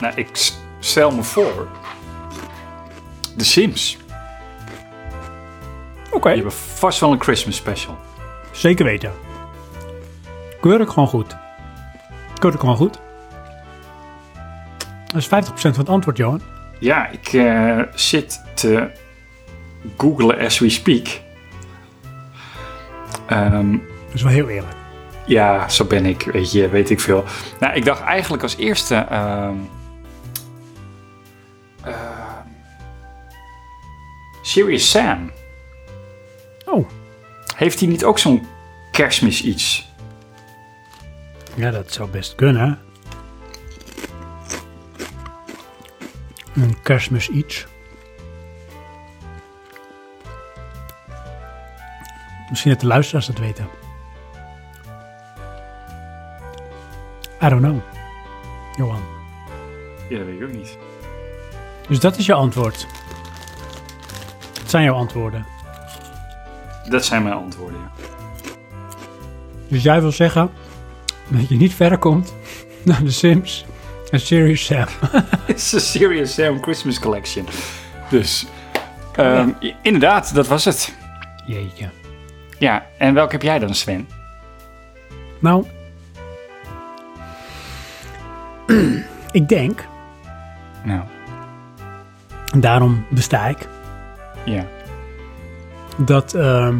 S2: nou, ik s- stel me voor. De Sims.
S1: Oké.
S2: Die hebben vast wel een Christmas special.
S1: Zeker weten. Keur ik gewoon goed. Keur ik gewoon goed. Dat is 50% van het antwoord, Johan.
S2: Ja, ik eh, zit te googlen as we speak. Ehm,
S1: Dat is wel heel eerlijk.
S2: ja, zo ben ik, weet je, weet ik veel. Nou, ik dacht eigenlijk als eerste... ehm, ehm, Serious Sam.
S1: Oh.
S2: Heeft hij niet ook zo'n kerstmis iets?
S1: Ja, dat zou best kunnen. Een kerstmis iets. Misschien dat de luisteraars dat weten. I don't know. Johan.
S2: Ja, dat weet ik ook niet.
S1: Dus dat is je antwoord. Dat zijn jouw antwoorden.
S2: Dat zijn mijn antwoorden, ja.
S1: Dus jij wil zeggen dat je niet verder komt dan The Sims en Serious Sam.
S2: It's a Serious Sam Christmas Collection. Dus, ehm, i- inderdaad, dat was het.
S1: Jeetje.
S2: Ja, en welke heb jij dan, Sven?
S1: Nou, ik denk,
S2: Nou,
S1: en daarom besta ik,
S2: ja.
S1: dat ehm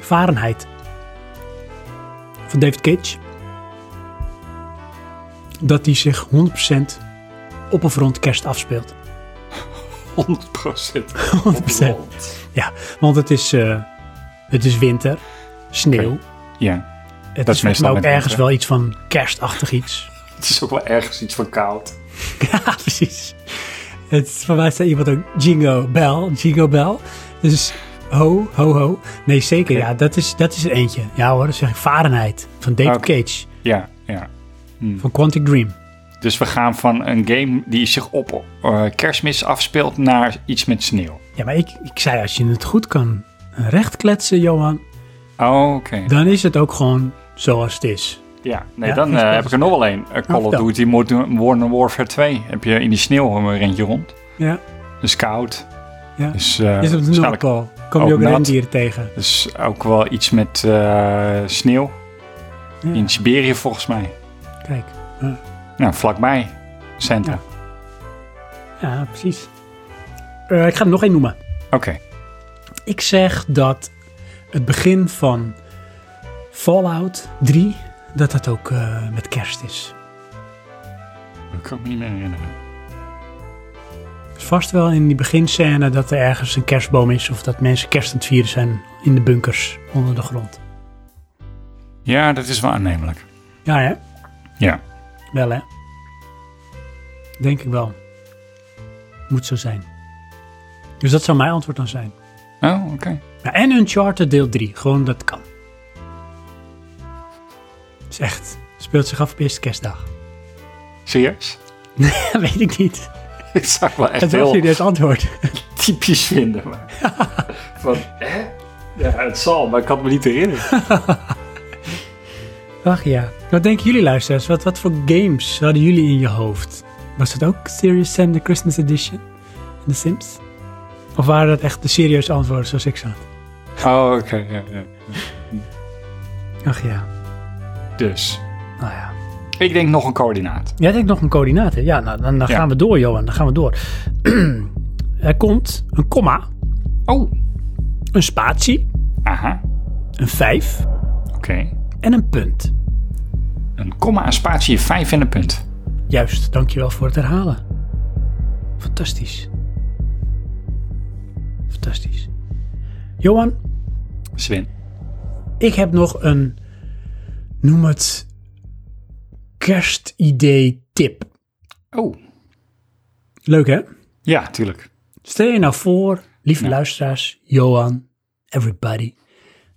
S1: Varenheid van David Cage, dat die zich 100% op een front kerst afspeelt.
S2: 100%.
S1: 100%. Ja, want het is, eh, het is winter, sneeuw.
S2: Ja,
S1: Het
S2: Dat
S1: is
S2: is
S1: volgens mij
S2: meestal
S1: ook
S2: met
S1: ergens
S2: winter.
S1: wel iets van kerstachtig iets.
S2: het is ook wel ergens iets van koud.
S1: ja, precies. Het is, voor mij zei iemand ook Jingo Bell, Jingo Bell. Dus ho, ho, ho. Nee, zeker. Ja, dat is, dat is er eentje. Ja hoor, dat zeg ik Varenheid van David
S2: Oké.
S1: Cage
S2: Ja, ja.
S1: van Quantic Dream.
S2: Dus we gaan van een game die zich op eh, kerstmis afspeelt naar iets met sneeuw.
S1: Ja, maar ik, ik zei als je het goed kan rechtkletsen, Johan,
S2: Oké.
S1: dan is het ook gewoon zoals het is.
S2: Ja, nee,
S1: Ja,
S2: dan
S1: geen
S2: eh,
S1: spel.
S2: heb ik er nog wel één. Eh, Call of
S1: vertel.
S2: Duty Modern Modern Warfare 2. Heb je in die sneeuw een rentje rond.
S1: Ja,
S2: Dus koud.
S1: ja.
S2: Dus, eh,
S1: is op de
S2: waarschijnlijk-
S1: Noordpool. Kom
S2: ook
S1: je ook
S2: nat.
S1: rendieren tegen.
S2: Dus ook wel iets met eh, sneeuw.
S1: Ja.
S2: In Siberië volgens mij.
S1: Kijk.
S2: Nou, vlakbij. Santa.
S1: Ja. Ja, precies. Eh, ik ga er nog één noemen.
S2: Oké.
S1: Ik zeg dat het begin van Fallout 3, dat dat ook eh, met kerst is.
S2: Dat kan ik me niet meer herinneren.
S1: Dus vast wel in die beginscène dat er ergens een kerstboom is of dat mensen kerst aan het vieren zijn in de bunkers onder de grond.
S2: Ja, dat is wel aannemelijk.
S1: Ja, hè?
S2: Ja.
S1: Wel, hè? Denk ik wel. Moet zo zijn. Dus dat zou mijn antwoord dan zijn.
S2: Oh, oké.
S1: Ja, en Uncharted deel 3. Gewoon dat kan. Het is echt. Speelt zich af op eerste kerstdag.
S2: Serieus?
S1: Weet ik niet.
S2: Ik zou het wel echt
S1: Het was
S2: heel
S1: jullie het antwoord.
S2: typisch vinden. Maar. Van, hè? Ja, het zal, maar ik had me niet herinneren.
S1: Ach ja. Wat denken jullie luisteraars? Wat, wat voor games hadden jullie in je hoofd? Was dat ook Serious Sam de Christmas Edition? En The Sims? Of waren dat echt de serieuze antwoorden zoals ik zat?
S2: Oh, oké. ja, ja.
S1: Ach ja.
S2: Dus,
S1: Nou ja.
S2: ik denk nog een coördinaat.
S1: Jij denkt nog een coördinaat, hè? Ja, nou, dan, dan
S2: Ja.
S1: gaan we door, Johan. Dan gaan we door. er komt een komma,
S2: Oh,
S1: een spatie,
S2: aha.
S1: een vijf
S2: Oké.
S1: en een punt.
S2: Een komma, een spatie, een vijf en een punt.
S1: Juist, dankjewel voor het herhalen. Fantastisch. Fantastisch. Johan,
S2: Sven.
S1: ik heb nog een, noem het, kerstidee tip.
S2: Oh,
S1: Leuk hè?
S2: ja, tuurlijk.
S1: Stel je nou voor, lieve luisteraars, Johan, everybody,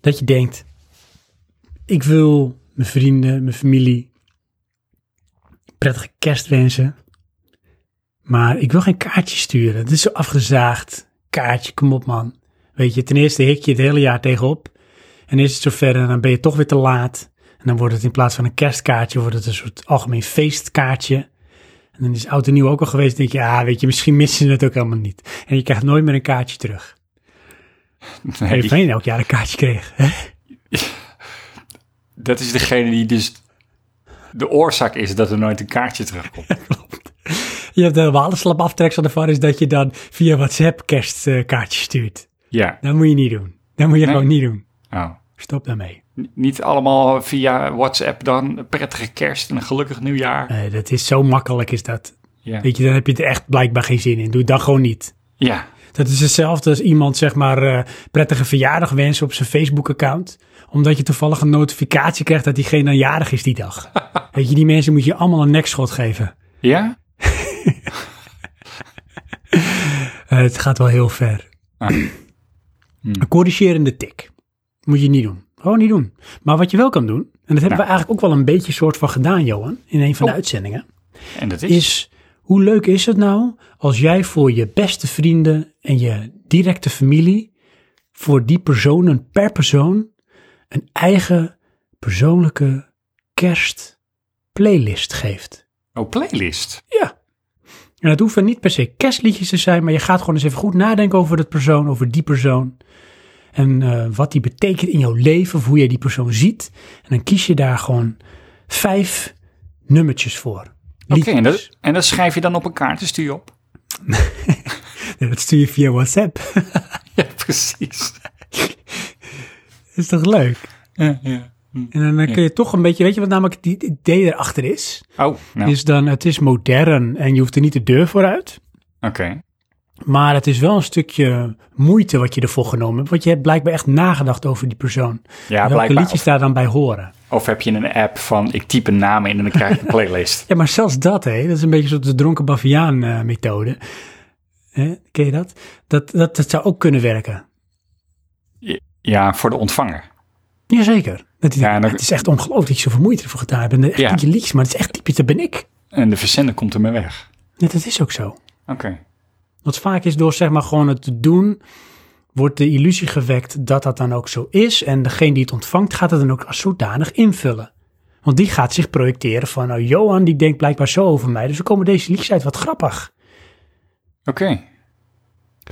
S1: dat je denkt, ik wil mijn vrienden, mijn familie prettige kerst wensen, maar ik wil geen kaartje sturen. Het is zo afgezaagd. Kaartje, kom op man. Weet je, ten eerste hik je het hele jaar tegenop en is het zover en dan ben je toch weer te laat. En dan wordt het in plaats van een kerstkaartje, wordt het een soort algemeen feestkaartje. En dan is oud en nieuw ook al geweest. denk je, ja, weet je, misschien missen ze het ook helemaal niet. En je krijgt nooit meer een kaartje terug.
S2: Nee,
S1: Hey. Iedereen elk jaar een kaartje kreeg. hè?
S2: dat is degene die dus de oorzaak is dat er nooit een kaartje terugkomt.
S1: Je hebt helemaal de slap aftreksel ervan is dat je dan via WhatsApp kerstkaartjes stuurt.
S2: Ja.
S1: Dat moet je niet doen. Dat moet je
S2: Nee.
S1: gewoon niet doen.
S2: Oh.
S1: Stop daarmee.
S2: N- Niet allemaal via WhatsApp dan. Een prettige kerst en een gelukkig nieuwjaar.
S1: Eh, dat is zo makkelijk is dat.
S2: Ja.
S1: Weet je, dan heb je er echt blijkbaar geen zin in. Doe dat gewoon niet.
S2: ja.
S1: Dat is hetzelfde als iemand zeg maar eh, prettige verjaardag wensen op zijn Facebook-account. Omdat je toevallig een notificatie krijgt dat diegene dan jarig is die dag. Weet je, die mensen moet je allemaal een nekschot geven.
S2: Ja?
S1: Eh, het gaat wel heel ver. Een corrigerende tik. Moet je niet doen. Gewoon niet doen. Maar wat je wel kan doen, en dat hebben we eigenlijk ook wel een beetje soort van gedaan, Johan, in een van de uitzendingen,
S2: En dat is?
S1: is Hoe leuk is het nou als jij voor je beste vrienden en je directe familie, voor die personen per persoon, een eigen persoonlijke kerstplaylist geeft?
S2: Oh, playlist.
S1: Ja. En het hoeven niet per se kerstliedjes te zijn, maar je gaat gewoon eens even goed nadenken over dat persoon, over die persoon. En eh, wat die betekent in jouw leven, of hoe jij die persoon ziet. En dan kies je daar gewoon vijf nummertjes voor.
S2: Oké,
S1: Liedjes.
S2: en, dat, en dat schrijf je dan op een kaart en stuur je op.
S1: Ja, dat stuur je via WhatsApp.
S2: Ja, precies.
S1: is toch leuk?
S2: Ja, ja.
S1: En dan eh, kun je toch een beetje, weet je wat namelijk het idee erachter is?
S2: Oh, nou,
S1: Is dan, het is modern en je hoeft er niet de deur voor uit.
S2: oké.
S1: Maar het is wel een stukje moeite wat je ervoor genomen hebt. Want je hebt blijkbaar echt nagedacht over die persoon.
S2: Ja,
S1: Welke
S2: blijkbaar.
S1: liedjes daar dan bij horen.
S2: Of heb je een app van ik typ een naam in en dan krijg je een playlist.
S1: Ja, maar zelfs dat, hè, dat is een beetje zoals de dronken baviaan eh, methode. Hè, ken je dat? Dat, dat? dat zou ook kunnen werken.
S2: Ja, voor de ontvanger.
S1: Jazeker. Dat hij
S2: Ja,
S1: denkt,
S2: en dan-
S1: Het is echt ongelooflijk dat je zoveel moeite ervoor gedaan hebt. En echt
S2: Ja.
S1: niet je liedjes, maar het is echt typisch, dat ben ik.
S2: En de verzender komt ermee weg.
S1: Ja, dat is ook zo.
S2: Oké.
S1: Want vaak is door zeg maar gewoon het te doen, wordt de illusie gewekt dat dat dan ook zo is. En degene die het ontvangt, gaat het dan ook als zodanig invullen. Want die gaat zich projecteren van, nou Johan die denkt blijkbaar zo over mij, dus er komen deze liedjes uit, wat grappig.
S2: Oké.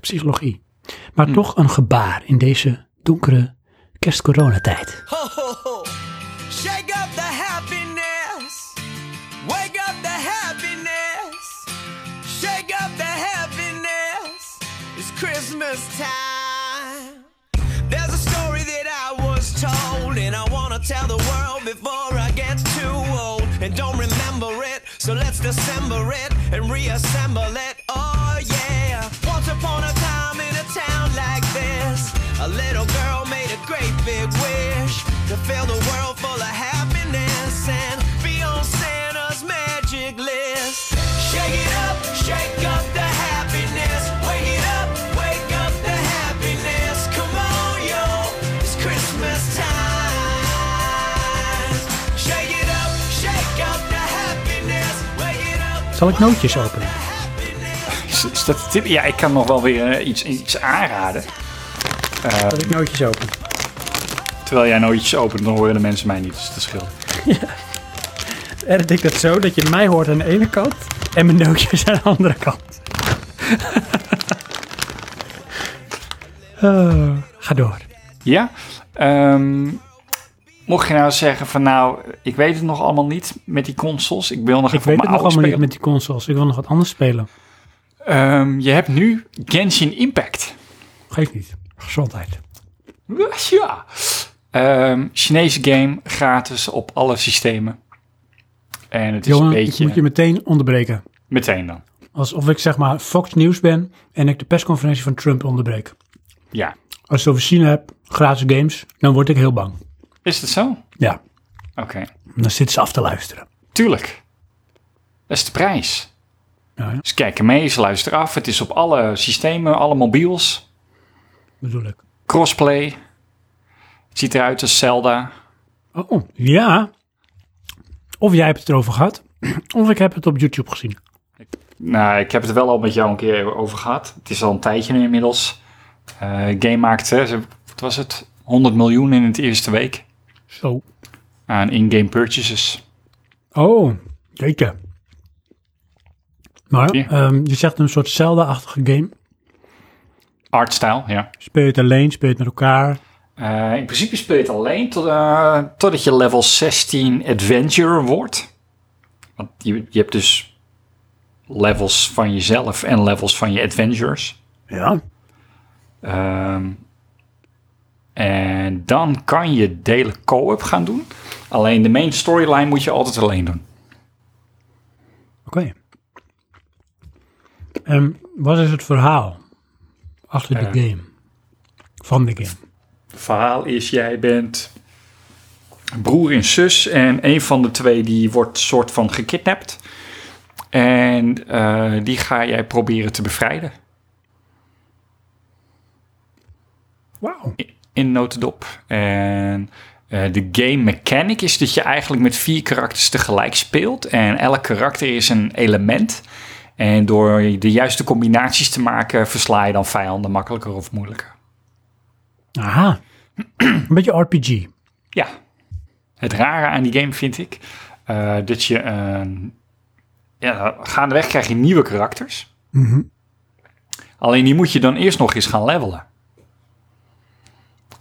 S1: Psychologie. Maar toch een gebaar in deze donkere kerstcoronatijd.
S7: Ho, ho, ho. Shake up the happiness. Wake up the happiness. Shake up the happiness. It's Christmas time. There's a story that I was told, and I want to tell the world before I get too old and don't remember it. So let's dissemble it and reassemble it. Oh, yeah. Once upon a time in a town like this, a little girl made a great big wish to fill the world full of happiness and be on Santa's magic list. Shake it up, shake up the happiness. Wake it up, wake up the happiness. Come on, yo, it's Christmas time. Shake it up, shake up the happiness. Wake it up.
S1: Zal ik nootjes openen?
S2: Is, is dat een tip? Ja, ik kan nog wel weer eh, iets, iets aanraden.
S1: Zal ik nootjes openen?
S2: Terwijl jij nou iets opent, dan horen de mensen mij niet. Dus dat scheelt.
S1: Edit ik dat zo dat je mij hoort aan de ene kant en mijn nootjes aan de andere kant. Eh, ga door.
S2: Ja. Ehm, mocht je nou zeggen van nou, ik weet het nog allemaal niet met die consoles. Ik wil nog
S1: Ik
S2: even op
S1: weet het
S2: mijn
S1: nog
S2: oude
S1: allemaal niet
S2: spelen.
S1: met die consoles. Ik wil nog wat anders spelen.
S2: Ehm, je hebt nu Genshin Impact.
S1: Geeft niet. Gezondheid.
S2: Ja. Ehm Chinese game, gratis op alle systemen. En het is
S1: Jongen,
S2: een
S1: ik
S2: beetje...
S1: moet je meteen onderbreken.
S2: Meteen dan.
S1: Alsof ik zeg maar Fox News ben en ik de persconferentie van Trump onderbreek.
S2: Ja.
S1: Als ik het over China heb, gratis games, dan word ik heel bang.
S2: Is dat zo? Oké.
S1: Ja, dan zitten ze af te luisteren.
S2: Tuurlijk. Dat is de prijs.
S1: Ja, ja.
S2: Ze kijken mee, ze luisteren af. Het is op alle systemen, alle mobiels.
S1: Bedoel ik.
S2: Crossplay. Het ziet eruit als Zelda.
S1: Oh, ja. Of jij hebt het erover gehad, of ik heb het op YouTube gezien.
S2: Nou, ik heb het wel al met jou een keer over gehad. Het is al een tijdje nu inmiddels. Eh game maakte, ze- wat was het? 100 miljoen in het eerste week
S1: Zo.
S2: aan in-game purchases.
S1: Oh, jeetje. Maar
S2: Ja.
S1: ehm, je zegt een soort Zelda-achtige game.
S2: Artstyle, ja.
S1: Speel je het alleen, speel je het met elkaar.
S2: Eh, in principe speel je het alleen tot, eh, totdat je level 16 Adventurer wordt. Want je, je hebt dus levels van jezelf en levels van je Adventurers.
S1: Ja.
S2: Ehm, en dan kan je delen co-op gaan doen. Alleen de main storyline moet je altijd alleen doen.
S1: Oké. En wat is het verhaal achter de game? Van de game.
S2: Het verhaal is, jij bent broer en zus en een van de twee die wordt soort van gekidnapt. En eh, die ga jij proberen te bevrijden
S1: Wauw.
S2: in notendop. En eh, de game mechanic is dat je eigenlijk met vier karakters tegelijk speelt. En elk karakter is een element. En door de juiste combinaties te maken, versla je dan vijanden makkelijker of moeilijker.
S1: Aha. Een beetje RPG.
S2: Ja. Het rare aan die game vind ik eh, dat je. eh, ja, gaandeweg krijg je nieuwe karakters. Alleen die moet je dan eerst nog eens gaan levelen.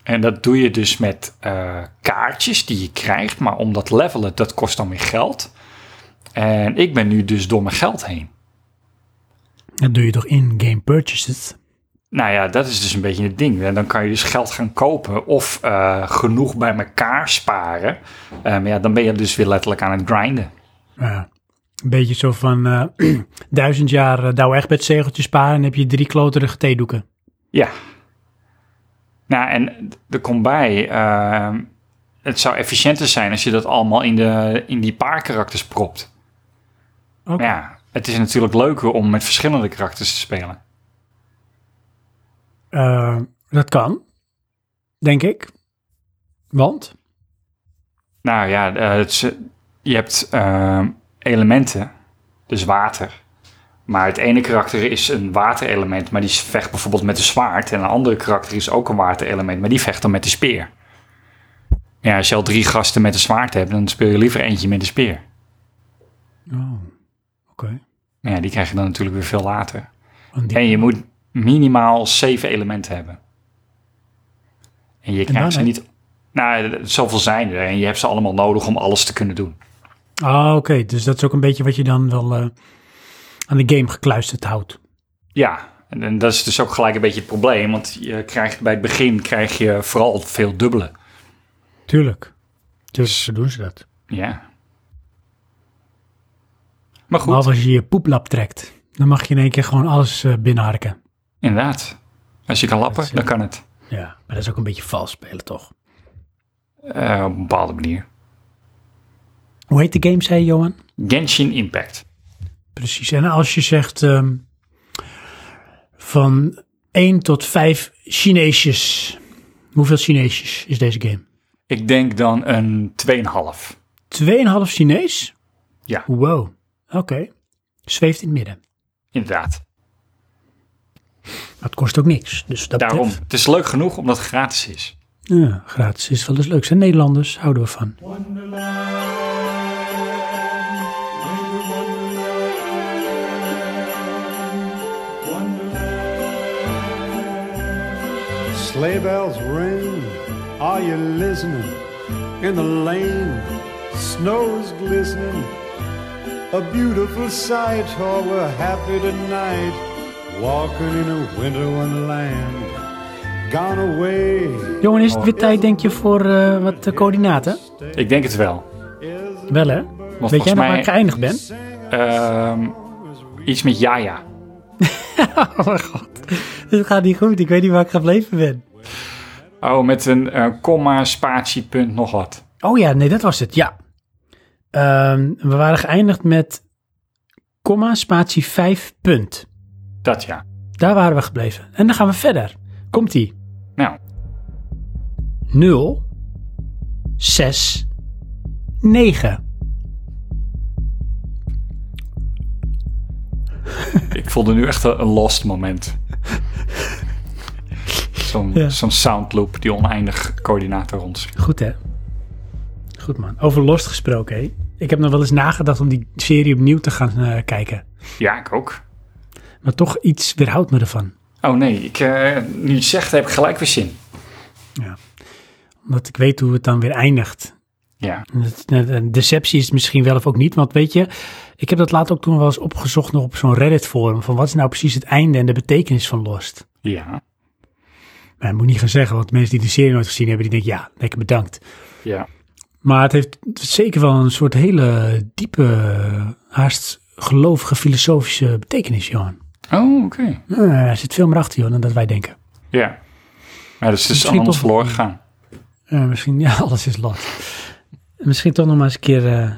S2: En dat doe je dus met eh, kaartjes die je krijgt. Maar om dat levelen, dat kost dan weer geld. En ik ben nu dus door mijn geld heen.
S1: Dat doe je toch in-game purchases?
S2: Nou ja, dat is dus een beetje het ding. En dan kan je dus geld gaan kopen of eh, genoeg bij elkaar sparen. Eh, maar ja, dan ben je dus weer letterlijk aan het grinden.
S1: Ja. Een beetje zo van eh, duizend jaar uh, Douwe Egbert zegeltjes sparen en heb je drie kloterige theedoeken.
S2: Ja. Nou, en er komt bij, eh, het zou efficiënter zijn als je dat allemaal in, de, in die paar karakters propt.
S1: Oké.
S2: Maar ja, het is natuurlijk leuker om met verschillende karakters te spelen.
S1: Eh, dat kan, denk ik. Want?
S2: Nou ja, eh, het is- je hebt eh, elementen, dus water. Maar het ene karakter is een waterelement, maar die vecht bijvoorbeeld met een zwaard. En een andere karakter is ook een waterelement, maar die vecht dan met de speer. Ja, als je al drie gasten met een zwaard hebt, dan speel je liever eentje met een speer.
S1: Oh, oké.
S2: Maar ja, die krijg je dan natuurlijk weer veel later.
S1: Want die-
S2: En je moet minimaal zeven elementen hebben. En je krijgt ze
S1: daarmee?
S2: niet... Nou, d- zoveel zijn er. En je hebt ze allemaal nodig om alles te kunnen doen.
S1: Ah, oké. Dus dat is ook een beetje wat je dan wel eh, aan de game gekluisterd houdt.
S2: Ja, en, en dat is dus ook gelijk een beetje het probleem. Want je krijgt bij het begin krijg je vooral veel dubbele.
S1: Tuurlijk. Dus zo doen ze dat.
S2: Ja. Maar goed,
S1: Maar als je je poeplap trekt, dan mag je in één keer gewoon alles eh, binnenharken.
S2: inderdaad. Als je kan lappen, dan kan het.
S1: Ja, maar dat is ook een beetje vals spelen, toch?
S2: Eh, op een bepaalde manier.
S1: Hoe heet de game, zei je, Johan?
S2: Genshin Impact.
S1: Precies. En als je zegt ehm, van 1 tot 5 Chineesjes. Hoeveel Chineesjes is deze game?
S2: Ik denk dan een 2,5.
S1: 2,5 Chinees?
S2: Ja.
S1: Wow. Oké. Zweeft in het midden.
S2: Inderdaad.
S1: Maar het kost ook niks. Dus dat
S2: Daarom.
S1: betreft-
S2: Het is leuk genoeg omdat het gratis is.
S1: Ja, gratis is wel eens leuk. Zijn Nederlanders, houden we van.
S4: Sleigh bells ring, are you listening? In the lane, snow's glistening. A beautiful sight, oh, we're happy tonight. Walking in a winter wonderland. Gone away
S1: Jongen, is het weer tijd, denk je, voor eh, wat eh, coördinaten?
S2: Ik denk het wel.
S4: is
S1: Wel, hè? Weet
S2: volgens
S1: jij nog waar
S2: mij-
S1: ik geëindigd ben?
S2: Ehm, iets met Jaja.
S1: Oh mijn god. Dit gaat niet goed. Ik weet niet waar ik gebleven ben.
S2: Oh, met een eh, komma, spatie, punt, nog wat.
S1: Oh ja, nee, dat was het. Ja. Ehm, we waren geëindigd met komma, spatie, 5, punt.
S2: Dat ja.
S1: Daar waren we gebleven. En dan gaan we verder. Komt-ie.
S2: Nou,
S1: 0, 6, 9.
S2: ik voelde nu echt een, een lost moment. Zo'n
S1: Ja.
S2: zo'n soundloop die oneindig coördinaten rond.
S1: Goed, hè? Goed, man. Over Lost gesproken, hè? Ik heb nog wel eens nagedacht om die serie opnieuw te gaan eh, kijken.
S2: Ja, ik ook.
S1: Maar toch iets weerhoudt me ervan.
S2: Oh nee, ik, eh, nu je het zegt heb ik gelijk weer zin.
S1: Omdat ik weet hoe het dan weer eindigt.
S2: Ja,
S1: Het- het- Een deceptie is het misschien wel of ook niet. Want weet je, ik heb dat later ook toen wel eens opgezocht nog op zo'n Reddit forum. Van wat is nou precies het einde en de betekenis van Lost?
S2: ja,
S1: Maar dat moet ik niet gaan zeggen, want mensen die de serie nooit gezien hebben, die denken ja, lekker bedankt.
S2: ja.
S1: Maar het heeft zeker wel een soort hele diepe, haast gelovige filosofische betekenis, Johan.
S2: Oh, oké.
S1: Eh, er zit veel meer achter, Johan, dan dat wij denken.
S2: Ja. Maar dat is dus
S1: Misschien
S2: aan ons
S1: toch-
S2: verloren gegaan.
S1: Eh, misschien, ja, alles is Lost. misschien toch nog maar eens een keer... eh,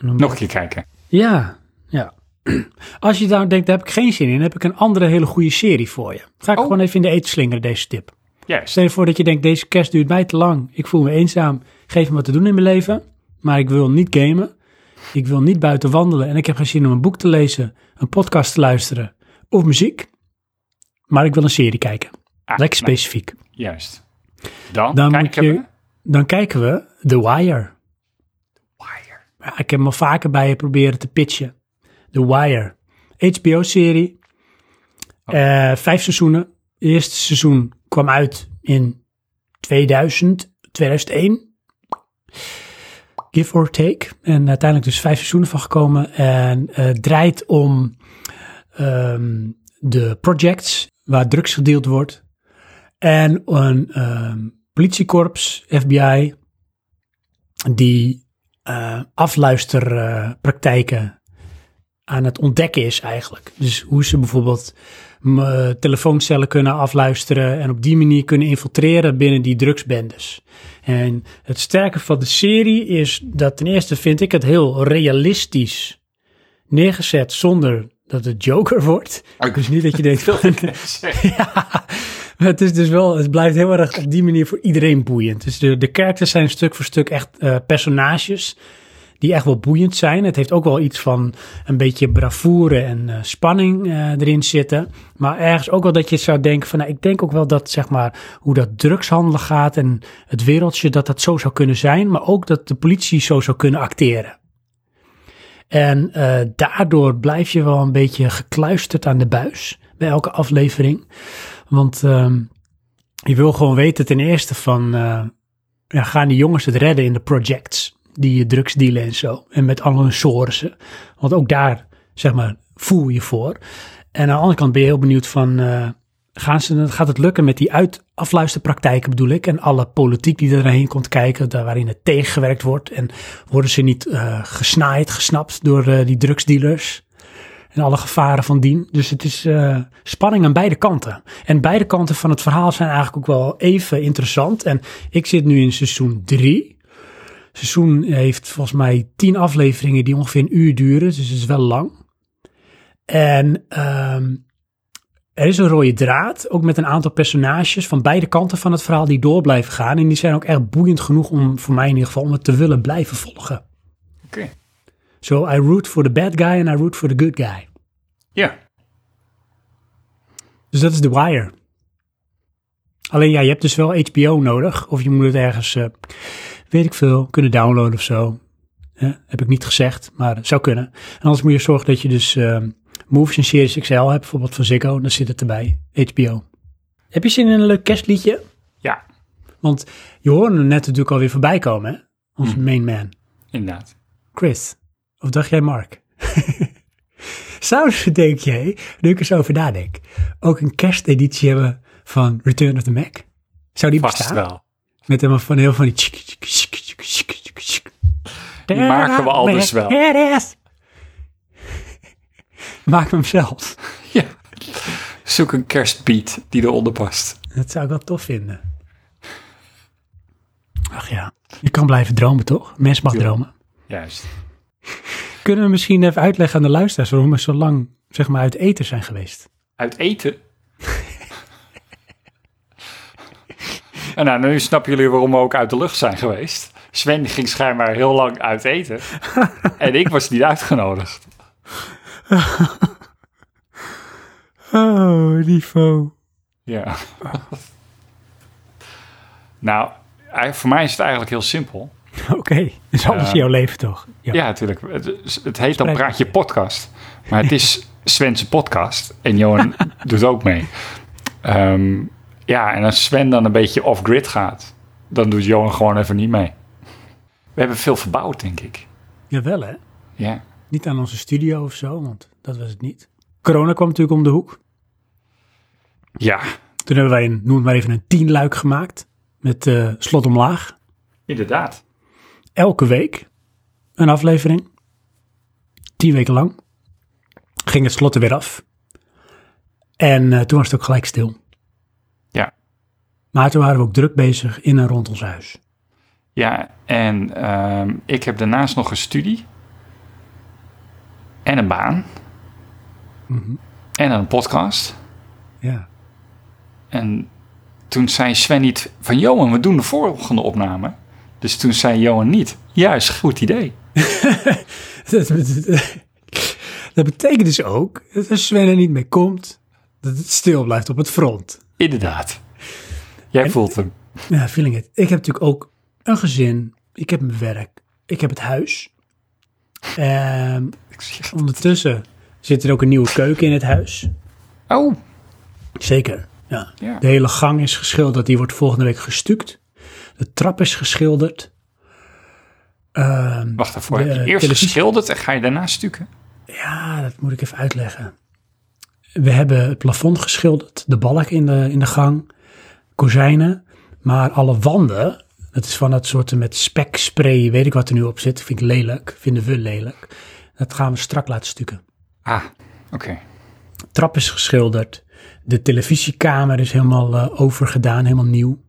S2: Nog een keer kijken.
S1: Ja, ja. Als je nou denkt, daar heb ik geen zin in, heb ik een andere hele goede serie voor je. Ga ik
S2: Oh.
S1: gewoon even in de eten slingeren, deze tip.
S2: Juist.
S1: Stel je voor dat je denkt, deze kerst duurt mij te lang. Ik voel me eenzaam. Geef me wat te doen in mijn leven, maar ik wil niet gamen. Ik wil niet buiten wandelen en ik heb geen zin om een boek te lezen, een podcast te luisteren of muziek. Maar ik wil een serie kijken.
S2: Ah,
S1: Lekker
S2: nou,
S1: specifiek.
S2: juist. Dan,
S1: Dan, moet
S2: kijken
S1: je, dan kijken we The Wire.
S2: we. Wire.
S1: Ja, ik heb hem al vaker bij je proberen te pitchen. The Wire. HBO-serie. Eh, vijf seizoenen. Het eerste seizoen kwam uit in 2000, 2001. Give or take. En uiteindelijk dus vijf seizoenen van gekomen. En eh, het draait om ehm, de projects waar drugs gedeeld wordt. En een ehm, politiekorps, FBI, die eh, afluisterpraktijken aan het ontdekken is eigenlijk. Dus hoe ze bijvoorbeeld m, eh, telefooncellen kunnen afluisteren en op die manier kunnen infiltreren binnen die drugsbendes. En het sterke van de serie is dat ten eerste vind ik het heel realistisch neergezet zonder dat het Joker wordt.
S2: Oké.
S1: Dus niet dat je denkt,
S2: Wilde ik net zeggen.
S1: ja, maar het is dus wel, het blijft heel erg op die manier voor iedereen boeiend. Dus de, de characters zijn stuk voor stuk echt eh, personages die echt wel boeiend zijn. Het heeft ook wel iets van een beetje bravoure en eh, spanning eh, erin zitten. Maar ergens ook wel dat je zou denken van, nou, ik denk ook wel dat zeg maar hoe dat drugshandelen gaat en het wereldje, dat dat zo zou kunnen zijn. Maar ook dat de politie zo zou kunnen acteren. En eh, daardoor blijf je wel een beetje gekluisterd aan de buis bij elke aflevering. Want ehm, je wil gewoon weten ten eerste van, eh, ja, gaan die jongens het redden in de projects die je drugs dealen en zo. En met alle hun sourcen. Want ook daar, zeg maar, voel je voor. En aan de andere kant ben je heel benieuwd van, eh, gaan ze, gaat het lukken met die uit, afluisterpraktijken bedoel ik. En alle politiek die erheen komt kijken, daar waarin het tegengewerkt wordt. En worden ze niet eh, gesnaaid, gesnapt door eh, die drugsdealers en alle gevaren van dien. Dus het is eh, spanning aan beide kanten. En beide kanten van het verhaal zijn eigenlijk ook wel even interessant. En ik zit nu in seizoen 3. Seizoen heeft volgens mij 10 afleveringen die ongeveer een uur duren, dus het is wel lang. En ehm, er is een rode draad, ook met een aantal personages van beide kanten van het verhaal die door blijven gaan. En die zijn ook echt boeiend genoeg om, voor mij in ieder geval, om het te willen blijven volgen.
S2: Oké.
S1: So I root for the bad guy and I root for the good guy.
S2: Ja.
S1: Dus dat is The Wire. Alleen ja, je hebt dus wel HBO nodig. Of je moet het ergens, eh, weet ik veel, kunnen downloaden of zo. Hè, heb ik niet gezegd, maar het zou kunnen. En anders moet je zorgen dat je dus eh, Movies en Series XL hebt. Bijvoorbeeld van Ziggo, dan zit het erbij. HBO. Heb je zin in een leuk kerstliedje?
S2: Ja,
S1: Want je hoorde hem net natuurlijk alweer voorbij komen, hè? Onze main man,
S2: inderdaad.
S1: Chris. Of dacht jij Mark? Zouden, denk jij, nu ik er zo over nadenk, ook een kersteditie hebben van Return of the Mac? Zou die
S2: Vast
S1: bestaan?
S2: wel.
S1: Met helemaal van heel van die... tjik, tjik, tjik, tjik, tjik, tjik.
S2: Die maken we al dus wel.
S1: There it is. Maak hem zelf.
S2: Ja. Zoek een kerstbeat die eronder past.
S1: Dat zou ik wel tof vinden. Ach ja, je kan blijven dromen toch? Mens mag dromen.
S2: Juist.
S1: Kunnen we misschien even uitleggen aan de luisteraars waarom we zo lang zeg maar, uit eten zijn geweest?
S2: Uit eten. en nou, nu snappen jullie waarom we ook uit de lucht zijn geweest. Sven ging schijnbaar heel lang uit eten. en ik was niet uitgenodigd.
S1: Oh, niveau.
S2: Ja. nou, eigenlijk- voor mij is het eigenlijk heel simpel.
S1: Oké, dus alles
S2: Ja.
S1: jouw leven toch? Ja.
S2: Ja, natuurlijk. Het, is- het heet dan
S1: Spreek.
S2: Praatje Podcast. Maar het is Sven's podcast. En Johan doet ook mee. Ehm, ja, en als Sven dan een beetje off-grid gaat, dan doet Johan gewoon even niet mee. We hebben veel verbouwd, denk ik.
S1: Jawel hè?
S2: Ja,
S1: Niet aan onze studio of zo, want dat was het niet. Corona kwam natuurlijk om de hoek.
S2: ja
S1: Toen hebben wij, een, noem het maar even, een tienluik gemaakt. Met eh, slot omlaag.
S2: inderdaad.
S1: elke week een aflevering. Tien weken lang. Ging het slot er weer af. En eh, toen was het ook gelijk stil.
S2: Ja,
S1: Maar toen waren we ook druk bezig in en rond ons huis.
S2: ja en ehm, ik heb daarnaast nog een studie. En een baan. En een podcast.
S1: Ja.
S2: En toen zei Sven niet van Johan, we doen de volgende opname. Dus toen zei Johan niet. Juist, goed idee.
S1: dat, bet- dat betekent dus ook dat als Sven er niet mee komt, dat het stil blijft op het front.
S2: Inderdaad. Jij voelt hem.
S1: Ja, feeling it. Ik heb natuurlijk ook een gezin. Ik heb mijn werk. Ik heb het huis. Ehm, ondertussen zit er ook een nieuwe keuken in het huis.
S2: Oh,
S1: Zeker, ja.
S2: Ja.
S1: De hele gang is geschilderd. Die wordt volgende week gestuukt. De trap is geschilderd. Ehm,
S2: wacht daarvoor.
S1: De,
S2: Heb je
S1: eh,
S2: eerst
S1: televisie-
S2: geschilderd en ga je daarna stukken?
S1: ja, dat moet ik even uitleggen. We hebben het plafond geschilderd. De balk in de, in de gang. Kozijnen. Maar alle wanden... Dat is van dat soort met spekspray, weet ik wat er nu op zit. Vind ik lelijk, vinden we lelijk. Dat gaan we strak laten stukken.
S2: Ah, oké.
S1: trap is geschilderd. De televisiekamer is helemaal eh, overgedaan, helemaal nieuw.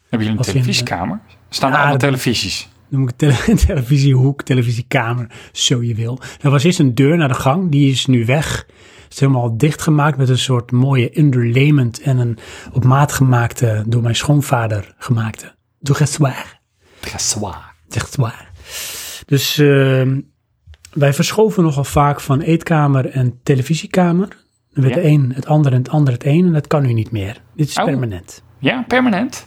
S2: Hebben jullie
S1: Wat
S2: een
S1: vinden we?
S2: televisiekamer? Staan
S1: eh, Ja,
S2: er allemaal
S1: dat-
S2: televisies?
S1: Noem ik tele televisiehoek, televisiekamer, zo je wil. Er was eerst een deur naar de gang, die is nu weg. Het is helemaal dichtgemaakt met een soort mooie underlayment en een op maat gemaakte, door mijn schoonvader gemaakte. Doe het zwaar.
S2: Dressoir.
S1: Echt waar. Dus ehm, wij verschoven nogal vaak van eetkamer en televisiekamer. Dan werd
S2: Ja.
S1: de een het ander en het ander het een. En dat kan nu niet meer. Dit is
S2: Au.
S1: permanent.
S2: Ja, permanent.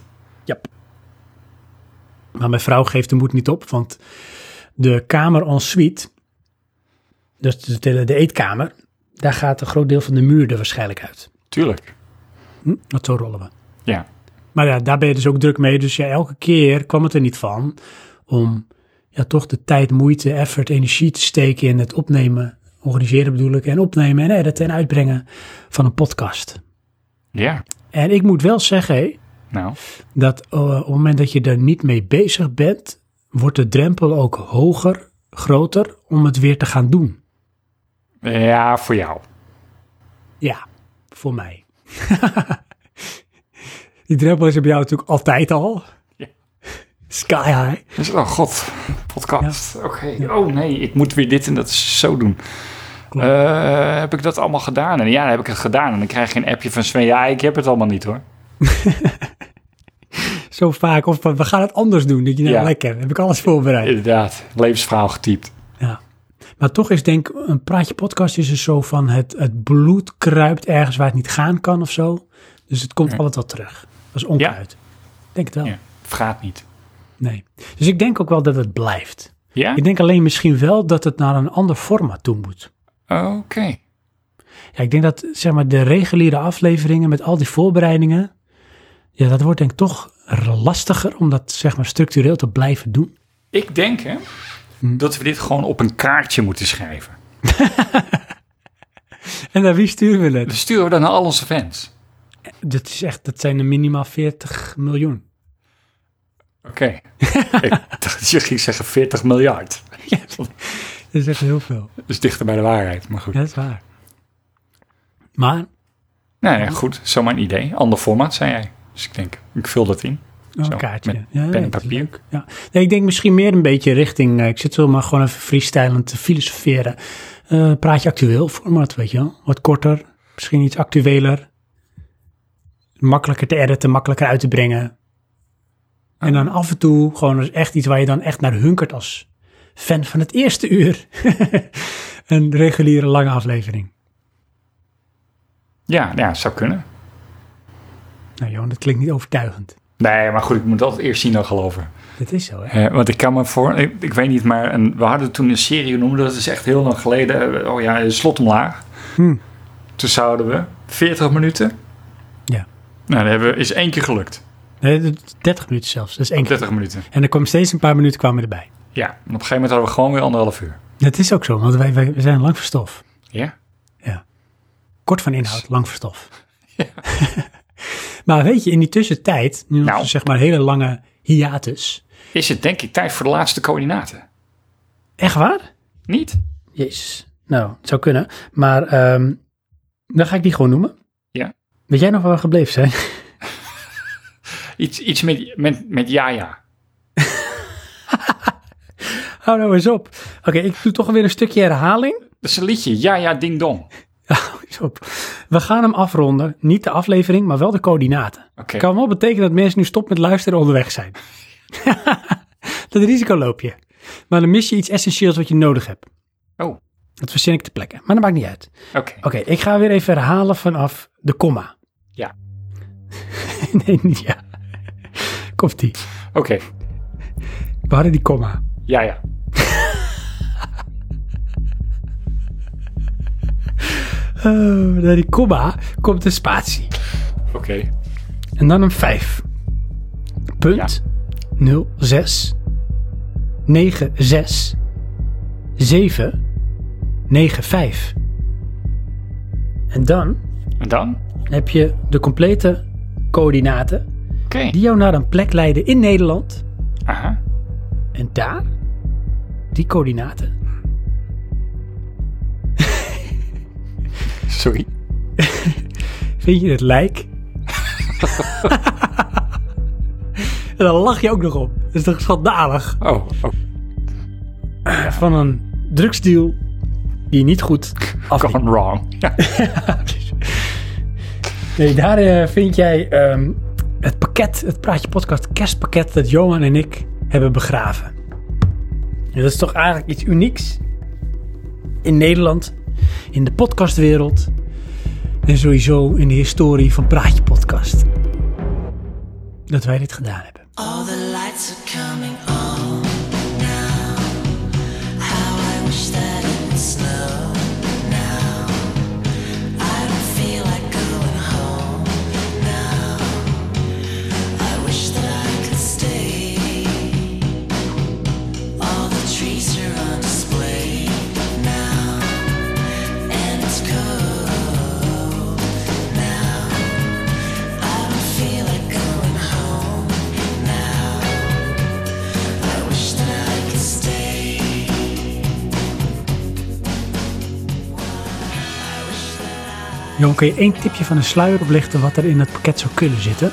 S1: Maar mijn vrouw geeft de moed niet op. Want de kamer en suite, dus de, tele- de eetkamer, daar gaat een groot deel van de muur er waarschijnlijk uit.
S2: Tuurlijk.
S1: Hm? Want zo rollen we.
S2: Ja.
S1: Maar ja, daar ben je dus ook druk mee. Dus ja, elke keer kwam het er niet van om ja, toch de tijd, moeite, effort, energie te steken in het opnemen, organiseren bedoel ik, en opnemen en editen en uitbrengen van een podcast.
S2: Ja.
S1: En ik moet wel zeggen hé,
S2: Nou,
S1: dat eh, op het moment dat je er niet mee bezig bent, wordt de drempel ook hoger, groter om het weer te gaan doen.
S2: ja, voor jou.
S1: Ja, voor mij. Die drempel is er bij jou natuurlijk altijd al.
S2: Ja.
S1: Sky high.
S2: Dus, oh god, podcast. Oké. Oh nee, ik moet weer dit en dat zo doen. Eh, heb ik dat allemaal gedaan? En ja, dan heb ik het gedaan. En dan krijg je een appje van Sven. Ja, ik heb het allemaal niet hoor.
S1: zo vaak. Of we gaan het anders doen. Dat je nou
S2: Ja.
S1: lekker, heb ik alles voorbereid.
S2: Inderdaad, levensverhaal getypt.
S1: Ja. Maar toch is denk ik, een praatje podcast is er zo van het, het bloed kruipt ergens waar het niet gaan kan of zo. Dus het komt altijd wel terug. Dat is onkruid. Ik Denk het wel.
S2: Ja. Het gaat niet.
S1: Nee. Dus ik denk ook wel dat het blijft.
S2: Ja?
S1: Ik denk alleen misschien wel dat het naar een ander format toe moet.
S2: Oké.
S1: Ja, ik denk dat zeg maar, de reguliere afleveringen met al die voorbereidingen. Ja, dat wordt denk ik toch lastiger om dat zeg maar, structureel te blijven doen.
S2: Ik denk hè,
S1: Hm.
S2: dat we dit gewoon op een kaartje moeten schrijven.
S1: En naar wie sturen we het?
S2: Dan sturen we dat naar al onze fans.
S1: Dus Dat is echt, dat zijn er minimaal 40 miljoen.
S2: Oké. ik dacht dat je ging zeggen 40 miljard.
S1: Dat is echt heel veel.
S2: Dat is dichter bij de waarheid, maar goed.
S1: Ja, dat is waar. Maar,
S2: Nou ja, goed. Zomaar een idee. Ander formaat, zei jij. Dus ik denk, ik vul dat in.
S1: een
S2: Zo,
S1: kaartje.
S2: met
S1: ja,
S2: pen en
S1: dat is
S2: papier.
S1: leuk. Ja. Nee, ik denk misschien meer een beetje richting, eh, ik zit wel maar gewoon even freestylend te filosoferen. Eh, praat je actueel format, weet je wel? Wat korter, misschien iets actueler. Makkelijker te editen, makkelijker uit te brengen. En dan af en toe gewoon eens echt iets waar je dan echt naar hunkert als fan van het eerste uur. een reguliere lange aflevering.
S2: Ja, ja, zou kunnen.
S1: Nou Johan, dat klinkt niet overtuigend.
S2: Nee, maar goed, ik moet altijd eerst zien dan geloven.
S1: Dat is zo, hè?
S2: Eh, want ik kan me voor... Ik, ik weet niet, maar een, we hadden toen een serie noemen. Dat is echt heel lang geleden. eh, Oh ja, Slot omlaag.
S1: Hm.
S2: Toen zouden we 40 minuten.
S1: Ja.
S2: Nou, dat hebben we, is één keer gelukt.
S1: Nee, dat is 30 minuten zelfs, dat is één keer.
S2: 30 minuten.
S1: En er kwam steeds een paar minuten kwamen erbij.
S2: Ja, en op een gegeven moment hadden we gewoon weer anderhalf uur.
S1: Dat is ook zo, want wij, wij zijn lang voor stof.
S2: Ja.
S1: Kort van inhoud, lang voor stof. maar weet je, in die tussentijd, nu
S2: Nou.
S1: nog zeg maar hele lange hiatus.
S2: Is het denk ik tijd voor de laatste coördinaten?
S1: Echt waar?
S2: Niet?
S1: Jezus. Nou, het zou kunnen. Maar ehm, dan ga ik die gewoon noemen.
S2: Ja.
S1: Weet jij nog waar we gebleven zijn?
S2: Iets, iets met, met, met ja, ja.
S1: Hou nou eens op. Oké, ik doe toch weer een stukje herhaling.
S2: Dat is een liedje. Ja, ja, ding dong. Oké.
S1: Pas op. We gaan hem afronden. Niet de aflevering, maar wel de coördinaten. Kan wel betekenen dat mensen nu stop met luisteren en onderweg zijn. dat risico loop je. Maar dan mis je iets essentieels wat je nodig hebt.
S2: Oh,
S1: Dat verzin ik te plekken. Maar dat maakt niet uit.
S2: oké.
S1: Oké, ik ga weer even herhalen vanaf de komma.
S2: Ja.
S1: nee, niet ja. Komt-ie.
S2: Oké.
S1: We hadden die komma.
S2: Ja, ja.
S1: Oh, na die komma komt een spatie.
S2: Oké.
S1: En dan een 5. Punt 06 96 7 95. En dan
S2: En dan?
S1: heb je de complete coördinaten
S2: Oké.
S1: die jou naar een plek leiden in Nederland.
S2: Aha.
S1: En daar, die coördinaten,
S2: Sorry.
S1: vind je het lijk. en dan lach je ook nog op. Dat is toch schandalig?
S2: Oh, oh.
S1: Van een drugsdeal die niet goed afliep.
S2: Gone wrong. Ja.
S1: Nee, daar eh, vind jij ehm, het pakket, het Praatje Podcast kerstpakket dat Johan en ik hebben begraven. En dat is toch eigenlijk iets unieks in Nederland, in de podcastwereld en sowieso in de historie van Praatje Podcast. Dat wij dit gedaan hebben.
S6: All the lights are coming on now. How I wish that it would snow now. I don't feel like going home now. I wish that I could stay. All the trees are on display now, and it's cold now. I don't feel like going home. Now, I wish that I could stay.
S1: Johan, kun je één tipje van een sluier oplichten wat er in het pakket zou kunnen zitten?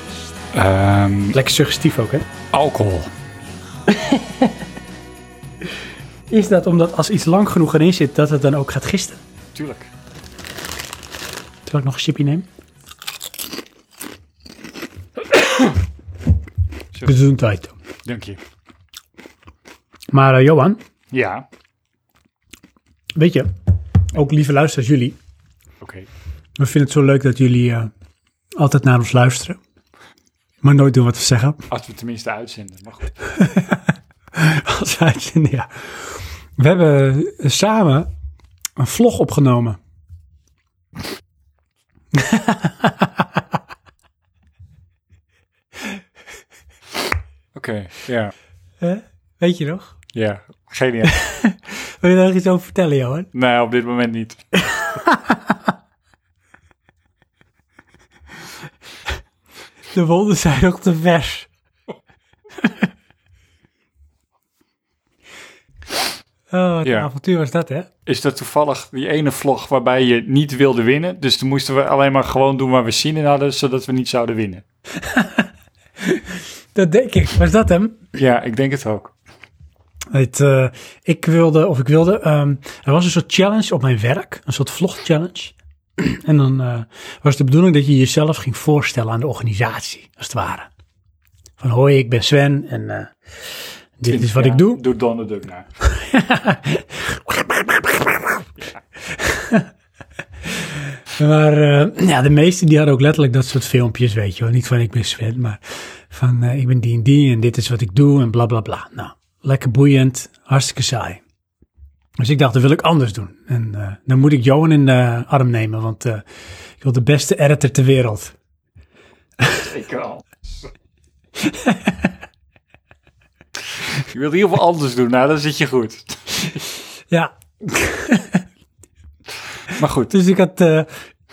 S2: Ehm,
S1: Lekker suggestief ook, hè?
S2: alcohol.
S1: Is dat omdat als iets lang genoeg erin zit, dat het dan ook gaat gisten?
S2: Tuurlijk.
S1: Terwijl ik nog een chipje neem. Gezondheid.
S2: Dank je.
S1: Maar eh, Johan,
S2: Ja.
S1: weet je, ook lieve luisteraars jullie.
S2: Oké.
S1: We vinden het zo leuk dat jullie eh, altijd naar ons luisteren. Maar nooit doen wat we zeggen.
S2: Als we tenminste uitzenden. Maar goed.
S1: Als uitzenden, ja. We hebben eh, samen een vlog opgenomen.
S2: Oké. Ja.
S1: Weet je nog?
S2: Ja. Geniaal.
S1: Wil je daar nog iets over vertellen, Johan?
S2: nee, op dit moment niet.
S1: De wonden zijn nog te vers. Oh, wat
S2: Ja.
S1: een avontuur was dat, hè?
S2: Is dat toevallig die ene vlog waarbij je niet wilde winnen? Dus dan moesten we alleen maar gewoon doen waar we zin in hadden, zodat we niet zouden winnen.
S1: Dat denk ik. Was dat hem?
S2: Ja, ik denk het ook.
S1: Het, eh, ik wilde, of ik wilde, ehm, er was een soort challenge op mijn werk, een soort vlog-challenge. en dan eh, was de bedoeling dat je jezelf ging voorstellen aan de organisatie, als het ware. Van hoi, ik ben Sven en eh, dit is wat
S2: Ja,
S1: ik doe.
S2: Doe Donald Duck nou. na.
S1: Maar eh, ja, de meesten die hadden ook letterlijk dat soort filmpjes, weet je wel. Niet van ik ben Sven, maar van eh, ik ben die en die en dit is wat ik doe en bla bla bla. Nou, lekker boeiend, hartstikke saai. Dus ik dacht, dat wil ik anders doen. En eh, dan moet ik Johan in de arm nemen, want eh, ik wil de beste editor ter wereld.
S2: Ik wel. je wilt heel veel anders doen, nou dan zit je goed.
S1: Ja,
S2: Maar goed,
S1: dus ik had, eh, en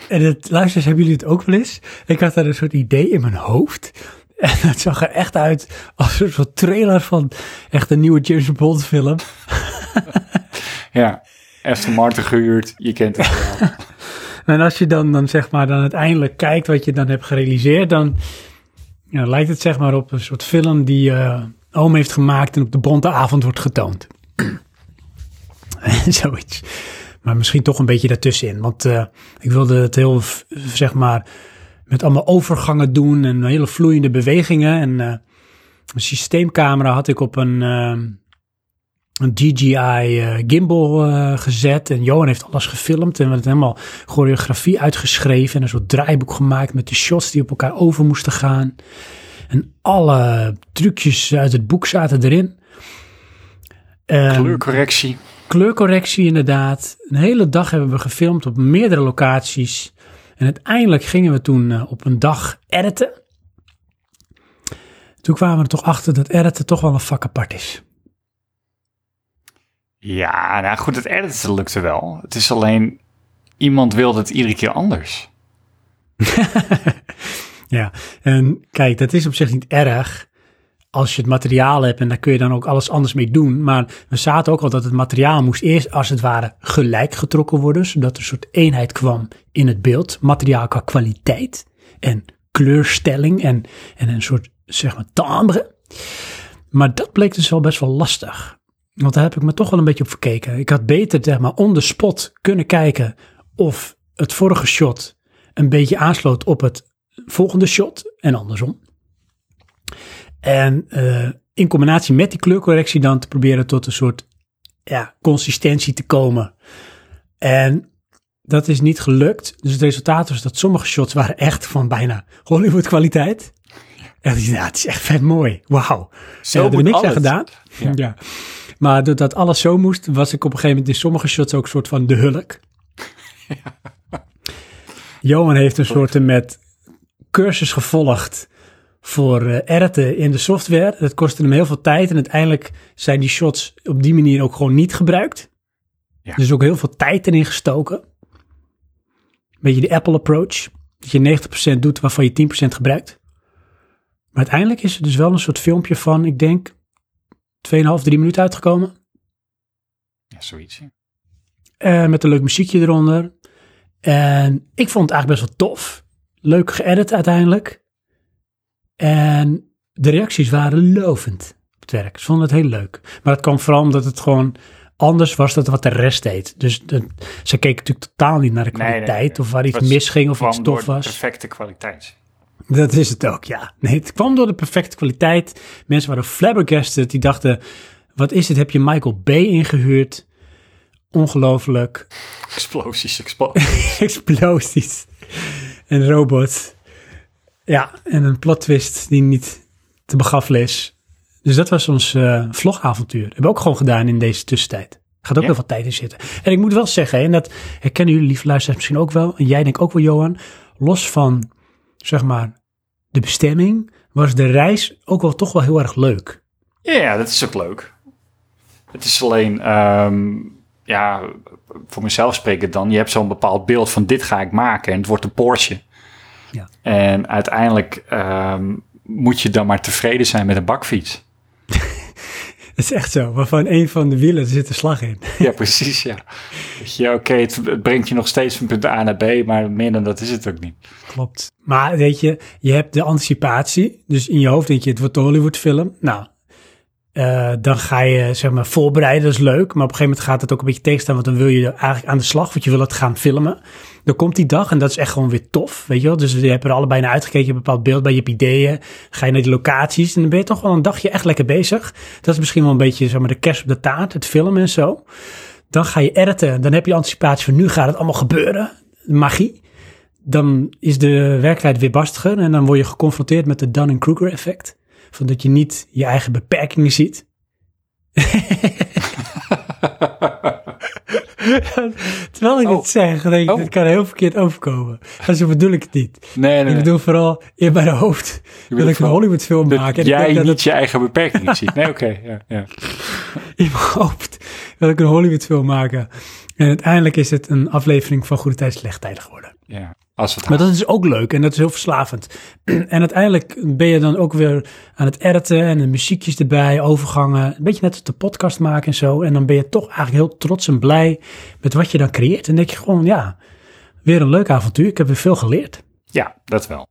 S1: het, luisteraars, hebben jullie het ook wel eens? Ik had daar een soort idee in mijn hoofd. En dat zag er echt uit als een soort trailer van echt een nieuwe James Bond film.
S2: ja. Aston Martin gehuurd, je kent het wel.
S1: En als je dan, dan zeg maar dan uiteindelijk kijkt wat je dan hebt gerealiseerd, dan ja, lijkt het zeg maar op een soort film die eh oom heeft gemaakt en op de bonte avond wordt getoond. Zoiets. Maar misschien toch een beetje daartussenin. Want eh, ik wilde het heel, v- zeg maar, met allemaal overgangen doen en hele vloeiende bewegingen. En eh, een systeemcamera had ik op een, eh, een DJI eh, gimbal eh, gezet. En Johan heeft alles gefilmd. En we hebben helemaal choreografie uitgeschreven. En een soort draaiboek gemaakt met de shots die op elkaar over moesten gaan. En alle trucjes uit het boek zaten erin. Ehm,
S2: Kleurcorrectie.
S1: Kleurcorrectie inderdaad. Een hele dag hebben we gefilmd op meerdere locaties. En uiteindelijk gingen we toen eh, op een dag editen. Toen kwamen we er toch achter dat editen toch wel een vak apart is.
S2: Ja, nou goed, het editen lukte wel. Het is alleen, iemand wilde het iedere keer anders.
S1: Ja, en kijk, dat is op zich niet erg als je het materiaal hebt en daar kun je dan ook alles anders mee doen. Maar we zaten ook al dat het materiaal moest eerst als het ware gelijk getrokken worden, zodat er een soort eenheid kwam in het beeld. Materiaal qua kwaliteit en kleurstelling en, en een soort, zeg maar, timbre. Maar dat bleek dus wel best wel lastig. Want daar heb ik me toch wel een beetje op verkeken. Ik had beter, zeg maar, on the spot kunnen kijken of het vorige shot een beetje aansloot op het volgende shot en andersom. En eh, in combinatie met die kleurcorrectie dan te proberen tot een soort ja, consistentie te komen. En dat is niet gelukt. Dus het resultaat was dat sommige shots waren echt van bijna Hollywood kwaliteit. En ik dacht, ja, het is echt vet mooi. Wauw. Ze hebben er
S2: moet
S1: niks aan
S2: alles.
S1: gedaan. Ja. Maar doordat alles zo moest, was ik op een gegeven moment in sommige shots ook een soort van de hulk. Johan heeft een soort met cursus gevolgd voor eh, editen in de software. Dat kostte hem heel veel tijd en uiteindelijk zijn die shots op die manier ook gewoon niet gebruikt.
S2: Ja.
S1: Dus ook heel veel tijd erin gestoken. Beetje de Apple approach. Dat je 90% doet waarvan je 10% gebruikt. Maar uiteindelijk is er dus wel een soort filmpje van, ik denk, 2,5, 3 minuten uitgekomen.
S2: Ja, zoiets. ja.
S1: Eh, met een leuk muziekje eronder. En ik vond het eigenlijk best wel tof. Leuk geëdit uiteindelijk. En de reacties waren lovend op het werk. Ze vonden het heel leuk. Maar het kwam vooral omdat het gewoon anders was dan wat de rest deed. Dus de- ze keken natuurlijk totaal niet naar de
S2: Nee, nee,
S1: kwaliteit
S2: nee.
S1: of waar iets
S2: Het
S1: misging of
S2: kwam
S1: iets
S2: door
S1: tof
S2: de
S1: was.
S2: perfecte kwaliteit.
S1: Dat is het ook, ja. Nee, het kwam door de perfecte kwaliteit. Mensen waren flabbergasted. Die dachten, wat is dit? Heb je Michael Bay ingehuurd? Ongelooflijk.
S2: Explosies, explosies.
S1: explosies en robots. Ja, en een plot twist die niet te begaffelen is. Dus dat was ons eh, vlogavontuur. Hebben we ook gewoon gedaan in deze tussentijd. Gaat ook
S2: Ja.
S1: heel veel tijd in zitten. En ik moet wel zeggen, hè, en dat herkennen jullie lieve luisteraars misschien ook wel. En jij denk ook wel, Johan. Los van, zeg maar, de bestemming, was de reis ook wel toch wel heel erg leuk.
S2: ja, dat is ook leuk. Het is alleen, ehm, ja, voor mezelf sprekend dan, je hebt zo'n bepaald beeld van dit ga ik maken en het wordt een Porsche.
S1: Ja.
S2: En uiteindelijk ehm, moet je dan maar tevreden zijn met een bakfiets.
S1: Dat is echt zo, waarvan een van de wielen er zit een slag in.
S2: Ja, precies, ja. Weet je, oké, het, het brengt je nog steeds van punt A naar B, maar meer dan dat is het ook niet.
S1: Klopt. Maar weet je, je hebt de anticipatie. Dus in je hoofd denk je, het wordt een Hollywoodfilm. Nou, eh, dan ga je zeg maar voorbereiden, dat is leuk. Maar op een gegeven moment gaat het ook een beetje tegenstaan. Want dan wil je er eigenlijk aan de slag, want je wil het gaan filmen. Dan komt die dag en dat is echt gewoon weer tof, weet je wel. Dus je hebt er allebei naar uitgekeken, je hebt een bepaald beeld bij, je hebt ideeën. Ga je naar die locaties en dan ben je toch wel een dagje echt lekker bezig. Dat is misschien wel een beetje zeg maar de kerst op de taart, het filmen en zo. Dan ga je editen, dan heb je anticipatie van nu gaat het allemaal gebeuren. Magie dan is de werkelijkheid weer barstiger en dan word je geconfronteerd met de Dunning-Kruger effect. Van dat je niet je eigen beperkingen ziet. Terwijl ik
S2: Oh.
S1: het zeg, denk ik,
S2: Oh.
S1: dit kan heel verkeerd overkomen. Maar zo bedoel ik het niet.
S2: Nee, nee,
S1: Ik bedoel vooral in mijn hoofd
S2: bedoelt
S1: wil ik een
S2: vooral
S1: Hollywood film
S2: Dat
S1: maken. En ik
S2: jij
S1: denk dat
S2: niet
S1: het
S2: je eigen beperkingen ziet. Nee, oké. ja, ja.
S1: in mijn hoofd wil ik een Hollywood film maken. En uiteindelijk is het een aflevering van Goede Tijd, Slechte Tijden geworden.
S2: ja. Als we het
S1: Maar dat is ook leuk en dat is heel verslavend. en uiteindelijk ben je dan ook weer aan het editen en de muziekjes erbij, overgangen. Een beetje net als de podcast maken en zo. En dan ben je toch eigenlijk heel trots en blij met wat je dan creëert. En denk je gewoon, ja, weer een leuk avontuur. Ik heb weer veel geleerd.
S2: Ja, dat wel.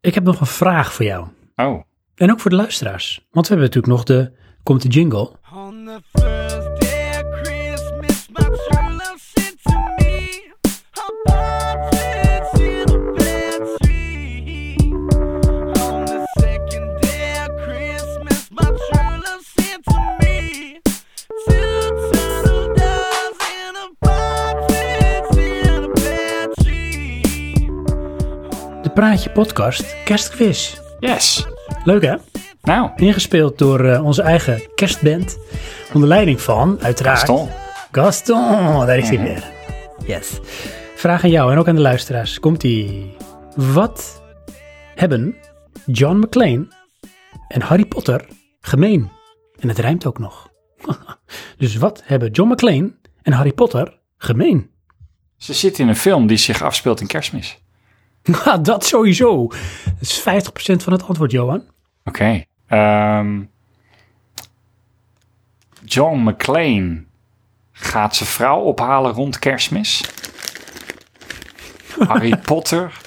S1: Ik heb nog een vraag voor jou.
S2: Oh,
S1: En ook voor de luisteraars. Want we hebben natuurlijk nog de, komt de jingle.
S10: On the first day of Christmas, my true love sent to me a partridge in a pear tree. On the second day of Christmas, my true love sent to me two
S1: Praatje Podcast kerstquiz.
S2: Yes.
S1: Leuk hè?
S2: Nou,
S1: Ingespeeld door eh, onze eigen kerstband. Onder leiding van, uiteraard...
S2: Gaston.
S1: Gaston, daar is hij weer. Yes. Vraag aan jou en ook aan de luisteraars. Komt-ie. Wat hebben John McClane en Harry Potter gemeen? En het rijmt ook nog. dus wat hebben John McClane en Harry Potter gemeen?
S2: Ze zit in een film die zich afspeelt in kerstmis.
S1: Ha, Nou, dat sowieso. Dat is 50% van het antwoord, Johan.
S2: Oké. ehm, John McClane gaat zijn vrouw ophalen rond kerstmis. Harry Potter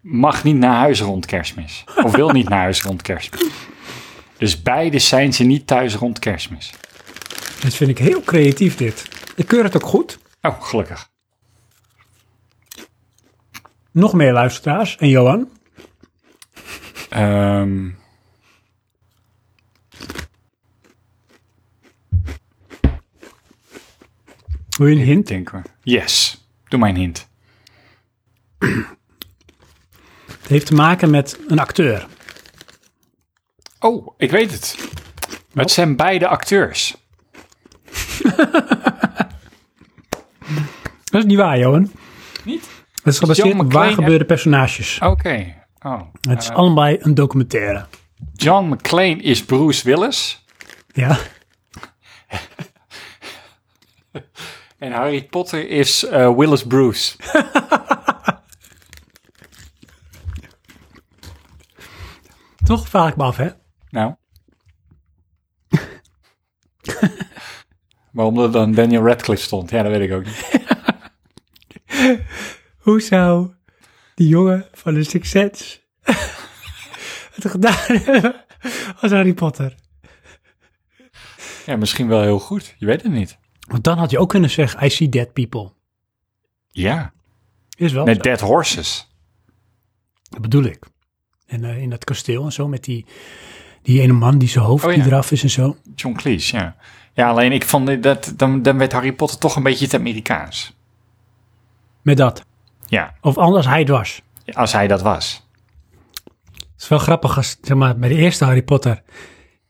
S2: mag niet naar huis rond kerstmis. Of wil niet naar huis rond kerstmis. Dus beide zijn ze niet thuis rond kerstmis.
S1: Dat vind ik heel creatief, dit. Ik keur het ook goed.
S2: Oh, gelukkig.
S1: Nog meer luisteraars. En Johan?
S2: Ehm.
S1: Wil je een hint?
S2: denk hoor. Yes. Doe mijn hint.
S1: Het heeft te maken met een acteur.
S2: Oh, ik weet het. Oh. Het zijn beide acteurs.
S1: Dat is niet waar, Johan. Niet? Het is gebaseerd
S2: John
S1: op
S2: McClane
S1: waar gebeurde personages.
S2: Oké. Oh.
S1: Het is allebei een documentaire.
S2: John McClane is Bruce Willis.
S1: Ja,
S2: En Harry Potter is eh, Willis Bruce.
S1: toch vraag ik me af, hè?
S2: Nou. Waarom er dan Daniel Radcliffe stond? Ja, dat weet ik ook niet.
S1: Hoe zou die jongen van de Six Sense het gedaan hebben als Harry Potter?
S2: Ja, misschien wel heel goed. Je weet het niet.
S1: Want dan had je ook kunnen zeggen, I see dead people.
S2: Ja.
S1: Is wel
S2: Met
S1: zo.
S2: Dead Horses.
S1: Dat bedoel ik. En eh, in dat kasteel en zo, met die, die ene man die zijn hoofd
S2: Oh, ja.
S1: die eraf is en zo.
S2: John Cleese, ja. Ja, alleen ik vond dit- dat, dan, dan werd Harry Potter toch een beetje het Amerikaans.
S1: Met dat.
S2: Ja,
S1: Of anders hij het was.
S2: als hij dat was.
S1: Het is wel grappig als, zeg maar, bij de eerste Harry Potter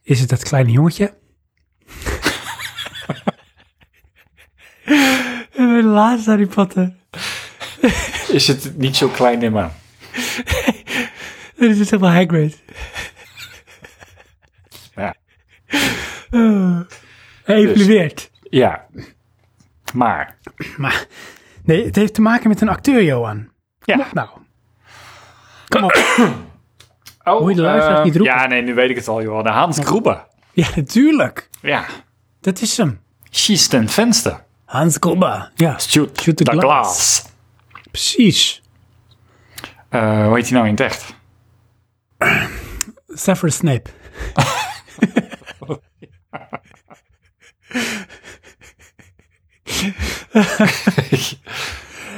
S1: is het dat kleine jongetje. en bij de laatste Harry Potter
S2: Is het niet zo klein in maar.
S1: dan is het helemaal Hagrid.
S2: Ja.
S1: Dus. Evolueert.
S2: ja. Maar,
S1: Maar nee, het heeft te maken met een acteur, Johan.
S2: ja.
S1: Nou, kom op.
S2: Oh,
S1: Moet je de luisteraars
S2: eh,
S1: niet roepen?
S2: Ja, nee, nu weet ik het al, joh. De Hans Gruber.
S1: Ja, natuurlijk.
S2: Ja.
S1: Dat is hem.
S2: Schießt een venster.
S1: Hans Gruber. Ja,
S2: Shoot,
S1: Shoot the
S2: the
S1: glass.
S2: glass.
S1: precies.
S2: Eh, hoe heet hij nou in het echt?
S1: Severus Snape.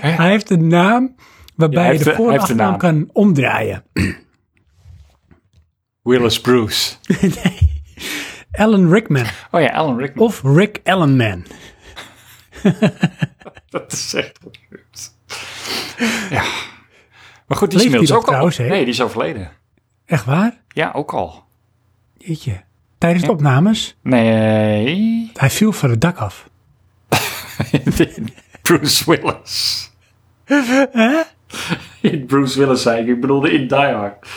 S1: Hij heeft een naam
S2: Ja,
S1: waarbij
S2: hij
S1: je de
S2: heeft de- hij heeft de
S1: voornaam
S2: naam.
S1: kan omdraaien.
S2: Willis Bruce.
S1: Alan Rickman
S2: Oh ja, Alan Rickman.
S1: of Rick Allenman.
S2: Dat is echt absurd. Ja. Maar goed, die
S1: Leeft
S2: is inmiddels
S1: hij nog
S2: ook
S1: trouwens,
S2: al...
S1: hè?
S2: Nee, die is overleden.
S1: Echt waar?
S2: Ja, ook al.
S1: Jeetje. Tijdens de opnames,
S2: Nee.
S1: hij viel van het dak af.
S2: Bruce Willis. Hè? Bruce Willis zei ik. Ik bedoelde in Die Hard.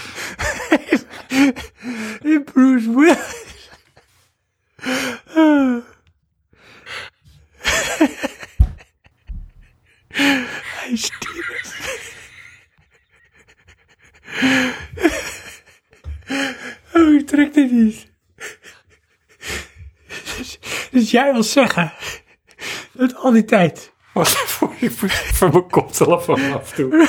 S1: Bruce Willis. Hij stierf. Oh, ik trek dit niet. Dus, dus jij wil zeggen dat al die tijd
S2: Wat voor ik van mijn koptelefoon af toe.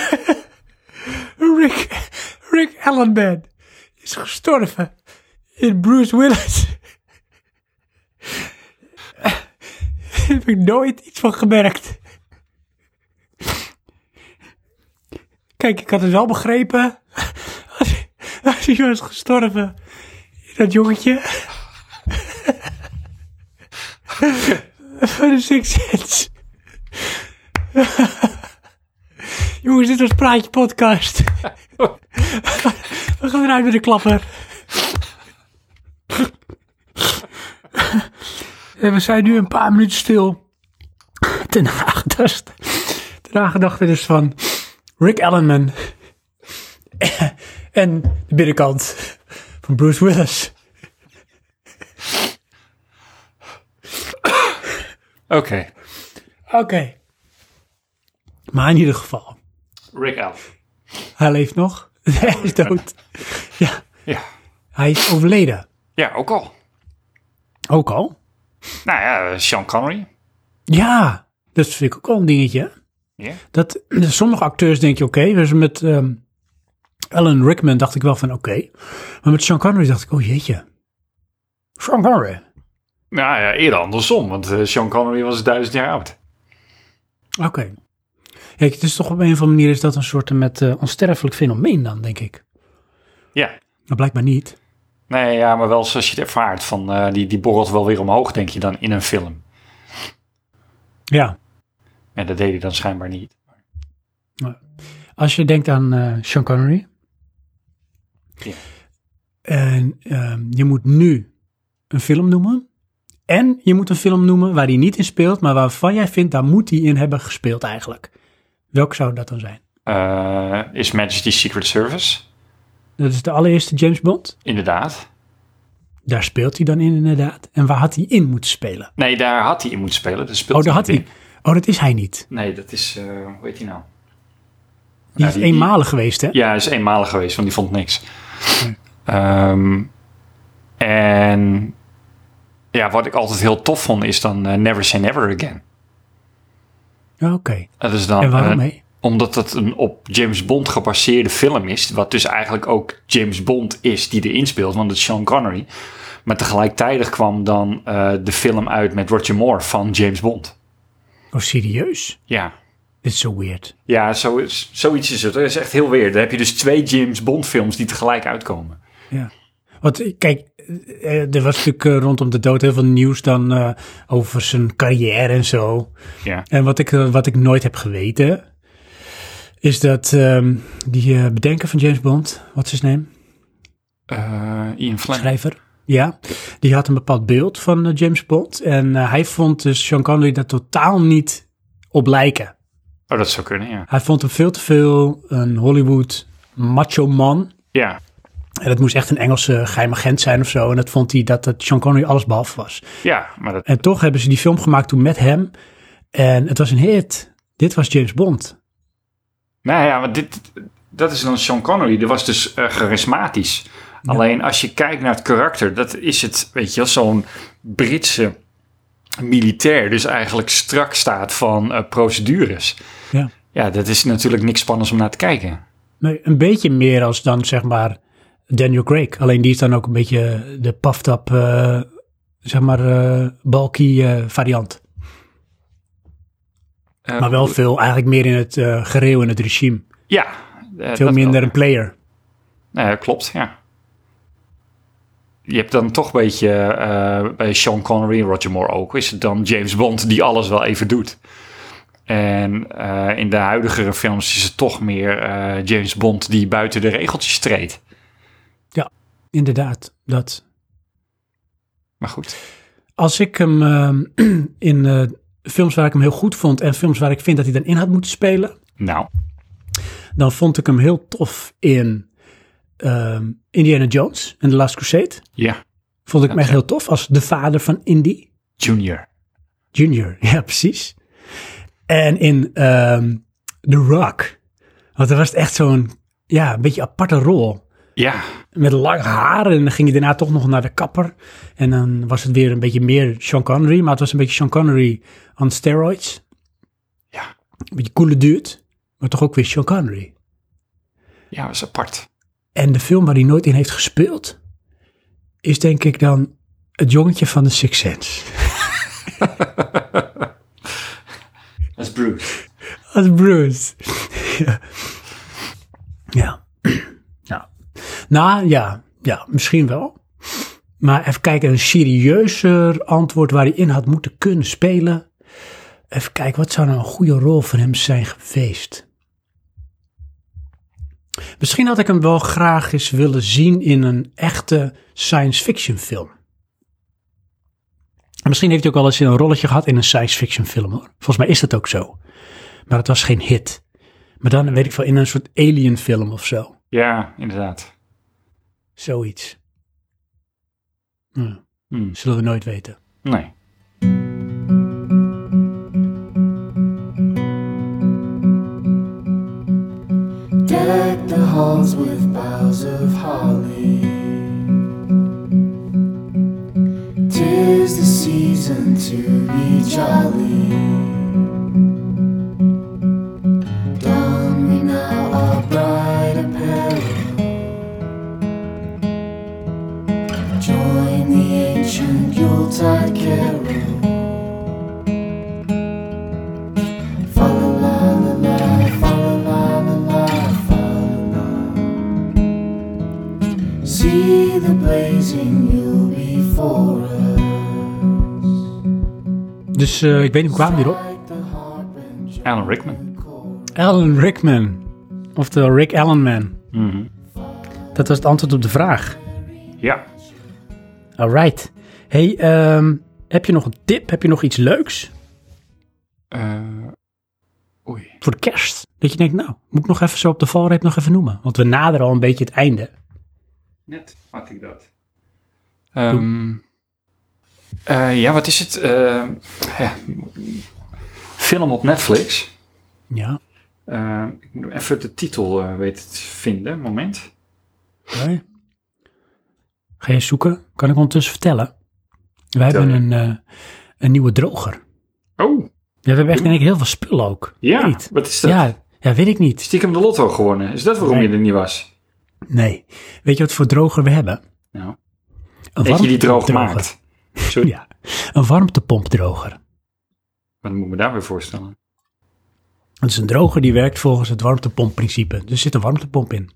S1: Rick, Rick Allenman is gestorven in Bruce Willis. Daar heb ik nooit iets van gemerkt. Kijk, ik had het wel begrepen als, als hij was gestorven in dat jongetje. Van de Six Sense. Jongens, dit was Praatje Podcast. We gaan eruit met de klapper. En we zijn nu een paar minuten stil. Ten nagedacht. Ten nagedachte dus van Rick Ellenman. En de binnenkant van Bruce Willis.
S2: Oké,
S1: Oké. Maar in ieder geval,
S2: Rick Allen.
S1: hij leeft nog. Hij is dood. Ja,
S2: Ja.
S1: hij is overleden.
S2: ja, ook al.
S1: Ook al?
S2: Nou ja, Sean Connery.
S1: Ja, dat vind ik ook al een dingetje. hè.
S2: Ja.
S1: Dat, sommige acteurs denk je, oké, dus met ehm Alan Rickman dacht ik wel van, oké. Maar met Sean Connery dacht ik, oh jeetje. Sean Connery.
S2: Nou ja, eerder andersom, want eh, Sean Connery was duizend jaar oud.
S1: Oké. Kijk, het is toch op een of andere manier is dat een soort met eh, onsterfelijk fenomeen dan, denk ik.
S2: Ja.
S1: Maar blijkbaar niet.
S2: Nee, ja, maar wel zoals je het ervaart. Van, eh, die, die borrelt wel weer omhoog, denk je dan, in een film.
S1: Ja.
S2: En dat deed hij dan schijnbaar niet.
S1: Als je denkt aan eh, Sean Connery.
S2: Ja.
S1: En ehm, je moet nu een film noemen. En je moet een film noemen waar hij niet in speelt, maar waarvan jij vindt, daar moet hij in hebben gespeeld eigenlijk. Welk zou dat dan zijn?
S2: Eh, is Majesty's Secret Service.
S1: Dat is de allereerste James Bond.
S2: Inderdaad.
S1: Daar speelt hij dan in inderdaad. En waar had hij in moeten spelen?
S2: Nee, daar had hij in moeten spelen. Daar speelt
S1: oh, daar had
S2: niet
S1: hij. Oh, dat is hij niet.
S2: in. Nee, dat is, eh, hoe heet hij nou?
S1: Die
S2: Ja,
S1: is
S2: die- die-
S1: eenmalig geweest, hè?
S2: Ja, hij is eenmalig geweest, want die vond niks. Ehm, en ja, wat ik altijd heel tof vond, is dan eh, Never Say Never Again.
S1: Oh, Oké.
S2: Dat is dan,
S1: En waarom
S2: eh,
S1: mee?
S2: Omdat het een op James Bond gebaseerde film is. Wat dus eigenlijk ook James Bond is die erin speelt. Want het is Sean Connery. Maar tegelijkertijd kwam dan eh, de film uit met Roger Moore van James Bond.
S1: Oh, serieus?
S2: Ja.
S1: Dit is zo weird.
S2: Ja, zo is, zoiets is het. Dat is echt heel weird. Dan heb je dus twee James Bond films die tegelijk uitkomen.
S1: Ja. Want eh, kijk, eh, er was natuurlijk eh, rondom de dood heel veel nieuws dan eh, over zijn carrière en zo.
S2: Ja.
S1: En wat ik, eh, wat ik nooit heb geweten, is dat ehm, die eh, bedenker van James Bond, wat is zijn naam?
S2: Eh, Ian Fleming.
S1: Schrijver. Ja, die had een bepaald beeld van eh, James Bond. En eh, hij vond dus Sean Connery daar totaal niet op lijken.
S2: Oh, dat zou kunnen, ja.
S1: Hij vond hem veel te veel een Hollywood macho man.
S2: Ja,
S1: En dat moest echt een Engelse geheim agent zijn of zo. En dat vond hij dat, dat Sean Connery alles behalve was.
S2: ja maar dat,
S1: En toch hebben ze die film gemaakt toen met hem. En het was een hit. Dit was James Bond.
S2: nou ja, maar dit, dat is dan Sean Connery. Die was dus eh, charismatisch. Alleen als je kijkt naar het karakter, dat is het, weet je wel, zo'n Britse militair. Dus eigenlijk strak staat van eh, procedures.
S1: Ja.
S2: Ja, dat is natuurlijk niks spannends om naar te kijken.
S1: Maar een beetje meer als dan zeg maar Daniel Craig. Alleen die is dan ook een beetje de puffed up, eh, zeg maar, eh bulky eh, variant.
S2: Eh,
S1: Maar wel veel, eigenlijk meer in het eh, gereel in het regime.
S2: Ja. eh,
S1: Veel
S2: dat
S1: minder
S2: wel.
S1: een player.
S2: Nee, klopt, Nou ja. Je hebt dan toch een beetje eh, bij Sean Connery en Roger Moore ook, is het dan James Bond die alles wel even doet. En eh, in de huidigere films is het toch meer eh, James Bond die buiten de regeltjes treedt.
S1: Inderdaad, dat.
S2: Maar goed.
S1: Als ik hem ehm, in eh, films waar ik hem heel goed vond en films waar ik vind dat hij dan in had moeten spelen,
S2: Nou,
S1: dan vond ik hem heel tof in ehm, Indiana Jones en The Last Crusade.
S2: ja.
S1: Vond ik hem echt heel tof als de vader van Indy
S2: Junior.
S1: Junior. Ja, precies. En in ehm, The Rock. Want dat was het echt zo'n, ja, een beetje aparte rol.
S2: Ja,
S1: Met lang haar en dan ging hij daarna toch nog naar de kapper. En dan was het weer een beetje meer Sean Connery, maar het was een beetje Sean Connery on steroids.
S2: ja.
S1: Een beetje coole dude, maar toch ook weer Sean Connery.
S2: Ja, dat is apart.
S1: En de film waar hij nooit in heeft gespeeld, is denk ik dan het jongetje van de Six Sense.
S2: Dat is Bruce.
S1: Als Bruce. ja. Ja. ja. Nou ja, ja, misschien wel. Maar even kijken, een serieuzer antwoord waar hij in had moeten kunnen spelen. Even kijken, wat zou nou een goede rol voor hem zijn geweest? Misschien had ik hem wel graag eens willen zien in een echte science fiction film. En Misschien heeft hij ook wel eens een rolletje gehad in een science fiction film hoor. Volgens mij is dat ook zo. Maar het was geen hit. Maar dan weet ik wel in een soort alien film of zo.
S2: Ja, inderdaad.
S1: Zoiets. Hm.
S2: Hmm.
S1: Zullen we nooit weten.
S2: Nee.
S6: Deck the halls with boughs of holly. Tis the season to be jolly. Don we now our bright apparel. Join the ancient Yuletide carol. Fa la la la la, fa la la la la, fa la la. See the blazing you before us.
S1: Dus eh, ik weet niet, hoe kwamen we hierop?
S6: Like the harp and jo-
S2: Alan Rickman.
S6: chorus.
S1: Alan Rickman. Oftewel Rick Allen Man.
S2: Mhm.
S1: Dat was het antwoord op de vraag.
S2: Ja.
S1: Alright. Hey, ehm, heb je nog een tip? Heb je nog iets leuks
S2: Eh, oei.
S1: voor de kerst? Dat je denkt, nou, moet ik nog even zo op de valreep nog even noemen. Want we naderen al een beetje het einde.
S2: Net had ik dat. Ehm, eh, ja, wat is het? Eh, ja. Film op Netflix.
S1: Ja.
S2: Eh, ik moet even de titel eh, weten te vinden. Moment.
S1: Hoi. Ga je zoeken? Kan ik ondertussen vertellen? We hebben
S2: je.
S1: een, eh, een nieuwe droger.
S2: Oh,
S1: Ja, we hebben echt in één keer heel veel spullen ook.
S2: ja.
S1: Weet.
S2: Wat is dat?
S1: Ja, ja, weet ik niet.
S2: Stiekem de lotto gewonnen. Is dat waarom
S1: Nee.
S2: je er niet was?
S1: Nee. Weet je wat voor droger we hebben?
S2: Nou,
S1: Een
S2: dat je die droog
S1: warmtepompdroger.
S2: maakt. Sorry.
S1: Ja. Een warmtepompdroger.
S2: Wat moet ik me daar weer voorstellen?
S1: Dat is een droger die werkt volgens het warmtepompprincipe. Dus er zit een warmtepomp in.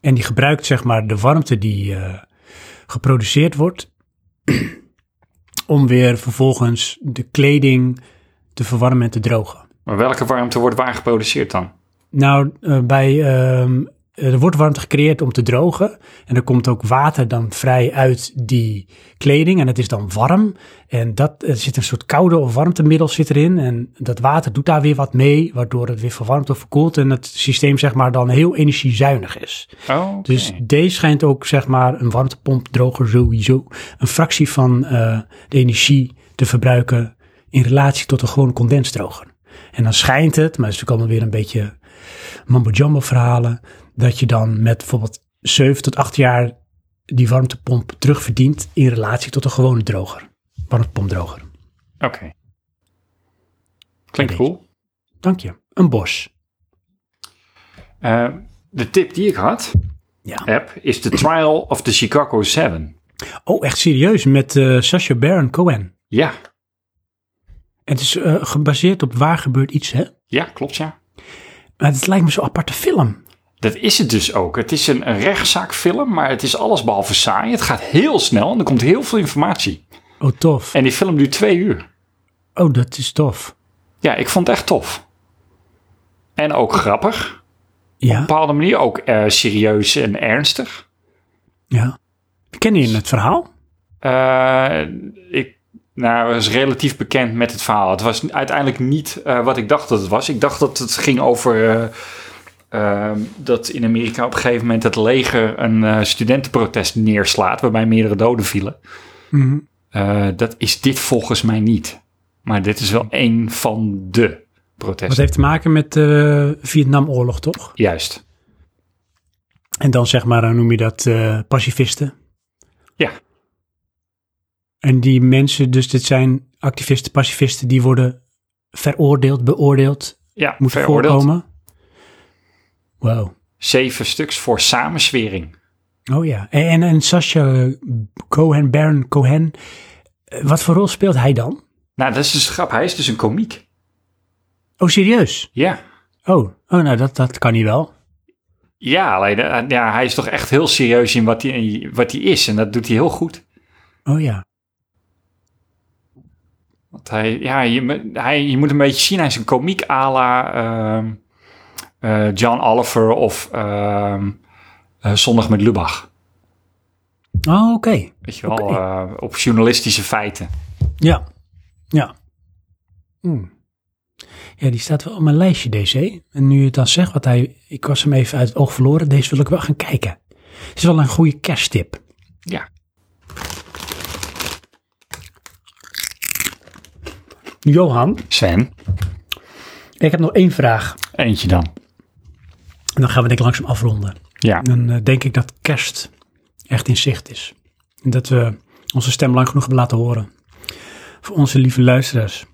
S1: En die gebruikt zeg maar de warmte die eh, geproduceerd wordt om weer vervolgens de kleding te verwarmen en te drogen.
S2: Maar welke warmte wordt waar geproduceerd dan?
S1: Nou, eh, bij, ehm, er wordt warmte gecreëerd om te drogen. En er komt ook water dan vrij uit die kleding. En het is dan warm. En dat, er zit een soort koude of warmtemiddel zit erin. En dat water doet daar weer wat mee, waardoor het weer verwarmt of verkoelt. En het systeem zeg maar dan heel energiezuinig is.
S2: Oh, oké.
S1: Dus deze schijnt ook zeg maar een warmtepompdroger sowieso een fractie van eh, de energie te verbruiken in relatie tot een gewone condensdroger. En dan schijnt het, maar het is natuurlijk allemaal weer een beetje mambo jumbo verhalen, dat je dan met bijvoorbeeld 7 tot 8 jaar die warmtepomp terugverdient in relatie tot een gewone droger. Warmtepompdroger.
S2: Oké. Klinkt cool.
S1: Dank je. Een bos.
S2: Eh, de tip die ik had,
S1: Ja.
S2: heb, is The Trial of the Chicago 7.
S1: Oh, echt serieus, met eh Sacha Baron Cohen.
S2: Ja,
S1: Het is eh, gebaseerd op waar gebeurt iets, hè?
S2: ja, klopt ja.
S1: Maar het lijkt me zo'n aparte film.
S2: Dat is het dus ook. Het is een, een rechtszaakfilm, maar het is alles behalve saai. Het gaat heel snel en er komt heel veel informatie.
S1: Oh, tof.
S2: En die film duurt twee uur.
S1: Oh, dat is tof.
S2: Ja, ik vond het echt tof. En ook grappig. Op
S1: Ja,
S2: een bepaalde manier ook eh, serieus en ernstig.
S1: ja. Ken je het verhaal?
S2: Eh, ik nou, was relatief bekend met het verhaal. Het was uiteindelijk niet eh, wat ik dacht dat het was. Ik dacht dat het ging over eh, ehm, dat in Amerika op een gegeven moment het leger een eh, studentenprotest neerslaat, waarbij meerdere doden vielen.
S1: Mhm.
S2: Eh, dat is dit volgens mij niet. Maar dit is
S1: Mhm.
S2: wel een van de
S1: Dat
S2: protesten.
S1: heeft te maken met de Vietnamoorlog, toch?
S2: Juist.
S1: En dan zeg maar, hoe noem je dat, eh, pacifisten.
S2: Ja.
S1: En die mensen, dus dit zijn activisten, pacifisten, die worden veroordeeld, beoordeeld,
S2: Ja,
S1: moeten
S2: veroordeeld.
S1: voorkomen. Wauw.
S2: Zeven stuks voor samenzwering.
S1: Oh ja. En, en, en Sasha Cohen, Baron Cohen, eh, wat voor rol speelt hij dan?
S2: Nou, dat is dus de grap. Hij is dus een komiek.
S1: Oh, serieus?
S2: Ja.
S1: Oh, oh nou, dat, dat kan hij wel.
S2: Ja, alleen eh, ja, hij is toch echt heel serieus in wat hij, wat hij is. En dat doet hij heel goed.
S1: Oh ja.
S2: Want hij, ja, je, me- hij, je moet een beetje zien, hij is een komiek à la ehm, eh, John Oliver of ehm, eh, Zondag met Lubach.
S1: Oh, oké.
S2: Weet je wel, eh, op journalistische feiten.
S1: Ja. Ja. Hmm. Ja, die staat wel op mijn lijstje, DC. En nu je het dan zegt, wat hij, ik was hem even uit het oog verloren. Deze wil ik wel gaan kijken. Het is wel een goede kersttip.
S2: Ja.
S1: Johan,
S2: Sven,
S1: ik heb nog één vraag.
S2: eentje dan.
S1: En dan gaan we denk ik langzaam afronden.
S2: Ja.
S1: Dan eh, denk ik dat kerst echt in zicht is. En dat we onze stem lang genoeg hebben laten horen. Voor onze lieve luisteraars.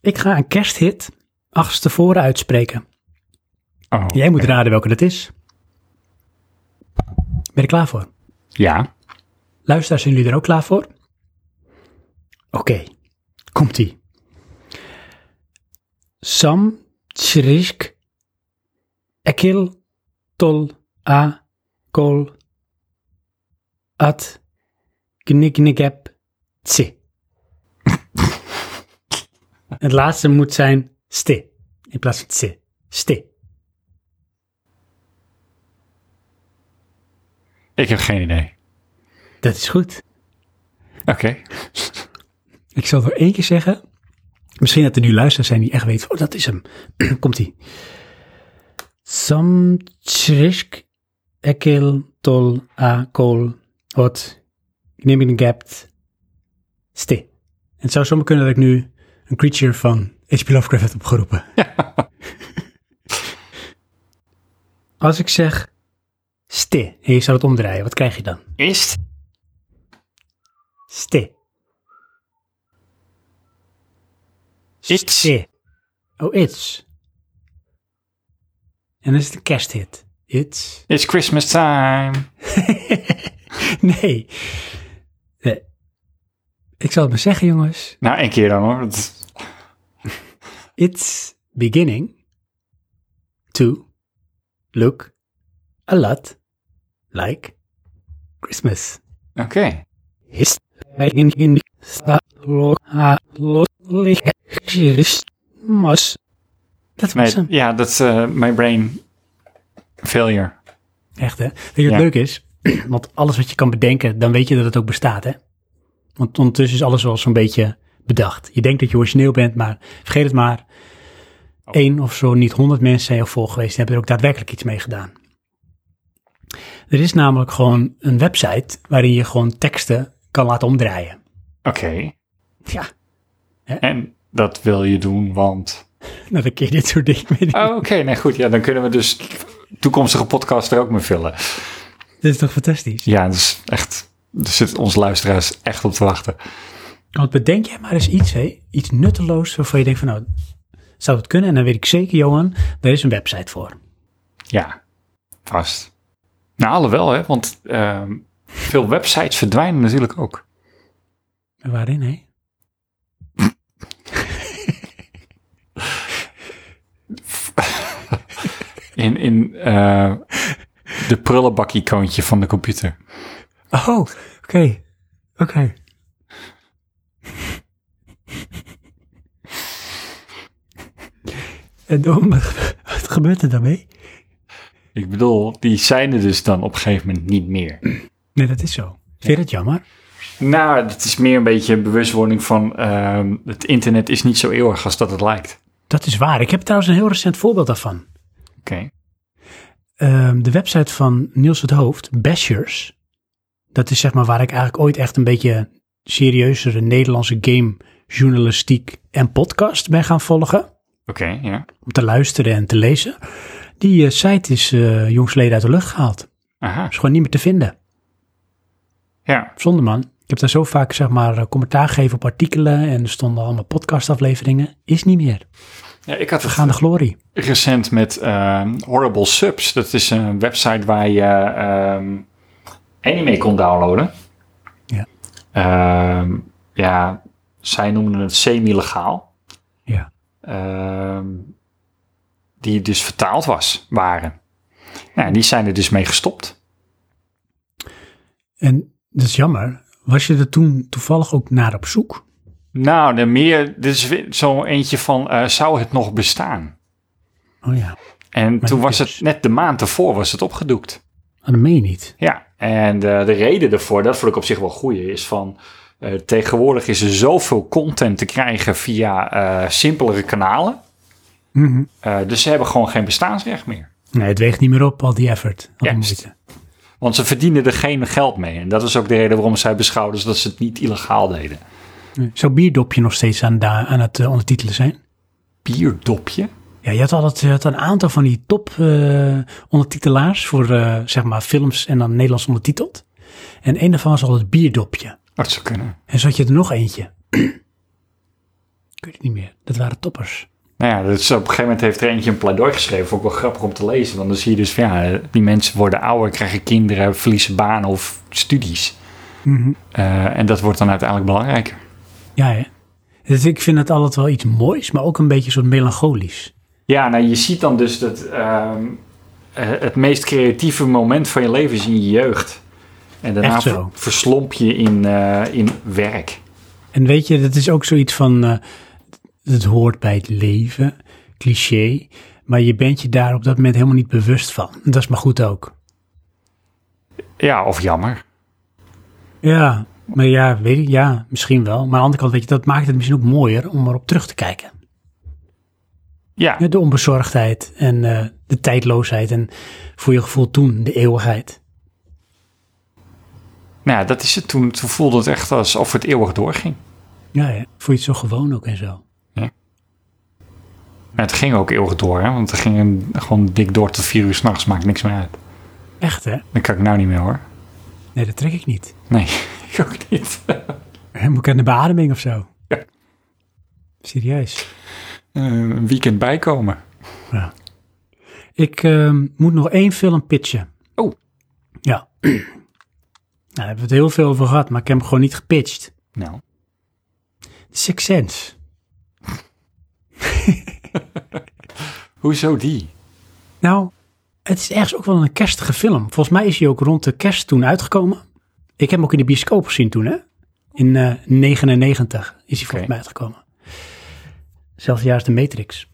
S1: Ik ga een kersthit achterstevoren uitspreken.
S2: Oh,
S1: Jij moet raden welke dat is. Ben je er klaar voor?
S2: Ja.
S1: Luisteraars, zijn jullie er ook klaar voor? Oké, komt-ie. Sam Chrisk Ekil Tol A Kol At Kniknikep Tsi. Het laatste moet zijn sti in plaats van tsi. Sti.
S2: Ik heb geen idee.
S1: Dat is goed.
S2: Oké.
S1: Ik zal het nog één keer zeggen. Misschien dat er nu luisteraars zijn die echt weten, oh, dat is hem. Komt-ie. Samchrisk ekil tol a kol hot gapt sti. En het zou zomaar kunnen dat ik nu een creature van H.P. Lovecraft heb opgeroepen. Als ik zeg sti en je zou het omdraaien, wat krijg je dan?
S2: Is het?
S1: Sti.
S2: It's.
S1: It. Oh, it's. En dan is het een kersthit. It's.
S2: It's Christmas time.
S1: Nee. nee. Ik zal het maar zeggen, jongens.
S2: Nou, één keer dan hoor. Dat-
S1: It's beginning to look a lot like Christmas.
S2: Oké.
S1: Is in in Christmas. Dat was
S2: Nee,
S1: hem.
S2: ja, dat is eh, my brain failure.
S1: Echt, hè? Weet je wat
S2: Ja.
S1: leuk is? Want alles wat je kan bedenken, dan weet je dat het ook bestaat, hè? Want ondertussen is alles wel zo'n beetje bedacht. Je denkt dat je origineel bent, maar vergeet het maar. Eén of zo, niet honderd mensen zijn er voor geweest en hebben er ook daadwerkelijk iets mee gedaan. Er is namelijk gewoon een website waarin je gewoon teksten kan laten omdraaien.
S2: Oké.
S1: Ja,
S2: En dat wil je doen, want...
S1: nou dan kun je dit soort dingen mee doen.
S2: Oh, oké. Nee, goed. Ja, dan kunnen we dus toekomstige podcasts er ook mee vullen.
S1: Dit is toch fantastisch?
S2: Ja, dat is echt... Daar zitten onze luisteraars echt op te wachten.
S1: Want bedenk jij maar eens iets, hè? iets nutteloos waarvan je denkt van nou, zou dat kunnen? En dan weet ik zeker, Johan, daar is een website voor.
S2: Ja, vast. Nou, alhoewel, hè. Want ehm, veel websites verdwijnen natuurlijk ook.
S1: En Waarin, hè?
S2: In, in eh, de prullenbak-icoontje van de computer.
S1: Oh, oké. Oké. en dan, wat gebeurt er daarmee?
S2: Ik bedoel, die zijn er dus dan op een gegeven moment niet meer.
S1: Nee, dat is zo. Vind je dat jammer?
S2: Nou, het is meer een beetje een bewustwording van ehm, het internet is niet zo eeuwig als dat het lijkt.
S1: Dat is waar. Ik heb trouwens een heel recent voorbeeld daarvan.
S2: Oké.
S1: Ehm, de website van Niels het Hoofd, Bashers, dat is zeg maar waar ik eigenlijk ooit echt een beetje serieuzere Nederlandse game journalistiek en podcast ben gaan volgen.
S2: Oké, ja.
S1: Om te luisteren en te lezen. Die eh, site is eh jongsleden uit de lucht gehaald.
S2: Aha.
S1: Is gewoon niet meer te vinden.
S2: Ja,
S1: Zonde man. Ik heb daar zo vaak zeg maar eh, commentaar gegeven op artikelen en er stonden allemaal podcastafleveringen. Is niet meer.
S2: ja ik had het
S1: Gaande glorie.
S2: recent met ehm, Horrible Subs. Dat is een website waar je ehm, anime kon downloaden.
S1: Ja.
S2: Ehm, ja, zij noemden het semi-legaal.
S1: Ja.
S2: Ehm, die dus vertaald was, waren. Nou, die zijn er dus mee gestopt.
S1: En dat is jammer. Was je er toen toevallig ook naar op zoek?
S2: Nou, de meer, dit is weer zo'n eentje van, eh, zou het nog bestaan?
S1: Oh ja,
S2: En toen was
S1: dus.
S2: het net de maand ervoor was het opgedoekt.
S1: Ah, dat meen je niet.
S2: Ja, en eh, de reden daarvoor, dat vond ik op zich wel goed, is van eh, tegenwoordig is er zoveel content te krijgen via eh, simpelere kanalen. Eh, dus ze hebben gewoon geen bestaansrecht meer.
S1: Nee, het weegt niet meer op, al die effort. Al die
S2: Juist.
S1: moeite.
S2: Want ze verdienen er geen geld mee. En dat is ook de reden waarom zij beschouwden dat ze het niet illegaal deden.
S1: Nee. Zou bierdopje nog steeds aan, da- aan het eh, ondertitelen zijn?
S2: Bierdopje?
S1: Ja, je had altijd je had een aantal van die top eh, ondertitelaars voor eh, zeg maar films en dan Nederlands ondertiteld. En een daarvan was al het bierdopje.
S2: Dat zou kunnen.
S1: En zo had je er nog eentje. Ik weet het niet meer. Dat waren toppers.
S2: Nou ja, dus op een gegeven moment heeft er eentje een pleidooi geschreven. Vond ik wel grappig om te lezen. Want dan zie je dus, van, ja, die mensen worden ouder, krijgen kinderen, verliezen banen of studies. Eh, en dat wordt dan uiteindelijk belangrijker.
S1: Ja, hè? Dus ik vind het altijd wel iets moois, maar ook een beetje soort melancholisch.
S2: Ja, nou je ziet dan dus dat ehm, eh, het meest creatieve moment van je leven is in je jeugd. En daarna
S1: Echt zo.
S2: ver- verslomp je in, eh, in werk.
S1: En weet je, dat is ook zoiets van, eh het hoort bij het leven, cliché. Maar je bent je daar op dat moment helemaal niet bewust van. Dat is maar goed ook.
S2: Ja, of jammer.
S1: Ja, maar ja, weet ik, ja, misschien wel. Maar aan de andere kant, weet je, dat maakt het misschien ook mooier om erop terug te kijken.
S2: Ja,
S1: Ja, De onbezorgdheid en eh, de tijdloosheid en voor je gevoel toen de eeuwigheid.
S2: nou ja, dat is het. Toen, toen voelde het echt alsof het eeuwig doorging.
S1: Ja, ja, voel je het zo gewoon ook en zo.
S2: Maar Nou, het ging ook eeuwig door, hè? want het ging een- gewoon dik door tot vier uur s'nachts. Maakt niks meer uit.
S1: Echt, hè?
S2: Dat kan ik nou niet meer hoor.
S1: Nee, dat trek ik niet.
S2: Nee, ik ook niet. Eh,
S1: Hè, Moet ik aan de beademing of zo?
S2: Ja.
S1: Serieus.
S2: Eh, een weekend bijkomen.
S1: Ik ehm, moet nog één film pitchen.
S2: Oh.
S1: Ja. nou, daar hebben we het heel veel over gehad, maar ik heb hem gewoon niet gepitcht.
S2: Nou,
S1: Six Sense.
S2: hoezo die?
S1: Nou, het is ergens ook wel een kerstige film. Volgens mij is hij ook rond de kerst toen uitgekomen. Ik heb hem ook in de bioscoop gezien toen, hè? In eh 99 is hij volgens mij uitgekomen. Hetzelfde jaar als de Matrix.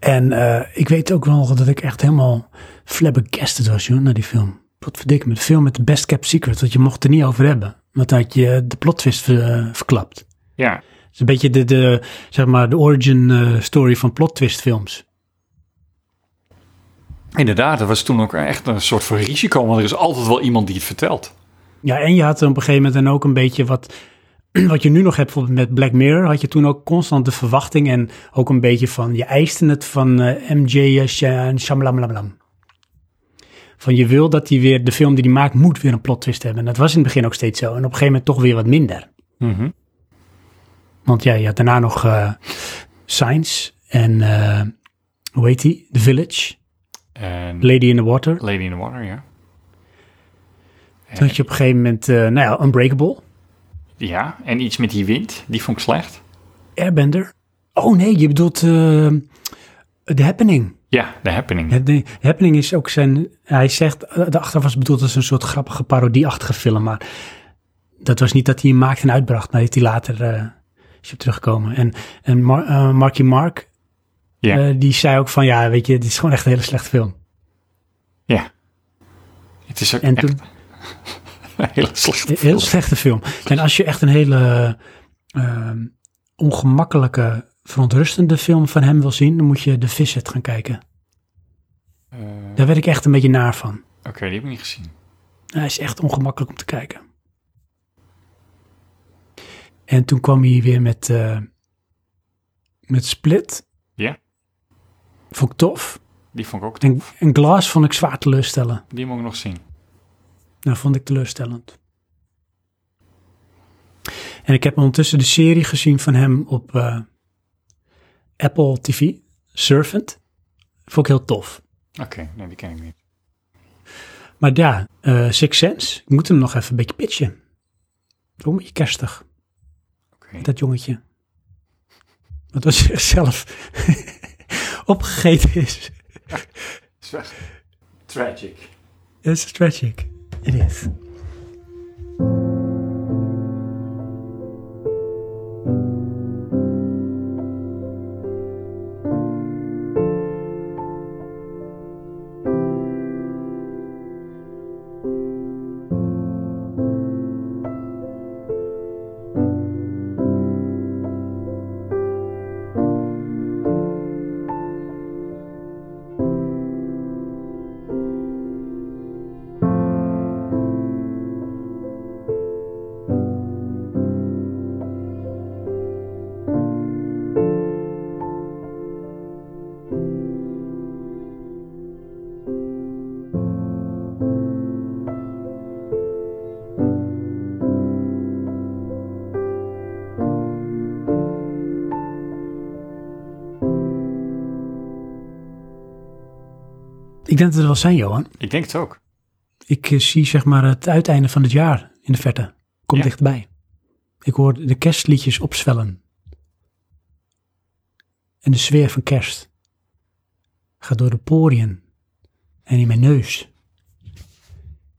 S1: En eh, ik weet ook wel dat ik echt helemaal flabbergasted was, joh, naar die film. Wat verdikke met film met de best kept secret, want je mocht er niet over hebben. Want dan had je de plot twist ver- eh, verklapt.
S2: Ja,
S1: Het is een beetje de, de, zeg maar, de origin eh, story van plot twist films.
S2: inderdaad. Dat was toen ook echt een soort van risico, want er is altijd wel iemand die het vertelt.
S1: Ja, en je had op een gegeven moment dan ook een beetje wat, wat je nu nog hebt bijvoorbeeld met Black Mirror, had je toen ook constant de verwachting en ook een beetje van, je eiste het van eh, MJ en Shamlamlamlam. Van je wil dat hij weer, de film die hij maakt, moet weer een plot twist hebben. En dat was in het begin ook steeds zo. En op een gegeven moment toch weer wat minder.
S2: Mhm.
S1: Want ja, je had daarna nog eh Science en, eh, hoe heet die? The Village,
S2: En
S1: Lady in the Water.
S2: Lady in the Water, ja.
S1: Toen had je op een gegeven moment, eh, nou ja, Unbreakable,
S2: Ja, en iets met die wind, die vond ik slecht.
S1: Airbender. Oh nee, je bedoelt eh, The Happening.
S2: Ja, The Happening.
S1: Ja, nee, The Happening is ook zijn... Hij zegt, eh, de achteraf was bedoeld als een soort grappige parodieachtige film, maar dat was niet dat hij hem maakte en uitbracht, maar heeft hij later eh is op teruggekomen. En, en Mar- eh, Marky Mark,
S2: Ja,
S1: eh, die zei ook van, ja, weet je, dit is gewoon echt een hele slechte film.
S2: ja. Het is ook
S1: En
S2: echt
S1: toen,
S2: een hele slechte
S1: Een
S2: film.
S1: heel slechte film. En als je echt een hele ehm, ongemakkelijke, verontrustende film van hem wil zien, dan moet je de Visit gaan kijken. Daar werd ik echt een beetje naar van.
S2: Eh, Oké, die heb ik niet gezien.
S1: Hij is echt ongemakkelijk om te kijken. En toen kwam hij weer met, eh, met Split.
S2: Ja.
S1: Vond ik tof.
S2: Die vond ik ook
S1: En,
S2: tof.
S1: en Glass vond ik zwaar teleurstellend.
S2: Die moet ik nog zien.
S1: Nou, vond ik teleurstellend. En ik heb ondertussen de serie gezien van hem op eh, Apple TV, Servant. Vond ik heel tof.
S2: Oké, nee, die ken ik niet.
S1: Maar ja, eh Six Sense, ik moet hem nog even een beetje pitchen. Ook een beetje kerstig,
S2: Oké.
S1: dat jongetje. Wat was zichzelf opgegeten is.
S2: Tragic.
S1: Dat is tragic. It is. Ik denk dat het wel zijn, Johan.
S2: Ik denk het ook.
S1: Ik eh, zie zeg maar het uiteinde van het jaar in de verte. Komt
S2: Ja.
S1: dichterbij. Ik hoor de kerstliedjes opzwellen. En de sfeer van kerst gaat door de poriën en in mijn neus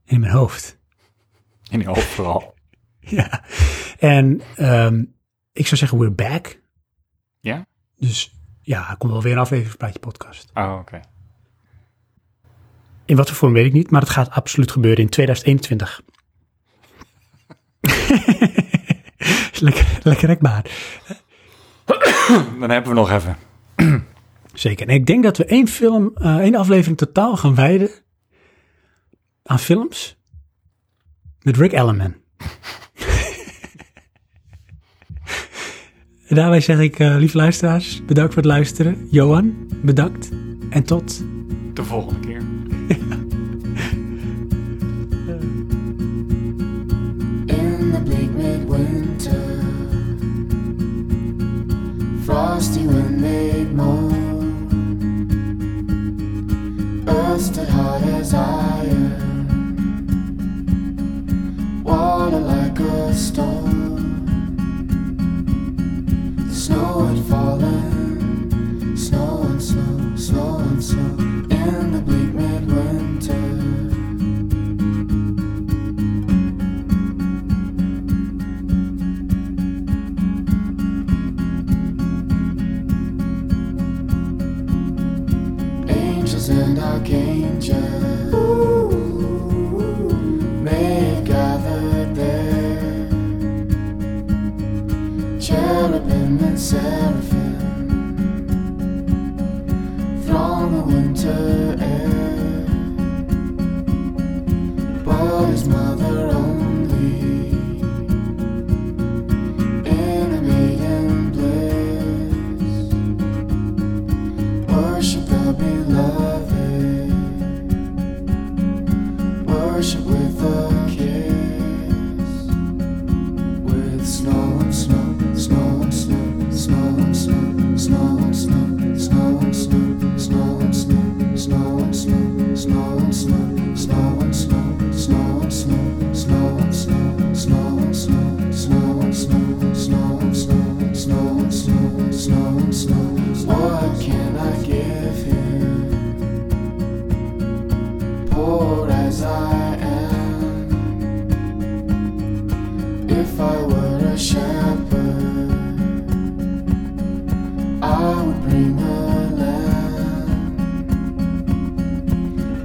S1: en in mijn hoofd.
S2: In ieder geval vooral.
S1: Ja. En ehm, ik zou zeggen, we're back.
S2: Ja?
S1: Dus ja, er komt wel weer een afleveringspraatje podcast.
S2: Oh, oké.
S1: In wat voor vorm weet ik niet, maar het gaat absoluut gebeuren in 2021. lekker, lekker rekbaar.
S2: Dan hebben we nog even.
S1: Zeker. En ik denk dat we één film, eh, één aflevering totaal gaan wijden aan films met Rick Ellerman. En Daarbij zeg ik, eh, lieve luisteraars, bedankt voor het luisteren. Johan, bedankt. En tot
S2: De volgende keer.
S6: in the bleak midwinter. Frosty wind made moan. Earth stood hard as iron. Water like a stone. The snow had fallen. Snow and snow, snow and snow. In the bleak midwinter. angels and archangels may have gathered there. Cherubim and seraphim throng the winter air. But his mother only in a maiden bliss worship the beloved, worship with a kiss, with snow and snow, snow and snow, snow and snow, snow and snow, snow and snow, snow and snow, snow and snow, snow and snow, snow and snow, snow and snow, snow and snow, snow and snow, snow and snow, snow and snow, snow and snow, snow and snow. What can I give him? Poor as I am, if I were a shepherd, I would bring a lamb.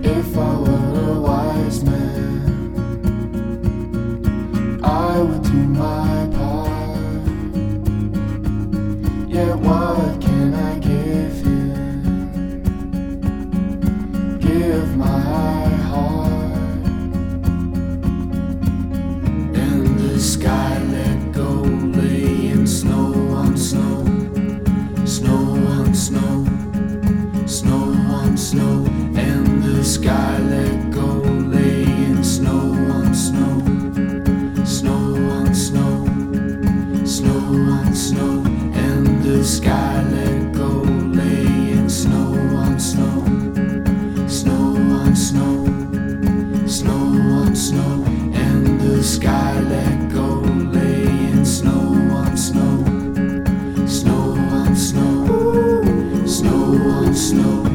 S6: If I were a wise man, I would do my part. Yet what can I give him? Give my heart in the sky. Let go, lay in snow on snow, snow on snow, snow on snow. In the sky, let go, lay in snow on snow, snow on snow snow on snow and the sky let go lay in snow on snow snow on snow snow on snow and the sky let go lay in snow on snow snow on snow snow on snow